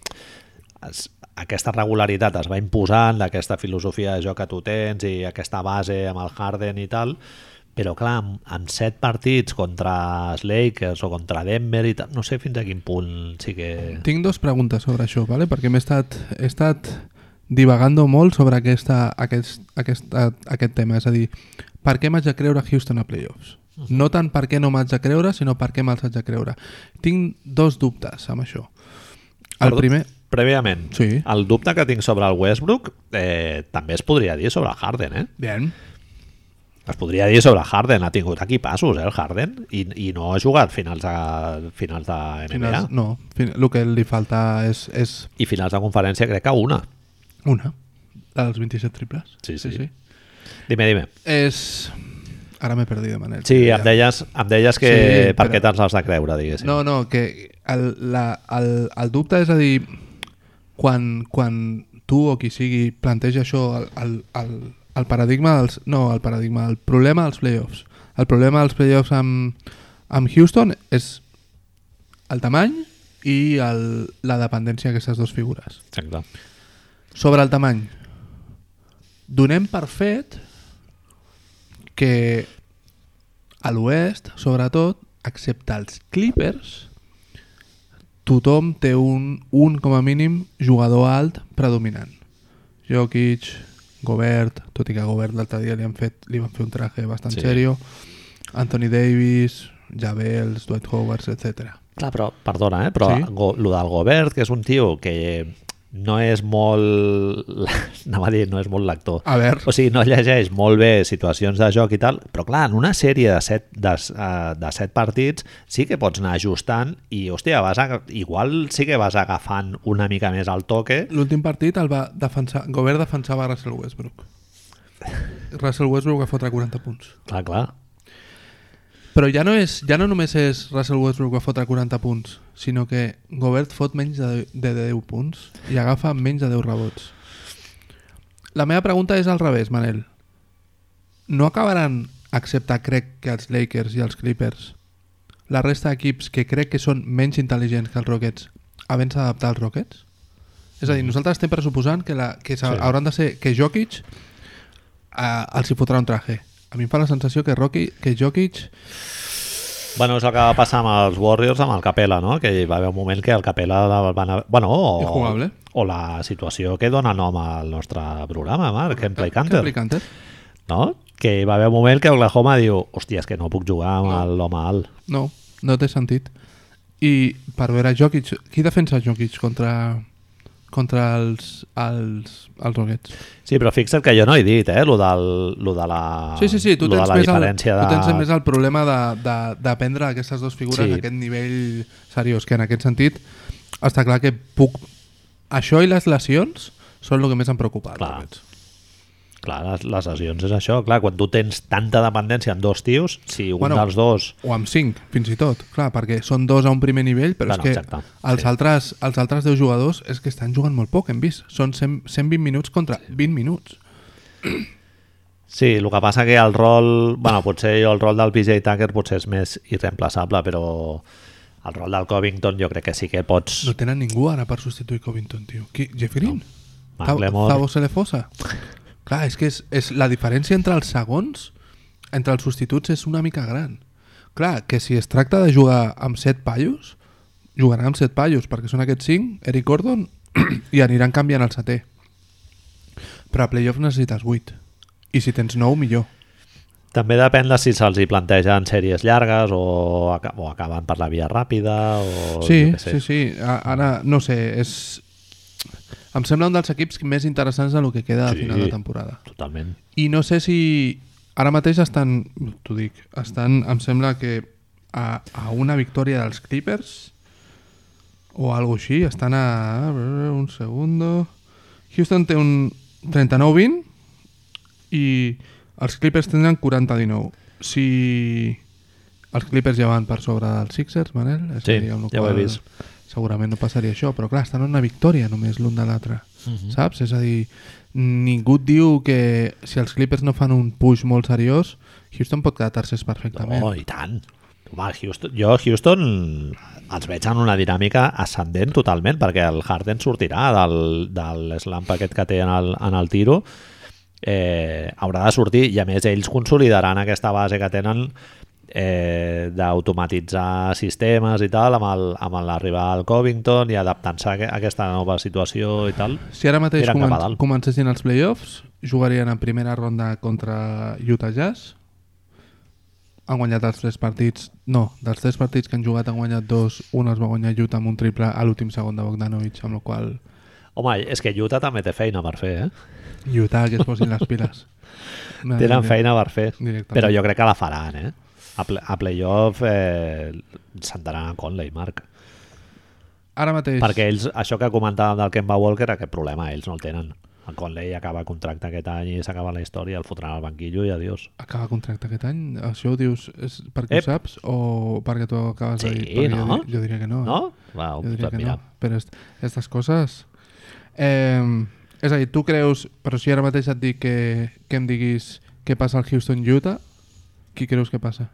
es, aquesta regularitat es va imposant d'aquesta filosofia de joc que tu tens i aquesta base amb el Harden i tal, però clar, amb, amb set partits contra els Lakers o contra Denver i tal, no sé fins a quin punt sí que... Tinc dos preguntes sobre això, ¿vale? perquè m'he estat, he estat divagando molt sobre aquesta, aquest, aquest, aquest tema. És a dir, per què m'haig de creure Houston a playoffs? Mhm. No tant per què no m'haig de creure, sinó per què me'ls haig de creure. Tinc dos dubtes amb això. El Perdó, primer... Prèviament, Sí. el dubte que tinc sobre el Westbrook eh, també es podria dir sobre el Harden, eh? Bien. Es podria dir sobre Harden, ha tingut aquí passos, eh, el Harden, i, i no ha jugat finals de, finals de NBA. Finals, no, fin, el que li falta és, és I finals de conferència crec que una. una, la dels 27 triples. Sí, sí. Dime, dime. És... Ara m'he perdit de manera. Sí, em deies, em deies que Sí, per però- què te'ls has de creure, diguéssim. No, no, que el, la, el, el dubte és a dir, quan, quan tu o qui sigui planteja això, el, el, el, el paradigma dels... No, el paradigma, el problema dels playoffs. El problema dels playoffs amb, amb Houston és el tamany i el, la dependència d'aquestes dues figures. Exacte. Sobre el tamany, donem per fet que a l'oest, sobretot, excepte els Clippers, tothom té un, un com a mínim jugador alt predominant. Jokic, Gobert, tot i que a Gobert l'altre dia li, han fet, li van fer un traje bastant Sí. sí. serio, Anthony Davis, Javels, Dwight Howard, etc. Clar, però, perdona, eh? però Sí. sí? go, lo del Gobert, que és un tio que no és molt... <laughs> Anava a dir, no és molt lector. A veure, O sigui, no llegeix molt bé situacions de joc i tal, però clar, en una sèrie de set, de, eh, de set partits sí que pots anar ajustant i, hòstia, vas a, igual sí que vas agafant una mica més al toque. L'últim partit el va defensar, Gobert defensava Russell Westbrook. Russell Westbrook va fotre 40 punts. Clar, clar. Però ja no, és, ja no només és Russell Westbrook va fotre 40 punts, sinó que Gobert fot menys de, de 10 punts i agafa menys de 10 rebots. La meva pregunta és al revés, Manel. No acabaran, excepte crec que els Lakers i els Clippers, la resta d'equips que crec que són menys intel·ligents que els Rockets, havent d'adaptar als Rockets? És a dir, nosaltres estem pressuposant que, la, que sí. Sí. hauran de ser que Jokic eh, els hi fotrà un traje. A mi em fa la sensació que, Rocky, que Jokic Bueno, és el que va passar amb els Warriors amb el Capela, no? Que hi va haver un moment que el Capela la van... haver- Bueno, o, Injugable. o la situació que dona nom al nostre programa, Marc, Gameplay Canter. Kempley Canter. no? Que hi va haver un moment que Oklahoma diu hòstia, és que no puc jugar amb l'home alt. No, no té sentit. I per veure Jokic, qui defensa Jokic contra contra els, els, els Rockets? Sí, però fixa't que jo no he dit, eh, lo, del, lo de la, sí, sí, sí, tu Ah, lo de tens, la més el, diferència tu tens de... més el problema de, de, de prendre aquestes dues figures Sí. sí. a aquest nivell seriós, que en aquest sentit està clar que puc... Això i les lesions són el que més em preocupa. als Clar. Rockets. Clar, les, les lesions és això, clar, quan tu tens tanta dependència en dos tios, si un bueno, Bueno, dels dos... O amb 5, fins i tot. Clar, perquè són dos a un primer nivell, però Bueno, és que exacte, els, sí. altres, els altres 10 jugadors és que estan jugant molt poc, hem vist. Són 100, 120 minuts contra 20 minuts. Sí, el que passa que el rol... bueno, potser jo el rol del PJ Tucker potser és més irreemplaçable, però el rol del Covington jo crec que sí que pots... No tenen ningú ara per substituir Covington, tio. Qui? Jeff Green? Mark Zavo- Lemon. Zavo se le fosa. Clar, és que és, és, la diferència entre els segons, entre els substituts, és una mica gran. Clar, que si es tracta de jugar amb set paios, jugarà amb set paios, perquè són aquests cinc, Eric Gordon, <clears throat> i aniran canviant el setè. Però a playoff necessites vuit. I si tens nou, millor. També depèn de si se'ls hi plantegen sèries llargues o, aca- o acaben per la via ràpida o... Sí, jo què sé. sí, sí. A- Ara, no sé, és... Em sembla un dels equips més interessants del que queda a Sí. final de temporada. Totalment. I no sé si ara mateix estan, t'ho dic, estan, em sembla que a, a una victòria dels Clippers o algo així, estan a... a veure, un segundo... Houston té un 39-20 i els Clippers tindran 40-19. Si els Clippers ja van per sobre dels Sixers, Manel? És a Sí, dir, amb la ja ho he qual vist. segurament no passaria això, però clar, estan a una victòria només l'un de l'altre, Mhm. saps? És a dir, ningú et diu que si els Clippers no fan un push molt seriós, Houston pot quedar tercers perfectament. No, Oh, i tant. Home, Houston, jo Houston els veig en una dinàmica ascendent totalment, perquè el Harden sortirà del, del slam aquest que té en el, en el tiro, eh, haurà de sortir, i a més ells consolidaran aquesta base que tenen eh, d'automatitzar sistemes i tal, amb el- amb l'arribada al Covington i adaptant-se a aqu- a aquesta nova situació i tal. Si ara mateix Eren cap comen a dalt. comencessin els playoffs, jugarien en primera ronda contra Utah Jazz. Han guanyat els tres partits... No, dels tres partits que han jugat han guanyat dos. Un els va guanyar Utah amb un triple a l'últim segon de Bogdanovic, amb la qual Home, és que Utah també té feina per fer, eh? cosa Utah que es posin les <laughs> piles. Ah, Tenen feina per fer, Directament. però jo crec que la faran, eh? A, ple a playoff eh, s'entraran a Conley, Marc. Ara mateix... Perquè ells, això que comentàvem del Kemba Walker, aquest problema ells no el tenen. El Conley acaba contracte aquest any i s'acaba la història, el fotran al banquillo i adiós. Acaba contracte aquest any? Això ho dius és perquè Ep. ho saps o perquè tu acabes de Sí, dir? Perquè jo no? di- Jo, diria que no. eh? No? pues Va, ho Jo diria podem que mirar. no, però aquestes coses... Eh, és a dir, tu creus, però si ara mateix et dic que, que em diguis què passa al Houston-Utah, qui creus que passa?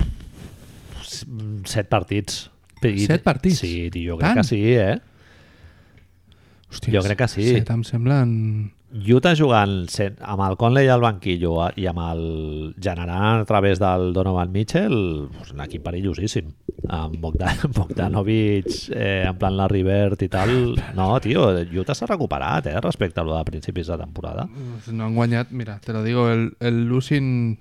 Mm, Set partits. I- Set partits? Sí, jo crec Tant? que sí, eh? Hòstia, Jo crec que sí. Set em semblen... Utah jugant sen- amb el Conley al banquillo eh, i amb el generant a través del Donovan Mitchell, pues, un equip perillosíssim. Amb Bogdan, <laughs> Bogdanovic, eh, en plan la Rivert i tal... No, tio, Utah s'ha recuperat eh, respecte a lo de principis de temporada. No han guanyat, mira, te lo digo, el, el Lucin...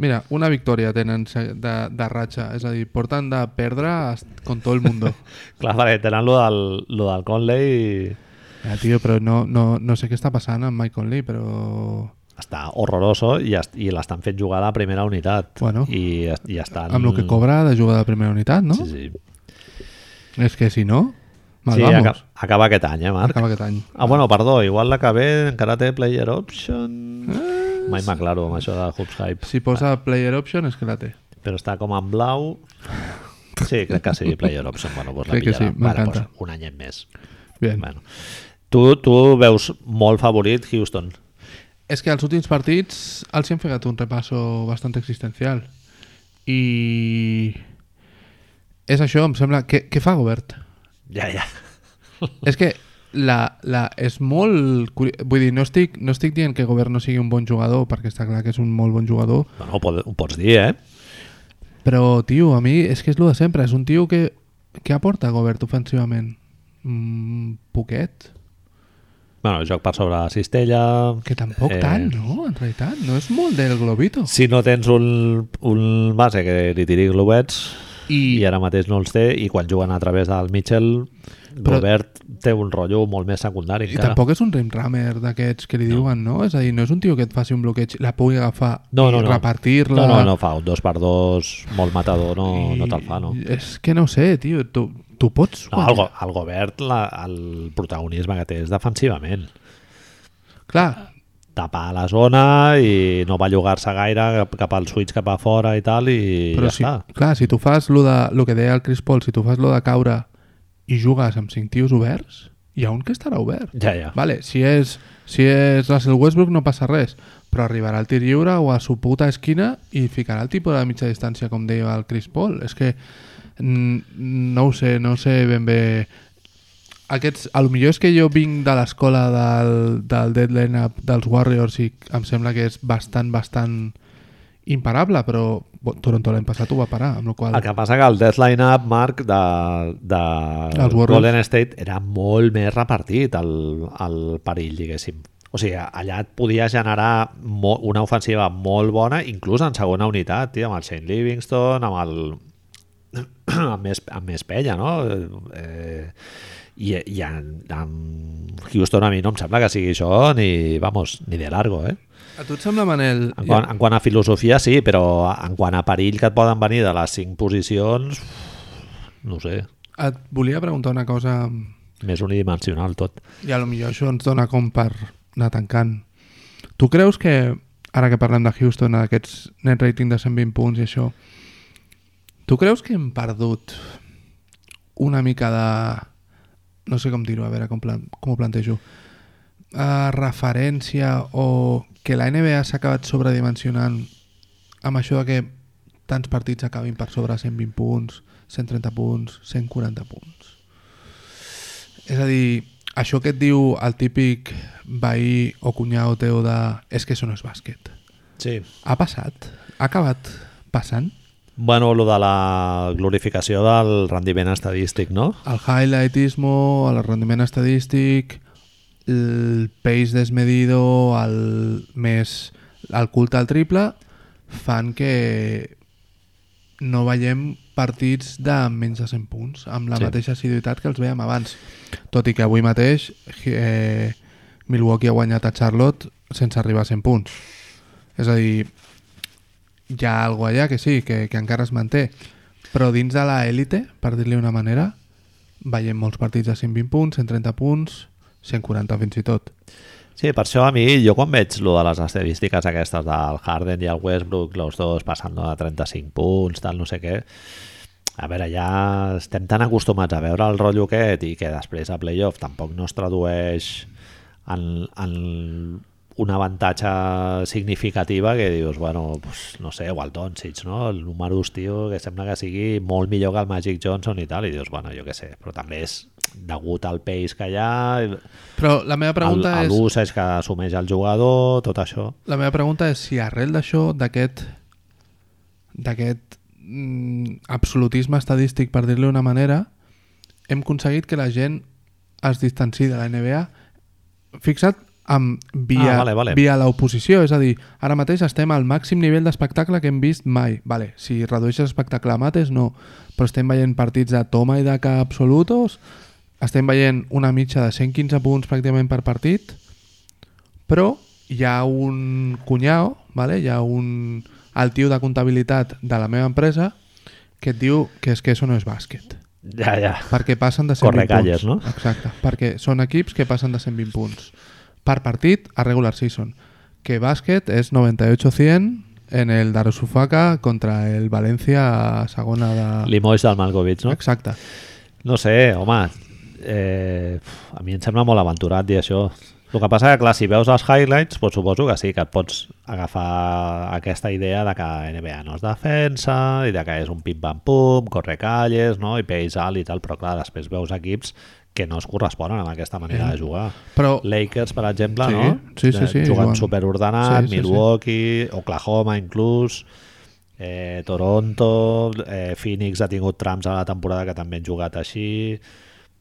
Mira, una victòria tenen se- de, de ratxa, és a dir, porten de perdre as- con todo el <laughs> mundo. Clar, perquè tenen lo del, lo del Conley i Ja, Ah, tio, però no, no, no sé què està passant amb Mike Conley, però... està horroroso i, est i l'estan fent jugar a la primera unitat. Bueno, I, es- i estan... Amb el que cobra de jugar de primera unitat, no? Sí, sí. És que si no, mal sí vamos. aca acaba aquest any, eh, Marc? Acaba aquest any. Ah, bueno, perdó, igual la que ve encara té player option... Ah, Mai m'aclaro amb això de Hoops Hype. Si posa player option és que la té. Però està com en blau... Sí, crec que sí, player option. Bueno, doncs la Crec que pillarà. sí, m'encanta. doncs un anyet més. Bien. Bueno. Tu, tu veus molt favorit Houston. És que els últims partits els hi han fet un repasso bastant existencial. I... És això, em sembla... Què, què fa Gobert? Ja, ja. És que la, la, és molt... curi- Vull dir, no estic, no estic dient que Gobert no sigui un bon jugador, perquè està clar que és un molt bon jugador, Bueno, ho, pot, ho pots dir, eh? Però, tio, a mi és que és el de sempre. És un tio que... Què aporta Gobert ofensivament? Mm, poquet? Bueno, joc per sobre la cistella... Que tampoc Eh, eh... tant, no? En realitat, no és molt del globito. Si no tens un, un base que li tiri globets, I... i I, ara mateix no els té, i quan juguen a través del Mitchell, Però- Robert té un rotllo molt més secundari. i encara. tampoc és un rimramer d'aquests que li no. diuen, no? És a dir, no és un tio que et faci un bloqueig, la pugui agafar no, i no, no. repartir-la. No, no, no fa un dos per dos molt matador, no, no te'l fa, no. És que no ho sé, tio, tu, tu pots... no el, Go- el Gobert, la, el protagonisme que té és defensivament. Clar, Tapar la zona i no bellugar-se gaire cap, cap al switch cap a fora i tal, i però ja si, està. clar, si tu fas lo, de, lo que deia el Chris Paul, si tu fas lo de caure i jugues amb cinc tios oberts, hi ha un que estarà obert. Ja, ja. Vale, si és, si és Russell Westbrook no passa res, però arribarà al tir lliure o a su puta esquina i ficarà el tipus de mitja distància, com deia el Chris Paul. És que mm, no ho sé, no ho sé ben bé... Aquests, a lo millor és que jo vinc de l'escola del, del dead lineup dels Warriors i em sembla que és bastant, bastant imparable, però bo, Toronto l'any passat ho va parar, amb la qual El que passa que el deadline up, Marc, de, de Els Warriors. Golden State era molt més repartit el, el perill, diguéssim. O sigui, allà et podia generar mo una ofensiva molt bona, inclús en segona unitat, tio, amb el Shane Livingston, amb el... amb, més, amb més penya, no? Eh, I i en, en Houston a mi no em sembla que sigui això ni, vamos, ni de largo, eh? A tu et sembla, Manel... En quant, en quant a filosofia, sí, però en quant a perill que et poden venir de les cinc posicions, no ho sé, Et volia preguntar una cosa més unidimensional tot. I a lo millor això ens dona com per anar tancant. Tu creus que, ara que parlem de Houston, aquests net rating de 120 punts i això, tu creus que hem perdut una mica de... No sé com dir-ho, a veure com, plan, com ho plantejo. Uh, referència o que la NBA s'ha acabat sobredimensionant amb això de que tants partits acabin per sobre 120 punts, 130 punts, 140 punts. És a dir, això que et diu el típic veí o cunyau teu de és que això no és bàsquet. Sí. Ha passat? Ha acabat passant? Bueno, lo de la glorificació del rendiment estadístic, no? El highlightismo, el rendiment estadístic, el pace desmedido, el més el culte al triple, fan que no veiem partits de menys de 100 punts amb la Sí. sí. mateixa assiduïtat que els veiem abans. Tot i que avui mateix eh, Milwaukee ha guanyat a Charlotte sense arribar a 100 punts. És a dir, hi ha alguna allà que sí, que, que encara es manté. Però dins de l'élite, per dir-li una manera, veiem molts partits de 120 punts, 130 punts, 140 fins i tot. Sí, per això a mi, jo quan veig lo de les estadístiques aquestes del Harden i el Westbrook, els dos passant de 35 punts, tal, no sé què, a veure, ja estem tan acostumats a veure el rotllo aquest i que després a playoff tampoc no es tradueix en, en un avantatge significativa que dius, bueno, pues, no sé, o el Doncic, no? El número dos, tio, que sembla que sigui molt millor que el Magic Johnson i tal, i dius, bueno, jo què sé, però també és degut al pace que hi ha, Però la meva pregunta el, és... l'ús és que assumeix el jugador, tot això. La meva pregunta és si arrel d'això, d'aquest d'aquest mm, absolutisme estadístic, per dir-li una manera, hem aconseguit que la gent es distanci de la NBA fixat amb via, Ah, vale, vale. via l'oposició, és a dir, ara mateix estem al màxim nivell d'espectacle que hem vist mai. Vale, si redueixes espectacle a mates, no, però estem veient partits de toma i daca absolutos, estem veient una mitja de 115 punts pràcticament per partit, però hi ha un cunyau, vale? hi ha un, el tio de comptabilitat de la meva empresa que et diu que és que això no és bàsquet. Ja, ja. Perquè passen de 120 Corre calles, punts. no? Exacte, perquè són equips que passen de 120 punts per partit a regular season. Que bàsquet és 98-100 en el Darussufaka contra el València a segona de... Limoix del Malkovich, no? Exacte. No sé, home, eh, uf, a mi em sembla molt aventurat dir això. El que passa que, clar, si veus els highlights, doncs suposo que sí, que et pots agafar aquesta idea de que NBA no es defensa i de que és un pim-pam-pum, corre calles, no? i peix alt i tal, però clar, després veus equips que no es corresponen amb aquesta manera de jugar. Però Lakers, per exemple, Sí, no? sí, sí, sí, Eh, Jugant juguen. superordenat, Sí, sí, sí. Milwaukee, Oklahoma inclús, eh, Toronto, eh, Phoenix ha tingut trams a la temporada que també han jugat així...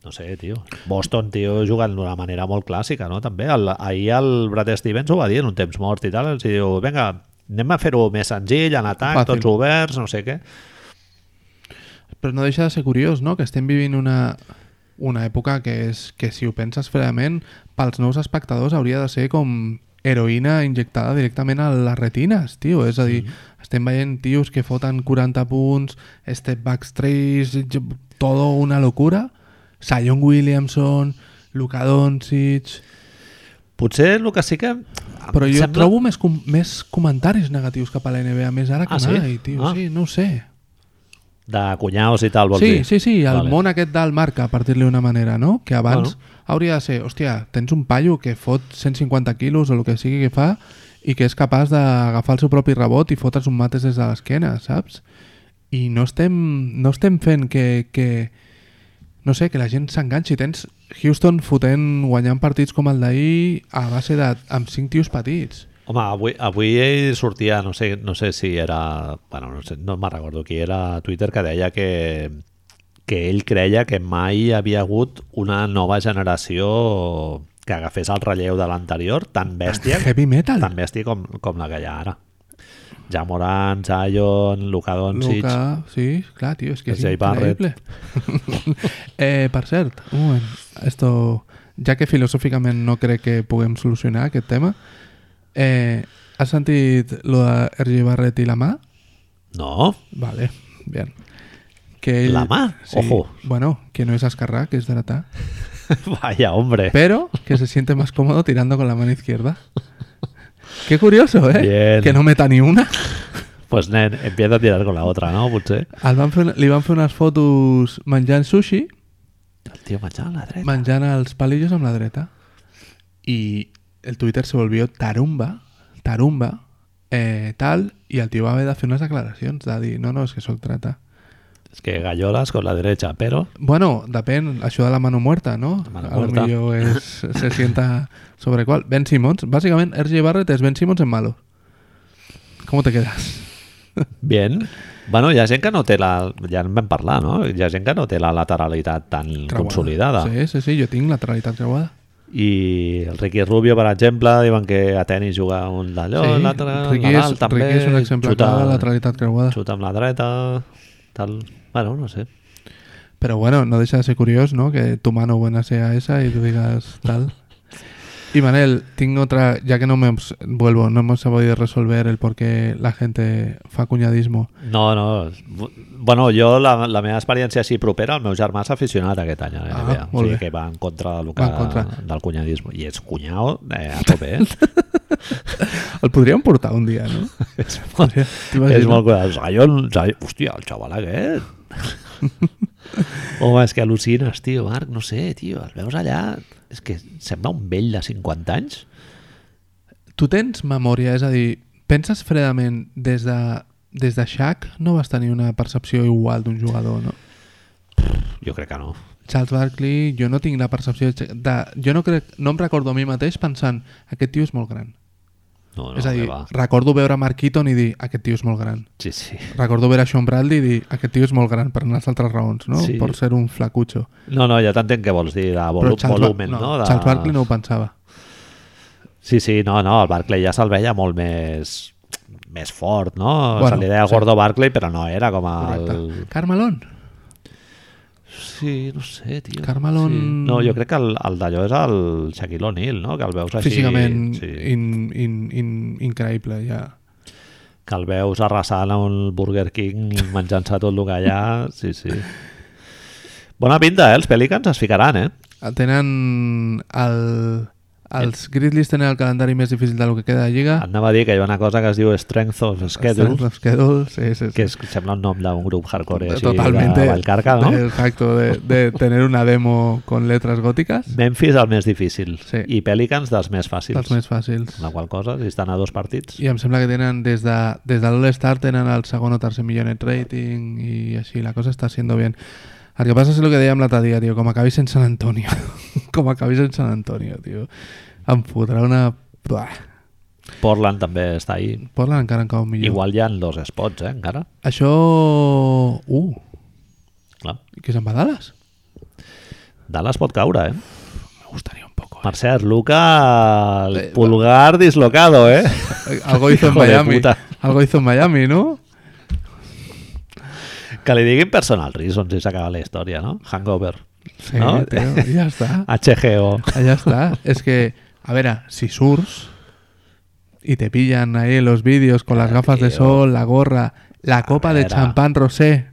No sé, tio. Boston, tio, jugant d'una manera molt clàssica, no? També. El, ahir el Brad Stevens ho va dir en un temps mort i tal. Els hi diu, vinga, anem a fer-ho més senzill, en atac, Fàcil. tots oberts, no sé què. Però no deixa de ser curiós, no?, que estem vivint una, una època que, és, que si ho penses fredament, pels nous espectadors hauria de ser com heroïna injectada directament a les retines, tio. És a dir, estem veient tios que foten 40 punts, step backs 3, todo una locura. Sion Williamson, Luka Doncic... Potser el que sí que... em Però jo sembla- trobo més, com, més comentaris negatius cap a la NBA, més ara que Ah, sí? mai, tio. Ah. Sí, no ho sé. De cunyaos i tal, vols Sí, dir? sí, sí, el Vale. món aquest del marca, per dir-li una manera, no? Que abans hauria de ser, hòstia, tens un paio que fot 150 quilos o el que sigui que fa i que és capaç d'agafar el seu propi rebot i fotre's un mates des de l'esquena, saps? I no estem, no estem fent que, que, no sé, que la gent s'enganxi. Tens Houston fotent, guanyant partits com el d'ahir a base de... amb cinc tios petits. Home, avui, avui ell sortia, no sé, no sé si era... Bueno, no, sé, no me'n recordo qui era a Twitter que deia que, que ell creia que mai havia hagut una nova generació que agafés el relleu de l'anterior tan bèstia, Heavy metal. tan bèstia com, com la que hi ha ara. Ja Moran, Zion, Luka Doncic... Luka... Luca, sí, clar, tío, es que es Jay increíble. <laughs> eh, per cert, un moment, esto, ja que filosòficament no crec que puguem solucionar aquest tema, eh, has sentit lo de RG Barret i la mà? No, <laughs> Vale, bien. Que ell, La mà? Ojo. Eh. Bueno, que no es escarrá, que es dratá. vaya hombre. Pero que se siente más cómodo tirando con la mano izquierda. Qué curioso, ¿eh? Bien. Que no meta ni una. pues nen, empieza a tirar con la otra, no? Potser. El van fer, una- li van fer unes fotos menjant sushi, El tio menjant la dreta. menjant els palillos amb la dreta. I el Twitter se volvió tarumba, tarumba, eh, tal, i el tio va haver de fer unes declaracions, de dir, no, no, és que sóc trata. Es que gallolas con la derecha, pero... Bueno, depèn, això de la mano muerta, no? La mano a lo muerta. millor és, se sienta sobre qual. Ben Simmons, bàsicament RJ Barrett és Ben Simmons en malo. ¿Cómo te quedas? Bien. Bueno, hi ha gent que no té la... Ja en vam parlar, no? Hi ha gent que no té la lateralitat tan Creuada. consolidada. Sí, sí, sí, jo tinc lateralitat creuada. I el Ricky Rubio, per exemple, diuen que a tenis juga un d'allò, sí, l'altre, Riqui Nadal és, també, Riqui és un exemple xuta, clar de lateralitat creuada. xuta amb la dreta, tal... Bueno, no sé. Pero bueno, no deja de ser curioso, ¿no? Que tu mano buena sea esa y tú digas tal. Y Manel, tengo otra, ya que no me obs- vuelvo, no hemos podido resolver el por qué la gente fa cuñadismo. No, no. Bu- Bueno, jo, la, la meva experiència així propera, el meu germà s'ha aficionat aquest any a la Ah, NBA. o molt sigui bé. que va en contra, del, que, Va en contra. del cunyadisme. I ets cunyao eh, a tope, <laughs> eh? El podríem portar un día, ¿no? és molt, és molt cunyao. Zion, Zion, hòstia, el xaval <laughs> aquest... Home, és que al·lucines, tio, Marc, no sé, tio, el veus allà... És que sembla un vell de 50 anys. Tu tens memòria, és a dir, penses fredament des de, des de Shaq no vas tenir una percepció igual d'un jugador, no? Jo crec que no. Charles Barkley, jo no tinc la percepció de, de jo no crec, no em recordo a mi mateix pensant, aquest tio és molt gran. No, no, és a dir, que va. recordo veure Mark Keaton i dir, aquest tio és molt gran. Sí, sí. Recordo veure Sean Bradley i dir, aquest tio és molt gran per unes altres raons, no? Sí. Per ser un flacutxo. No, no, ja t'entenc què vols dir, de volu Bar- volumen, no? de... Charles Barkley no ho pensava. Sí, sí, no, no, el Barclay ja se'l veia molt més més fort, no? Bueno, Bueno, se li deia el sí. Gordo Barclay, però no era com el... Correcte. Carmelon. Sí, no sé, tio. Carmelo- Sí. No, jo crec que el, el d'allò és el Shaquille O'Neal, no? Que el veus així... Físicament Sí, in, in, in, increïble, ja. Que el veus arrasant a un Burger King i menjant-se tot el que hi ha. Sí, sí. Bona pinta, eh? Els Pelicans es ficaran, eh? Tenen el... Eh. Els Grizzlies tenen el calendari més difícil del que queda de Lliga. Et anava a dir que hi ha una cosa que es diu Strength of Schedule, Ah. Strength of Schedule, sí, sí, sí. que és, sembla un nom d'un grup hardcore així Totalmente. de Vallcarca, no? Eh, Exacto, de, de tener una demo con letras góticas. Memphis el més difícil Sí. i Pelicans dels més fàcils. Els més fàcils. La qual cosa, si estan a dos partits... I em sembla que tenen, des de, des de l'All-Star tenen el segon o tercer millor net rating i així, la cosa està sent bien. El que passa és el que dèiem l'altre dia, tio, com acabis en San Antonio. <laughs> com acabis en San Antonio, tio. Em fotrà una... Buah. Portland també està ahí. Portland encara encara un millor. Igual hi ha dos spots, eh, encara. Això... Uh, Clar. que se'n va a Dallas? Dallas pot caure, eh? Me gustaría un poco. Per cert, Luca, el pulgar dislocado, eh? <laughs> eh. Algo hizo en Hijo de Miami. puta. Algo hizo en Miami, ¿no? Que li diguin personal reason si s'acaba la història, no? Hangover. Sí, no? tio, ja <laughs> està. HGO. Allà està. És que, a veure, si surts i te pillan ahí los vídeos con las Claro, gafas de tío. ah. sol, la gorra, la copa de veure. champán <laughs> rosé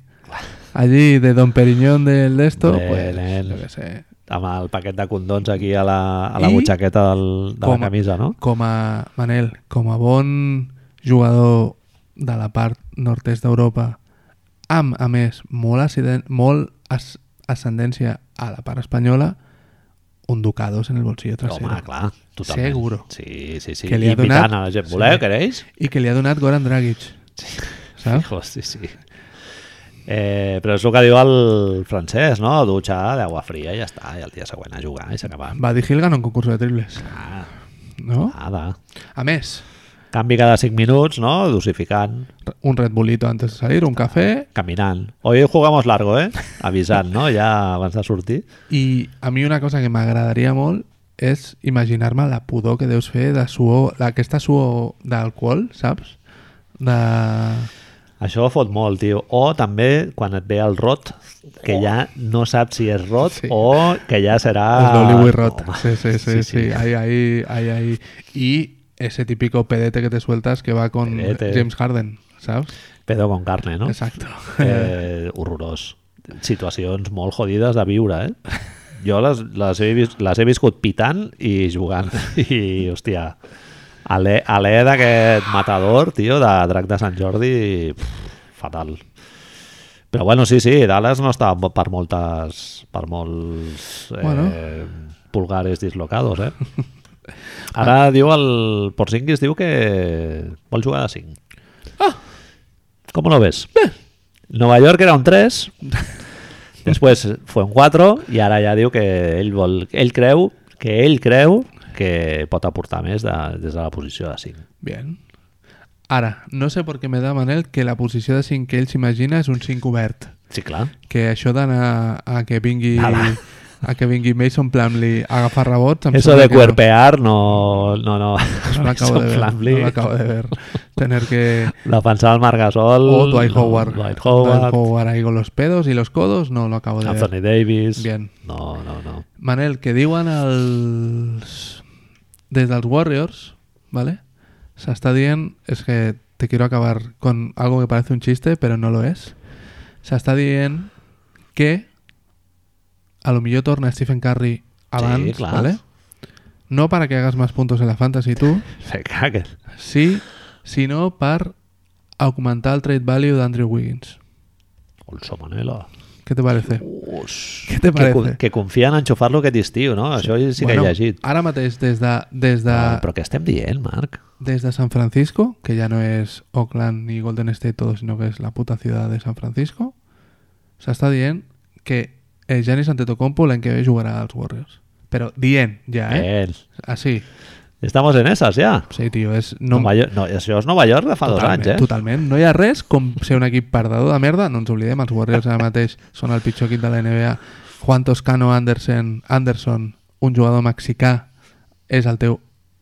allí de Don Periñón del de esto, Hombre, pues, nen. yo qué sé. Amb el paquet de condons aquí a la, a la I butxaqueta del, de la com a- camisa, no? Com a, Manel, com a bon jugador de la part nord-est d'Europa, amb, a més, molt, accident, molt as ascendència a la part espanyola, un ducados en el bolsillo trasero. Home, clar, totalment. Seguro. Sí, sí, sí. Que li ha Invitant donat- a la gent. Sí. Voleu, queréis? I que li ha donat Goran Dragic. Saps? Fijo, sí, sí. Eh, però és el que diu el francès, no? Dutxa d'aigua fria i ja està, i el dia següent a jugar i s'acaba. Buddy Hill gana un concurso de triples, Ah, no? nada. A més, Canvi cada 5 minuts, no? Dosificant, un Red Bullito antes de salir, un cafè, caminant. Hoy jugamos largo, eh? Avisant, no? Ja abans de sortir. i a mi una cosa que m'agradaria molt és imaginar-me la pudor que deus fer de suor, la- aquesta suor d'alcohol, saps? De... Ah. Això fot molt, tio. O també quan et ve el rot, que ja no saps si és rot Oh. Sí. o que ja serà... el Dollywood Rot. Home. Sí, sí, sí, sí, Ahí, ahí, ahí, ahí. Y ese típico pedete que te sueltas que va con Pedete. James Harden, saps? Pedo con carne, no? Exacto. eh, horrorós. Situacions molt jodides de viure, eh? <laughs> Jo les, les, he, vis- les he viscut pitant i jugant. I, hòstia, Ale- Alè d'aquest matador, tio, de Drac de Sant Jordi, pff, fatal. Però bueno, sí, sí, Dallas no està per moltes, per molts eh, bueno. Bueno. pulgares dislocados, eh? Ara diu el Porzingis diu que vol jugar de 5. Ah! Com lo ves? Nova York era un 3, Después fue un 4 i ara ja diu que ell vol, ell creu que ell creu que pot aportar més de, des de la posició de 5. Bien. Ara, no sé per què me da Manel que la posició de 5 que ell s'imagina és un 5 obert. Sí, clar. Que això d'anar a que vingui... Nada. A que vingui Mason Plumlee a agafar rebots... em Eso sembla de que Em no. cuerpear no... No, no. <laughs> No lo acabo de ver. No lo acabo de ver. Tener que... Defensar el Marc Gasol. O Dwight no, Howard. Dwight Howard. ahí con los pedos y los codos. No lo acabo de ver. Anthony Davis. Bien. No, no, no. Manel, que diuen els... Des dels Warriors, ¿vale? S'està dient... És que te quiero acabar con algo que parece un chiste, pero no lo es. S'està dient que a lo millor torna Stephen Curry abans, clar. ¿vale? No para que hagas más puntos en la fantasy tú, Se caga. sí, sinó per augmentar el trade value d'Andrew Wiggins. Olso Manelo. Què te parece? Ush. Què te Que, parece? con- que confia en enxufar-lo aquest estiu, no? Això sí que Bueno, he llegit. Ara mateix, des de, des, de, Ah, Però què estem dient, Marc? des de San Francisco, que ja no és Oakland ni Golden State todo, sinó que és la puta ciutat de San Francisco, s'està dient que eh, Giannis Antetokounmpo l'any que ve jugarà als Warriors. Però dient, ja, eh? Bien. Així. Estamos en esas, ja. Sí, tio, és... No. No, Nova York, no, això és Nova York de fa Totalment, dos anys, eh? totalment. No hi ha res com ser un equip perdedor de merda. No ens oblidem, els Warriors ara mateix són el pitjor equip de la NBA. Juan Toscano Anderson, Anderson un jugador mexicà, és el teu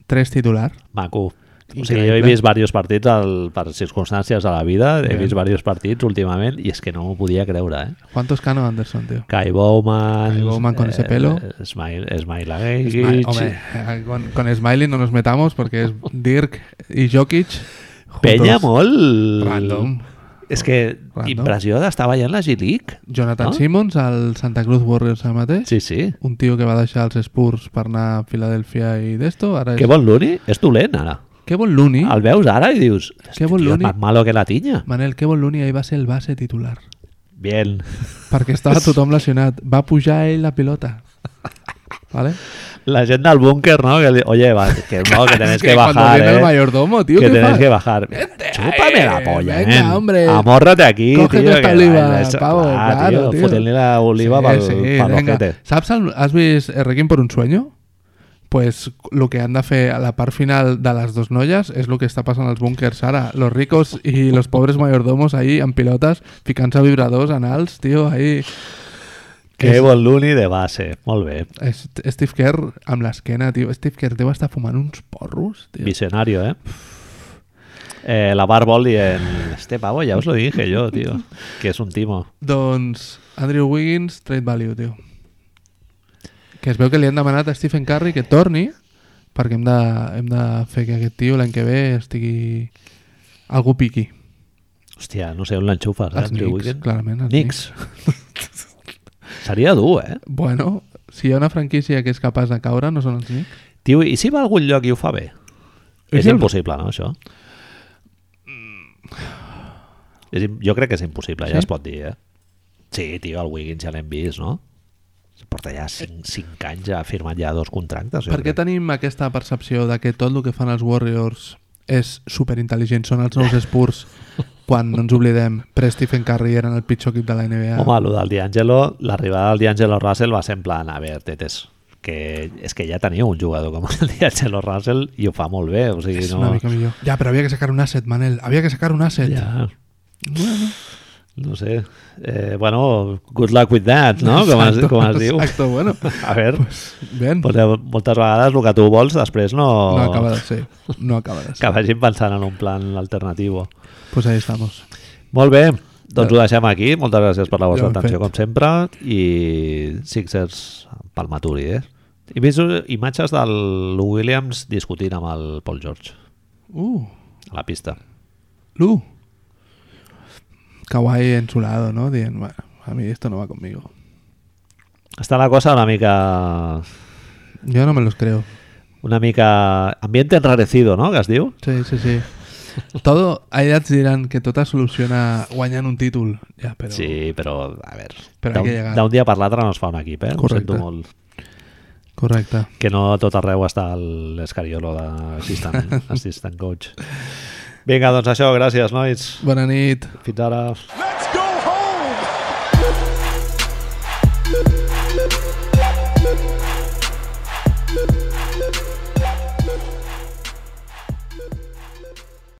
tres titular. Maco. O sigui, Increïble. jo he vist diversos partits al, per circumstàncies de la vida, he Bien. vist diversos partits últimament i és que no m'ho podia creure, eh? Juan Toscano Anderson, tio. Kai Bowman... Kai Bowman con ese pelo. eh, Smile, Smile Smile- Agegic, Home, eh, con, con Smiley no nos metamos porque es Dirk y Jokic. juntos. Penya molt... Random. És que Random. impressió d'estar veient la G-League. Jonathan No? Simmons al Santa Cruz Warriors ara mateix. Ah? Sí, sí. Un tio que va deixar els Spurs per anar a Filadèlfia i d'esto. Ara és... Que bon l'uni, és dolent ara. Que bon l'uni. El veus ara i dius... Que bon "Hòstia, l'uni." Más malo que la tinya. Manel, que bon l'uni ahir va ser el base titular. Bien. Perquè estava tothom lesionat. Va pujar ell la pilota. Vale? La gent del búnquer, ¿no? Que, li- oye, va, <laughs> que no, que tenés que, bajar, Cuando viene eh. el mayordomo, tío, que ¿qué tenés fas? que bajar. Chúpame la eh, polla, venga, nen. hombre. Amórrate aquí, Coge tío. esta que- oliva, eso- pavo, ah, tío, claro, tío. fotenle la oliva para venga. los Saps el, has vist Requiem por un sueño? Pues lo que han de fer a la part final de les dos noies és el que està passant als búnkers ara. Los ricos i los pobres mayordomos ahí en pilotes, ficant-se vibradors anals, tio, ahí... Que bon l'uni de base. Molt bé. Es- Steve Kerr amb l'esquena, tio. Steve Kerr deu estar fumant uns porros, tio. Visionario, ¿eh? Eh, la bar volley en este pavo, ya os lo dije yo, tío. Que es un timo. Doncs Andrew Wiggins, trade value, tio. Que es veu que li han demanat a Stephen Curry que torni, perquè hem de, hem de fer que aquest tio l'any que ve estigui... Algú piqui. Hostia, no sé on l'enxufes, eh? Els Andrew Knicks, Wiggins? clarament. Els <laughs> Knicks. Seria dur, eh? Bueno, si hi ha una franquícia que és capaç de caure, no són els Knicks. Tio, i si va a algun lloc i ho fa bé? I És si el- impossible, no, això? És, im- jo crec que és impossible, sí? ja Sí? es pot dir, eh? Sí, tio, el Wiggins ja l'hem vist, no? Porta ja 5, 5 anys, ja ha firmat ja dos contractes. jo Per què crec. tenim aquesta percepció de que tot el que fan els Warriors és superintel·ligent, són els nous Spurs quan, no ens oblidem, pre-Stephen Curry eren el pitjor equip de la NBA. Home, lo del D'Angelo, l'arribada del D'Angelo Russell va ser en plan, a veure, tetes, que és que ja teniu un jugador com el D'Angelo Russell i ho fa molt bé, o sigui, és no... una mica millor. Ja, però havia que sacar un asset, Manel. Havia que sacar un asset. Ja, Bueno. no sé. Eh, bueno, good luck with that, no? Com es, com es diu. Exacto, bueno. <laughs> A veure, Bien. Pues, eh, moltes vegades el que tu vols després no, no acaba de ser. No acaba de ser. que vagin pensant en un plan alternatiu. Pues ahí estamos. Molt bé, doncs ho deixem aquí. Moltes gràcies per la vostra Ja ho hem atenció, fet. com sempre, i Sixers pel Maturi, eh? He vist eh, imatges del Williams discutint amb el Paul George Uh, a la pista. Lu. Kawaii ensulado, ¿no? Dicen, bueno, a mí esto no va conmigo. Està la cosa una mica... Yo no me los creo. una mica... Ambiente enrarecido, no?, que es diu. Sí, <laughs> sí, sí. Todo, allà et diran que tot es soluciona guanyant un títol. Ja, però... Sí, però, a veure, Però hay que d'un llegar. d'un dia per l'altre no es fa un equip, eh? Correcte. Ho sento molt. Correcte. Que no a tot arreu està el- l'escariolo eh? d'assistant assistant coach. Vinga, doncs això, gràcies, nois. Bona nit. Fins ara.